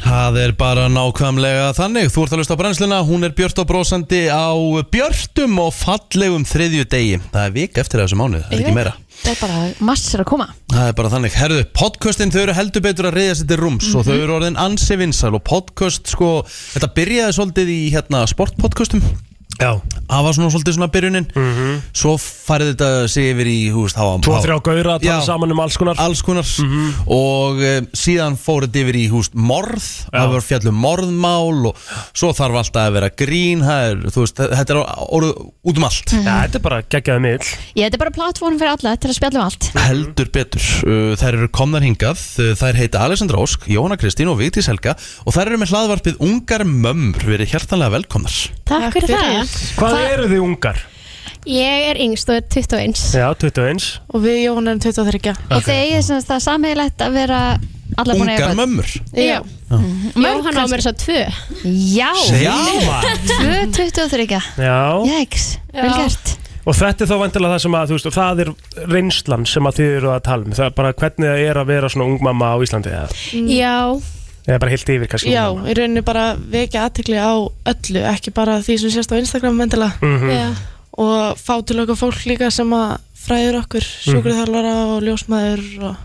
Speaker 4: Það er bara nákvæmlega þannig Þú ert að lusta á brennsluna, hún er björt og brósandi á björtum og fallegum þriðju degi Það er vik eftir af þessu mánuð, það er ekki meira
Speaker 3: Það er bara massir að koma
Speaker 4: Það er bara þannig, herðu, podcastin þau eru heldur betur að reyða sér til rúms og
Speaker 3: Mhm.
Speaker 4: þau eru orðin ansi vinsæl og podcast sko, þetta byrjaði svolítið í hérna sportpodcastum
Speaker 5: Já
Speaker 4: Það var svona svolítið svona byrjunin Svo farið þetta sig yfir í, hú veist, það var
Speaker 5: Mhm. Tvo, þrjá gauðra að
Speaker 4: Já.
Speaker 5: tala saman um alls konar Mhm.
Speaker 4: alls konar og e, síðan fór þetta yfir í húst morð, það var fjallum morðmál og svo þarf alltaf að vera grín það er, þú veist, þetta er orð, út um allt
Speaker 5: Já, þetta er bara geggjaði mill
Speaker 3: Ég, þetta er bara platform fyrir alla til að spjalla um allt
Speaker 4: heldur betur, Uh, þær eru komnar hingað Uh, þær heita Alessandra Ósk, Jóhanna Kristín og Vigdís Helga og þær eru með hlaðvarpið Ungar Mömmur, verið hjertanlega velkomnar
Speaker 10: Takk, fyrir það.
Speaker 5: Hvað eru þið ungar?
Speaker 10: Ég er yngst og er 21
Speaker 5: Já, 21
Speaker 10: og við Jón erum 23.
Speaker 3: Og þið eigið sem sagt það sameiglegt að vera alla búin að
Speaker 4: Ungar
Speaker 3: börn.
Speaker 4: Mömmur
Speaker 10: Já. Jóhann á mér þess að tvö.
Speaker 3: Já,
Speaker 5: Já, maður.
Speaker 3: 223
Speaker 5: Já
Speaker 3: Jæks, vel gert
Speaker 5: Og þetta er þá vantilega það sem að, þú veist, og það er reynslan sem að þið eru að tala um. Það er bara hvernig það er að vera svona ung mamma á Íslandi eða,
Speaker 10: Já,
Speaker 5: eða bara heilt yfir kannski.
Speaker 10: já, í rauninni bara vekja aðtekli á öllu, ekki bara því sem sést á Instagram vendilega.
Speaker 5: Mhm.
Speaker 10: Já. Og fá til okkar fólk líka sem að fræður okkur, sjúkurþjálfara og ljósmaður og...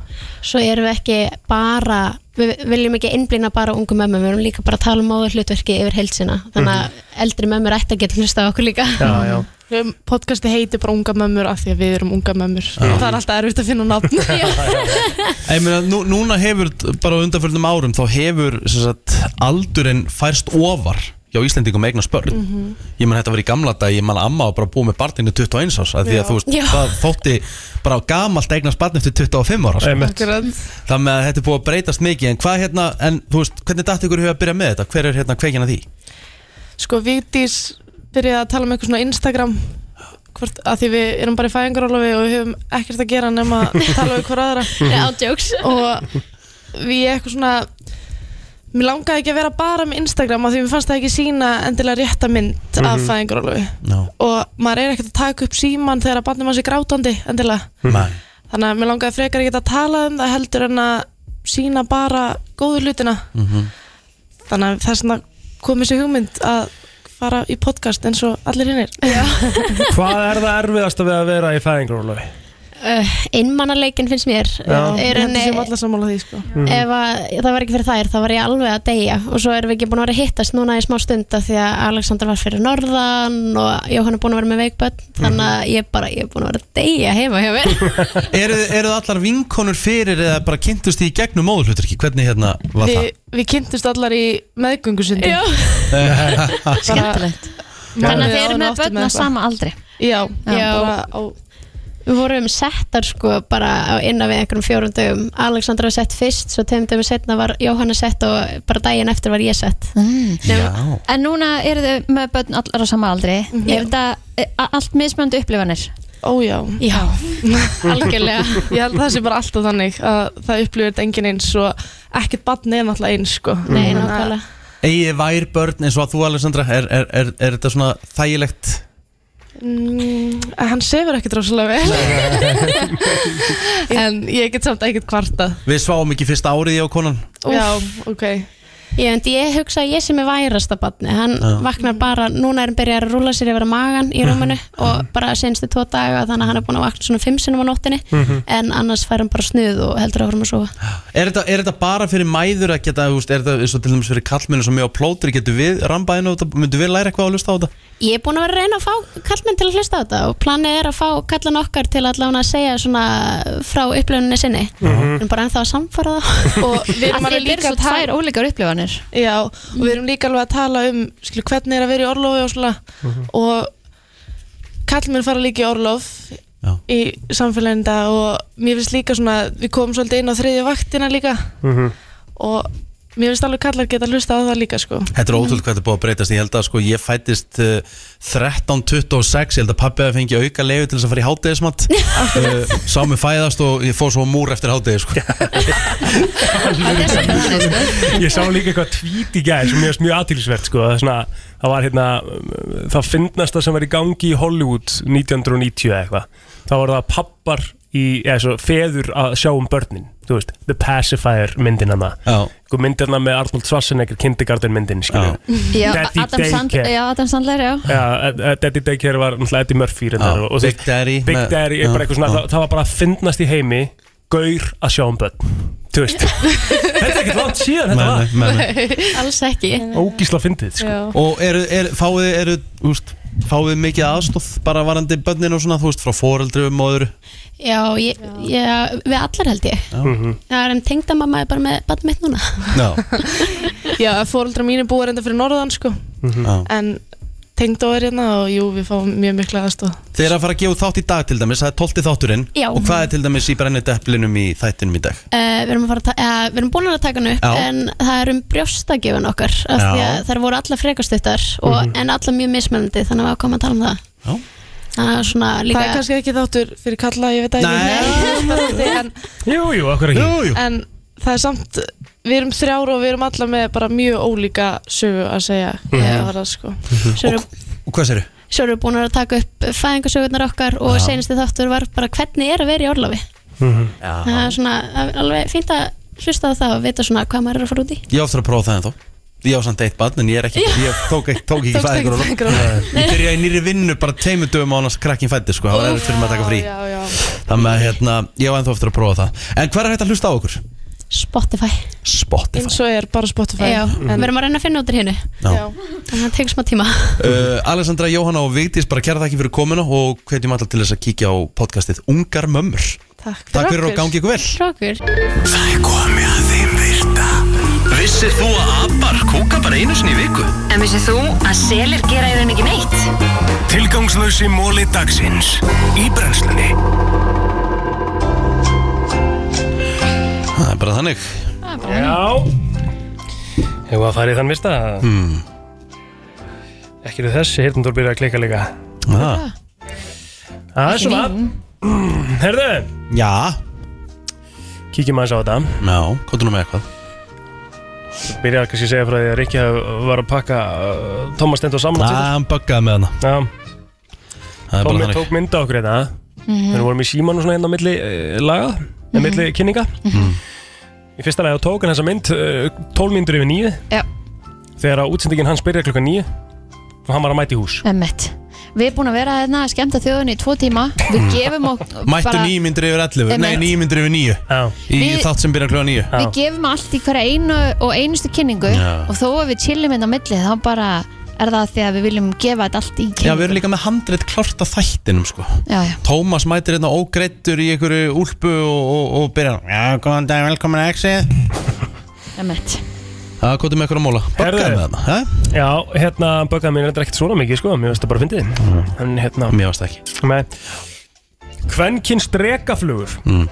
Speaker 12: Svo erum við ekki bara, við viljum ekki innblýna bara á ungu mömmur, við erum líka bara að tala um móður hlutverki yfir heilsina, þannig að eldri mömmur ætti að geta hlusta á okkur líka.
Speaker 5: Já, [laughs] já.
Speaker 10: Podcasti Um heitir bara unga mömmur af því að við erum unga mömmur. Það er alltaf erfitt að finna nafn.
Speaker 4: Ég meina, nú, núna hefur bara á undanförnum árum þá hefur sem sagt, aldurinn færst ofar hjá Íslendingum eignar spörn
Speaker 10: Mhm.
Speaker 4: ég meina þetta var í gamla dag, ég man að amma var bara búið með barninu 21 árs, af því að
Speaker 10: Já.
Speaker 4: þú veist
Speaker 10: Já.
Speaker 4: það þótti bara gamalt eignast barn eftir 25 ára sko.
Speaker 5: Einmitt.
Speaker 4: þannig að þetta er búið að breytast mikið en hvað hérna, en þú veist, hvernig datt ykkur hefur að byrja með þetta, hver er hérna kveikina því?
Speaker 10: sko Vigdís byrjaði að tala um eitthvað svona Instagram hvort, að því við erum bara í fæðingarólofi og við höfum ekkert að gera nema að tala við hver aðra
Speaker 12: Já, jokes.
Speaker 10: og við eitthvað svona mér langaði ekki að vera bara með Instagram af því mér fannst það ekki sína endilega rétta mynd af
Speaker 4: Mhm.
Speaker 10: fæðingarólofi
Speaker 4: No.
Speaker 10: og maður er ekkert að taka upp síman þegar að barnum hans er grátandi endilega
Speaker 4: Nei.
Speaker 10: þannig að mér langaði frekar ekki að tala um það heldur en að sína bara góðu hlutina
Speaker 4: Mhm.
Speaker 10: þannig að þess að kom þessi hugmynd að fara í podcast eins og allir hinnir
Speaker 5: Hvað er það erfiðasta við að vera í fæðingarólofi?
Speaker 3: uh, einmannaleikin finnst mér
Speaker 10: Já. Ég
Speaker 3: er
Speaker 10: held við séum
Speaker 3: alla sammála því sko.
Speaker 10: Mhm.
Speaker 3: ef að, það var ekki fyrir þær þá var ég alveg að deyja og svo erum við ekki búin að vera að hittast núna í smá stund af því að Alexander var fyrir norðan og Jóhann er búin að vera með veikbönn þannig að ég, bara, ég er búin að vera að deyja heima hjá mér
Speaker 4: Eru, eru það allar vinkonur fyrir eða bara kynntust því í gegnum móðulhuturki? Hvernig hérna var
Speaker 10: Við,
Speaker 4: það?
Speaker 10: við kynntumst allar í meðgöngusundi Já,
Speaker 4: Skemmtilegt.
Speaker 13: Þannig að þið eru með börn á sama aldri
Speaker 10: Já, bara
Speaker 3: á... Við vorum settar sko bara á innan við einhverjum fjórum dögum Alexander var sett fyrst, svo tegum dögum setna var Jóhanna sett og bara daginn eftir var ég sett
Speaker 13: mm.
Speaker 4: Já
Speaker 13: En núna eru þið með börn allar á sama aldri
Speaker 3: Mhm.
Speaker 13: mm -hmm. Þetta allt mismöndu upplifanir
Speaker 10: Ójá
Speaker 3: Já, [laughs]
Speaker 13: algjörlega
Speaker 10: Ég held það sé bara alltaf þannig að það upplifir þetta engin eins og ekkert barn er náttúrulega eins sko
Speaker 4: Nei,
Speaker 10: Þannig að-
Speaker 3: nákvæmlega.
Speaker 4: Egið vær börn eins og að þú Alessandra er, er, er, er þetta svona þægilegt?
Speaker 10: Mm, hann sefur ekkert rosalega
Speaker 3: [laughs]
Speaker 10: vel En ég get samt ekkert kvartað
Speaker 4: Við sváum ekki fyrsta árið ég og konan
Speaker 10: Já, ok
Speaker 3: Ég, en ég hugsa að ég sem er værasta batni hann
Speaker 4: Já.
Speaker 3: vaknar bara, núna er hann byrjar að rúla sér yfir að magan í rúminu og bara senstu tvo daga þannig að hann er búin að vakna svona fimm sinnum á nóttinni
Speaker 4: Mhm.
Speaker 3: en annars fær hann bara snuð og heldur áfram að sofa
Speaker 4: Er þetta, er þetta bara fyrir mæður að geta, þú veist, er þetta eins og til dæmis fyrir kallmennu sem ég á plótri, getur við rambaðinu og þetta, myndum við læra eitthvað að hlusta á þetta?
Speaker 3: Ég er búin að vera að reyna að fá kallmenn til að hlusta á þetta og planið er að fá kallan okkar til allan að segja svona frá upplöfuninni sinni
Speaker 10: Mhm.
Speaker 3: en bara ennþá að samfara það
Speaker 10: og við erum alveg líka að tala-
Speaker 13: ólíkar
Speaker 3: [laughs]
Speaker 13: upplifanir
Speaker 10: Já, og við erum líka alveg að tala um skilur, hvernig er að vera í orlofi og svona og kallmenn fara líka í orlof í samfélaginu í dag og mér finnst líka svona, við komum svolítið inn á þriðju vaktina líka og mér finnst alveg kallar geta hlusta á það líka sko
Speaker 4: Þetta er ótrúlega hvað þetta er búið að breytast Ég held að sko, ég fættist uh, 13.26 Ég held að pappi að fengi auka leiðu til þess að fara í [laughs] hátegismat uh, Sá mig fæðast og ég fór svo á múr eftir hátegi sko.
Speaker 13: sko.
Speaker 5: Ég sá líka eitthvað tweet í gæð sem mjög, mjög aðtilsvert sko. það, er svona, það var hérna um, það finnast það sem var í gangi í Hollywood 1990 eða eitthvað þá var það pappar í, eða svo feður að sjá um börnin þú veist, The Pacifier myndin hana Einhver mynd hana með Arnold Schwarzenegger kindergarten myndin skilur
Speaker 13: Já,
Speaker 5: Daddy
Speaker 13: Adam Sandler,
Speaker 5: Daycare.
Speaker 13: já, Adam Sandler, já
Speaker 5: Já, eh, Daddy Daycare var náttúrulega Eddie Murphy reyndar,
Speaker 4: Já,
Speaker 5: og, og, þú
Speaker 4: Big
Speaker 5: veist,
Speaker 4: Daddy
Speaker 5: Big
Speaker 4: með-
Speaker 5: Daddy er bara
Speaker 4: já,
Speaker 5: eitthvað svona
Speaker 4: já.
Speaker 5: það, það var bara að finnast í heimi gaur að sjá um börn Þú veist, þetta er ekkert langt síðan þetta var
Speaker 3: Alls ekki
Speaker 5: Ógísla fyndið sko.
Speaker 4: Og eru, er, fáið, eru, úst, fáið mikið aðstóð bara varandi börnin og svona, þú veist, frá foreldrum og öðru
Speaker 3: Já, ég, ég, við allar held ég
Speaker 4: Mhm.
Speaker 3: Það er en tengdamamma er bara með batn mitt núna
Speaker 4: Já,
Speaker 10: Já, fóreldra mínu búið reynda fyrir norðan sko
Speaker 4: já.
Speaker 10: en tengd er hérna og jú, við fáum mjög mikla aðstóð
Speaker 4: Þeir eru að fara að gefa út þátt í dag til dæmis, það er 12. þátturinn
Speaker 3: Já.
Speaker 4: Og hvað er til dæmis í brennið deplinum í þættinum í dag?
Speaker 3: Uh, við, erum að fara að ta- eh, við erum búin að taka hann upp
Speaker 4: Já.
Speaker 3: en það er um brjóstagjöfun okkar af því
Speaker 4: Já.
Speaker 3: að þær voru allar frekastuttar
Speaker 10: Mhm.
Speaker 3: og, en allar mjög mismunandi þannig að við ákvæmum að tala um það
Speaker 4: Já.
Speaker 3: það er svona líka
Speaker 10: Það er kannski ekki þáttur fyrir kalla, ég veit að ég Nei, en,
Speaker 5: Jú, jú, okkur ekki
Speaker 10: en það er samt, við erum þrjár og við erum alla með bara mjög ólíka sögu að segja
Speaker 4: Mhm.
Speaker 10: eða það sko
Speaker 3: Svo erum-
Speaker 4: Og hvað serðu?
Speaker 3: svo erum við búin að taka upp fæðingasögurnar okkar og
Speaker 4: Já.
Speaker 3: senasti þáttur var bara hvernig er að vera í orlofi það
Speaker 4: Já,
Speaker 3: er svona það er alveg fínt að hlusta á það og vita svona hvað maður er að fara út í
Speaker 4: ég á eftir að prófa það en þó Ég á samt eitt barn en ég er ekki, ég tók ekki, tók ekki
Speaker 3: Tókst ekki
Speaker 4: fæðingur
Speaker 3: fæðingarorlof.
Speaker 4: Ég byrjaði í nýri vinnu bara tveimur dögum á annars krakkin fætti sko, það var erfitt fyrir mig að taka frí
Speaker 10: Já, já,
Speaker 4: Þannig að hérna, ég á ennþá eftir að prófa það En hver er hægt að hlusta á okkur?
Speaker 3: Spotify,
Speaker 4: Spotify
Speaker 10: eins og er bara Spotify
Speaker 3: Já, við erum að reyna að finna út úr hennu
Speaker 4: Já.
Speaker 3: þannig að það tekur smá tíma
Speaker 4: Uh, Alessandra, Jóhanna og Vigdís bara kæra þakki fyrir komuna og hvetjum alltaf til þess að kíkja á podcastið Ungar Mömmur
Speaker 10: Takk
Speaker 4: Takk fyrir og gangi ykkur vel
Speaker 3: Takk
Speaker 2: Það er komið að þeim virta Vissir þú að abar kúka bara einu sinni í viku?
Speaker 9: En vissið þú að selir gera í raun ekki neitt?
Speaker 2: Tilgangslösi móli dagsins Í brennslunni
Speaker 4: Það er bara þannig
Speaker 5: Já Hefur að fara í þann vista
Speaker 4: hmm.
Speaker 5: Ekki eru þessi, hérna þú byrjar að klika líka
Speaker 4: ah.
Speaker 5: Það er svona Mm, Herðu
Speaker 4: Já
Speaker 5: Kíkjum aðeins á þetta
Speaker 4: Já, hvað nú með eitthvað?
Speaker 5: Byrjaði kannski að segja frá því að Rikki hafi- var að pakka uh, Thomas Stendur saman
Speaker 4: Það hann buggaði með hana
Speaker 5: Já
Speaker 4: Það er bara
Speaker 5: Tommi
Speaker 4: þannig.
Speaker 5: tók mynda okkur þetta mm
Speaker 4: Mhm.
Speaker 5: -hmm. Þegar við vorum í síman og svona hérna á milli uh, laga mm
Speaker 4: Mhm.
Speaker 5: Milli kynninga Í fyrsta lagi þá tók hann þessa mynd uh, 12 myndur yfir nýju
Speaker 13: Já.
Speaker 5: Þegar að útsendingin hans byrjaði klukkan nýju Og hann var að mæta í hús
Speaker 13: Emmett
Speaker 3: Við erum búin að vera hérna að skemmta þjóðunni í tvo tíma Við gefum okkur
Speaker 4: [laughs] Mættu nýjum myndir yfir 11 Nei,
Speaker 3: Einmitt.
Speaker 4: nýjum myndir yfir 9 Í
Speaker 3: Við-
Speaker 4: þátt sem byrja kljóða 9
Speaker 3: Við gefum allt í hverja einu og einustu kynningu
Speaker 4: Já.
Speaker 3: og þó að við chillum inn á milli þá bara er það því að við viljum gefa þetta allt í
Speaker 4: Já, við
Speaker 3: kynningu
Speaker 4: erum líka með handreitt klart að þættinum sko
Speaker 3: Já, já.
Speaker 4: Tómas mætir hérna ógreittur í einhverju úlpu og, og, og byrjar Já, góðan dag, velkomin að exið
Speaker 3: Emmett
Speaker 4: Það kóti með einhverju móla Böggaði með hana, hæ?
Speaker 5: Já, hérna, böggaði mér er ekkert svona mikið, sko, mér varst það bara fyndið En hérna
Speaker 4: Mm. Mér varst ekki
Speaker 5: Nei Kvenkins dregaflugur
Speaker 4: Mm.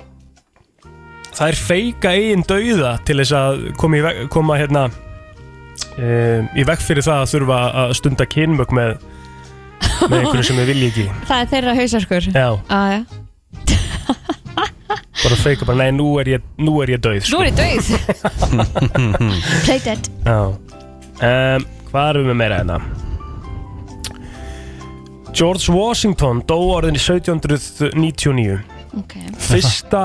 Speaker 5: Það er feika eigin dauða til þess að koma, í veg, koma hérna um, í veg fyrir það að þurfa að stunda kynmök með með einhvern sem við
Speaker 4: [laughs]
Speaker 5: vilja ekki
Speaker 3: Það er þeirra hausverkur
Speaker 5: Já,
Speaker 3: ah, já.
Speaker 5: bara feika bara, nei, nú er ég, nú er ég dauð
Speaker 3: Nú er ég döið
Speaker 5: dauð
Speaker 3: Play dead
Speaker 5: Já um, Hvað erum við með meira hérna? George Washington dó orðin í 1799
Speaker 3: Ok.
Speaker 5: Fyrsta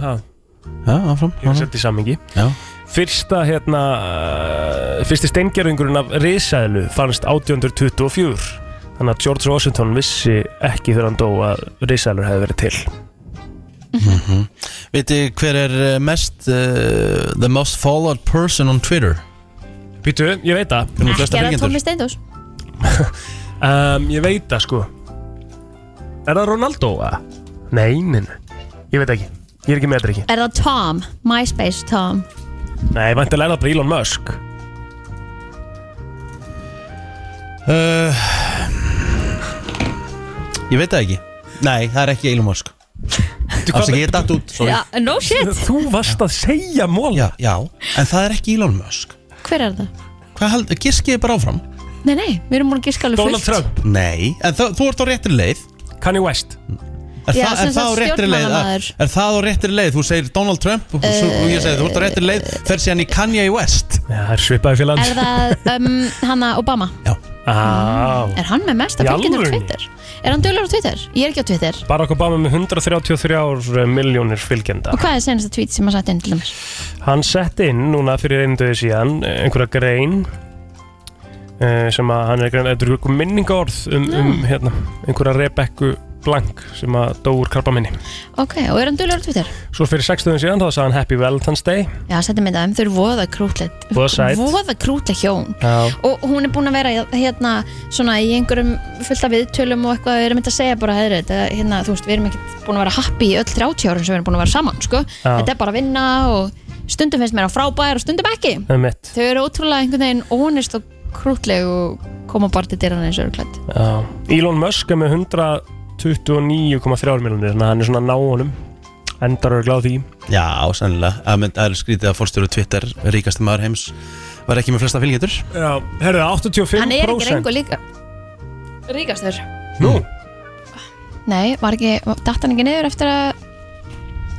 Speaker 5: ha,
Speaker 4: Já, áfram
Speaker 5: Ég seti í samingi
Speaker 4: Já.
Speaker 5: Fyrsta hérna uh, Fyrsti steingerðingurinn af risaðlu fannst 1824 Þannig að George Washington vissi ekki þegar hann dó að risaðlur hefði verið til
Speaker 4: Viti hver er eh, mest uh, The most followed person on Twitter
Speaker 5: Býtu, ég veit það Hvernig
Speaker 3: Ekki er það Tómi Steindós
Speaker 5: um, Ég veit það sko Er það Ronaldo? eða? Nei, nei, nei Ég veit ekki, ég er ekki með þetta ekki
Speaker 3: Er það Tom, MySpace Tom
Speaker 5: Nei, vantilega er það bara Elon Musk
Speaker 4: uh, Ég veit það ekki Nei, það er ekki Elon Musk Afsaki, ég datt út sorry.
Speaker 3: Já, No shit
Speaker 5: Þú varst að segja mól
Speaker 4: já, já, en það er ekki Elon Musk
Speaker 3: Hver er það?
Speaker 4: Hvað held, giskið bara áfram
Speaker 3: Nei, nei, við erum múin að giska alveg fullt
Speaker 4: Nei, en það, þú ert á réttri leið
Speaker 5: Kanye West
Speaker 4: Er,
Speaker 3: Já,
Speaker 4: það, er,
Speaker 3: sem
Speaker 4: það á
Speaker 3: sagt
Speaker 4: réttri leið, er,
Speaker 3: stjórnmálamaður.
Speaker 4: er það á réttri leið? Þú segir Donald Trump og, svo, og ég segi þú ert á réttri leið Fer síðan í Kanye West
Speaker 5: Já, það er svipaði félags
Speaker 3: Er það um, hanna Obama?
Speaker 5: það
Speaker 3: Er hann með mesta
Speaker 5: Í
Speaker 3: fylgjendur á
Speaker 5: alvörunni?
Speaker 3: Twitter? Er hann dölur á Twitter? Ég er ekki á Twitter
Speaker 5: Barack Obama með 133 miljónir eh, fylgjenda
Speaker 3: Og hvað er senast að tweet sem hann sætti inn til dæmis?
Speaker 5: Hann sett inn núna fyrir einu döði síðan eh, einhverja grein uh, sem að hann er grein eitthvað einhver minningaorð um, um
Speaker 3: Ah.
Speaker 5: hérna, einhverja Rebekku Blank sem að dó úr karpa minni
Speaker 3: Ok, og er hann dölur á Twitter?
Speaker 5: Svo fyrir 60 síðan þá sagði hann Happy Valentine's Day
Speaker 3: Já, sætti mynd að þeim, þau eru voða krútlegt
Speaker 5: Voða sæt.
Speaker 3: Voða krútlegt hjón
Speaker 5: Já,
Speaker 3: Og hún er búin að vera hérna svona í einhverjum fullt af viðtölum og eitthvað við erum eitthvað að segja bara heðri, þetta, hérna, þú veist, við erum ekkert búin að vera happy í öll 30 árum sem við erum búin að vera saman, sko
Speaker 5: Já.
Speaker 3: Þetta er bara að vinna og stundum finnst mér að frábæra og stundum ekki
Speaker 5: það er mitt
Speaker 3: Þau eru ótrúlega einhvern veginn ónist og krútleg og koma bara til dyrana eins og eru klætt
Speaker 5: Já. Elon Musk er með 129,3 miljónir þannig að hann er svona að ná honum endar eru gláð því
Speaker 4: Já, sannilega Það mynd- það er skrítið að fórstjóru Twitter ríkasti maður heims var ekki með flesta fylgjendur
Speaker 5: Já, herðu, 85%
Speaker 3: Hann er ekki rengu líka Ríkastur
Speaker 5: Nú?
Speaker 3: Nei, var ekki, datt hann ekki niður eftir að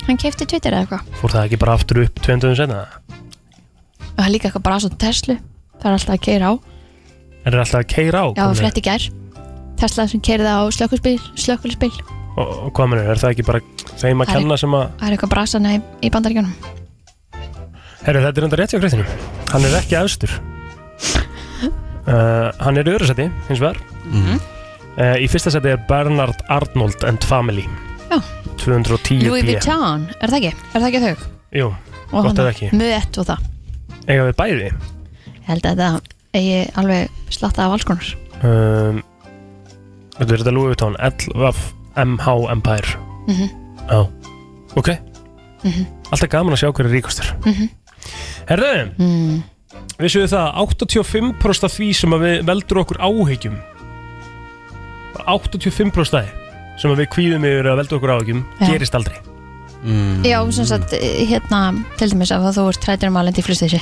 Speaker 3: hann keipti Twitter eða eitthvað
Speaker 5: Fór það ekki bara aftur upp 200 senna?
Speaker 3: og það er líka eitthvað bara svona Tesla það er alltaf að keira á
Speaker 5: Er það alltaf að keira á?
Speaker 3: Já, við frétt í gær Tesla sem keirði á slökkulspil slökkulspil
Speaker 5: Og, og hvað mennur, er það ekki bara þeim að
Speaker 3: Það er-
Speaker 5: kenna sem að
Speaker 3: Það er eitthvað brasana í, í bandaríkjunum
Speaker 5: Herru, þetta er enda rétt hjá greiðinu Hann er ekki
Speaker 3: [laughs]
Speaker 5: efstur uh, Hann er í öðru seti, hins vegar
Speaker 3: Mhm.
Speaker 5: uh, Í fyrsta seti er Bernard Arnold and Family
Speaker 3: Já.
Speaker 5: 210
Speaker 3: Louis Vuitton, er það ekki? Er það ekki þau?
Speaker 5: Jú, gott eða ekki
Speaker 3: Möt og það
Speaker 5: Ega við bæði
Speaker 3: Ég held að þetta eigi alveg slatta af alls konar
Speaker 5: um, Þetta er þetta Louis Vuitton LVF MH Empire
Speaker 3: Mhm.
Speaker 5: Já, ok
Speaker 3: Mhm.
Speaker 5: Alltaf gaman að sjá hverju ríkustur
Speaker 3: Mhm.
Speaker 5: Herðu,
Speaker 3: mm.
Speaker 5: Vissuðu það, 85% af því sem að við veldur okkur áhyggjum Bara 85% af því sem að við kvíðum yfir að veldur okkur áhyggjum
Speaker 3: Já.
Speaker 5: gerist aldrei
Speaker 4: mm.
Speaker 3: Já, sem sagt, hérna, til dæmis ef þú ert trætur um að lendi í flustísi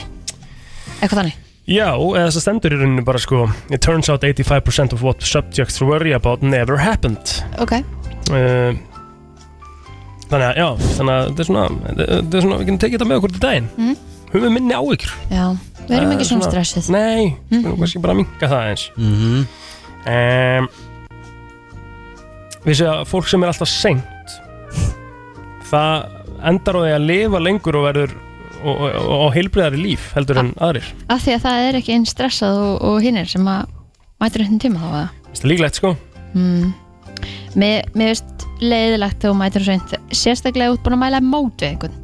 Speaker 3: Eitthvað þannig
Speaker 5: Já, eða þess að stendur í rauninu bara sko It turns out 85% of what subjects worry about never happened
Speaker 3: Ok,
Speaker 5: uh, Þannig að, já, þannig að þetta er svona, þetta er svona við getum tekið þetta með okkur til daginn
Speaker 3: Mm.
Speaker 5: Höfum við minni áhyggjur
Speaker 3: já, við erum ekki
Speaker 5: Það er
Speaker 3: Eh, svona
Speaker 5: svona-
Speaker 3: stressið
Speaker 5: Nei,
Speaker 3: Mm.
Speaker 5: við erum kannski bara að minka það eins mm
Speaker 4: Mhm.
Speaker 5: -hmm. um, Við séum að fólk sem er alltaf seint Það endar á því að lifa lengur og verður og, og, og, og heilbriðari líf heldur en aðrir
Speaker 3: Af því að það er ekki einn stressað og, og hinnir sem að mætur hérna tíma þá að
Speaker 5: Það er líklegt sko
Speaker 3: mm. Mér mér finnst leiðilegt þegar þú mætir sveint sérstaklega út búin að mæla mót við einhvern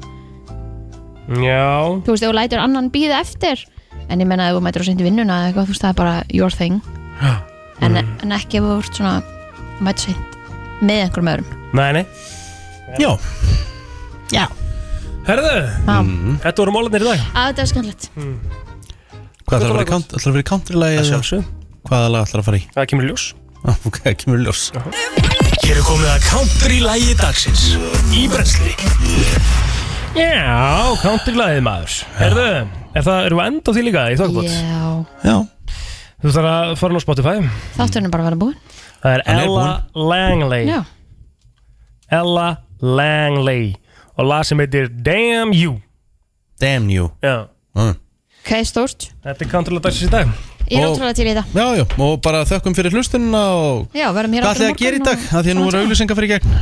Speaker 5: Já
Speaker 3: þú veist, ef þú lætur annan býða eftir en ég menna ef þú mætir og seint í vinnuna eða eitthvað, þú veist, það er bara your thing en,
Speaker 4: Mm.
Speaker 3: en ekki ef þú ert svona mætir seint með einhverjum öðrum
Speaker 5: Nei, nei Já
Speaker 3: Já
Speaker 5: Herðu, Mhm.
Speaker 3: Já.
Speaker 5: þetta voru mólarnir í dag
Speaker 3: Að þetta er skemmtilegt
Speaker 4: Hvað ætlar að vera í count- ætlar að vera í countrylægi?
Speaker 5: Að
Speaker 4: eða-
Speaker 5: sjálfsögðu.
Speaker 4: Hvaða lag ætlar að fara í?
Speaker 5: Það kemur í ljós
Speaker 4: [laughs] Ah, Ok, það kemur í ljós
Speaker 2: Hér er komið að country lægi dagsins Í brensli
Speaker 5: Já, countrylæðið maður Herðu, er það, erum við að enda á því líka í þokkabót?
Speaker 3: Já,
Speaker 4: Já
Speaker 5: Þú þarf að fara inn á Spotify
Speaker 3: þátturinn er bara að vera búin
Speaker 5: Það er
Speaker 3: Hann er
Speaker 5: Ella Langley
Speaker 3: Já.
Speaker 5: Ella Langley Og lag sem heitir Damn You
Speaker 4: Damn You Ah.
Speaker 5: Já
Speaker 3: Ok, stórt,
Speaker 5: Þetta er countrylæðið dagsins í dag
Speaker 3: ég er
Speaker 4: Og-
Speaker 3: ótrúlega til í þetta
Speaker 4: Já, já, og bara þökkum fyrir hlustunina og
Speaker 3: Já, verðum hér
Speaker 4: Hvað ætlaði að gera í dag? Að því að nú voru auglýsingar fyrir gegn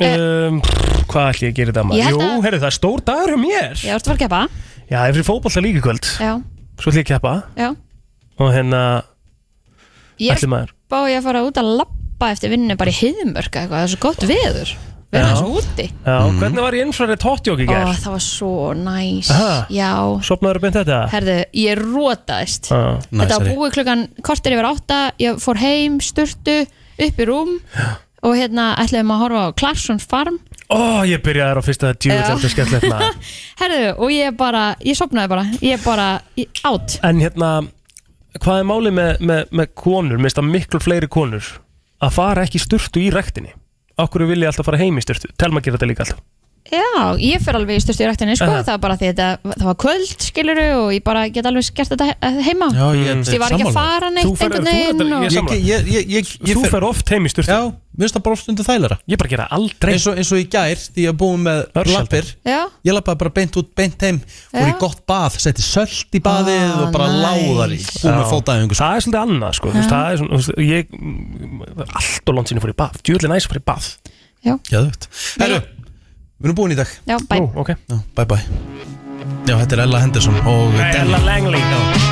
Speaker 5: um, Hvað ætlum ég að gera þetta
Speaker 3: Eh. Ég
Speaker 5: maður?
Speaker 3: held
Speaker 5: Jú,
Speaker 3: að-
Speaker 5: herru, það er stór dagur hjá mér
Speaker 3: Já, ertu að fara að keppa?
Speaker 5: Já, það er fyrir fótbolta líka í kvöld
Speaker 3: Já,
Speaker 5: Svo ætlum ég að keppa
Speaker 3: já
Speaker 5: Og hérna,
Speaker 3: Ég er
Speaker 5: ætlum maður
Speaker 3: spá ég að fara út að lappa eftir vinnunni bara í heiðmörk eitthvað, það er svo gott veður Við erum
Speaker 5: Já.
Speaker 3: þessu úti
Speaker 5: Já,
Speaker 4: Mhm.
Speaker 5: hvernig var ég infrared hotjók
Speaker 3: Ó,
Speaker 5: í gerð?
Speaker 3: það var svo næs
Speaker 5: Aha.
Speaker 3: Já, sko,
Speaker 5: Sopnaður upp einn þetta?
Speaker 3: Herðu, ég rótaðist
Speaker 5: Ah,
Speaker 3: Þetta var búið klukkan kortir yfir átta Ég fór heim, sturtu, upp í rúm Og hérna ætlaðum að horfa á Clarkson Farm
Speaker 5: Ó, ég byrjaði þar á fyrsta
Speaker 3: Já.
Speaker 5: djúvillandi skemmtilegt maður
Speaker 3: [laughs] Herðu, og ég bara, ég sopnaði bara Ég bara, ég, átt
Speaker 5: En hérna, hvað er málið með, með, með konur, minnst að miklu fleiri konur að fara ekki í sturtu í rektinni Okkur vil ég alltaf fara heim í sturtu Telma gerir þetta líka alltaf
Speaker 3: Já, ég fyrir alveg í sturtu í rættinni sko.
Speaker 5: Aha.
Speaker 3: Það var bara því þetta, það var kvöld skiluru Og ég bara get alveg skert þetta he- heima
Speaker 4: Já, ég
Speaker 3: Þú veist, Ég var ekki að fara neitt einhvern veginn og-
Speaker 4: Ég- ég- ég- ég- ég
Speaker 5: Þú
Speaker 4: fer-
Speaker 5: fer oft heim í sturtu
Speaker 4: Já, mér finnst það bara oft undir þælara
Speaker 5: Ég bara gera aldrei
Speaker 4: Eins og, eins og í gær, því ég búið með lappir
Speaker 3: Já.
Speaker 4: Ég lappaði bara beint út, beint heim Fór í
Speaker 3: Já.
Speaker 4: gott bað, setti sölt í baðið Og bara láðar í Búið með
Speaker 5: Já.
Speaker 4: fóta
Speaker 5: Það er svolítið annað sko, þú veist, það er svona, þú veist, ég mm, allt og langt sinni fór í bað, djúðlega næs að fór í bað
Speaker 4: Geðvögt Herru, við erum búin í dag
Speaker 3: Já, bæ
Speaker 5: Ó, ok
Speaker 4: Já, bæ bæ Já, þetta er Ella Henderson og
Speaker 5: Nei, Ella Langley
Speaker 4: Já.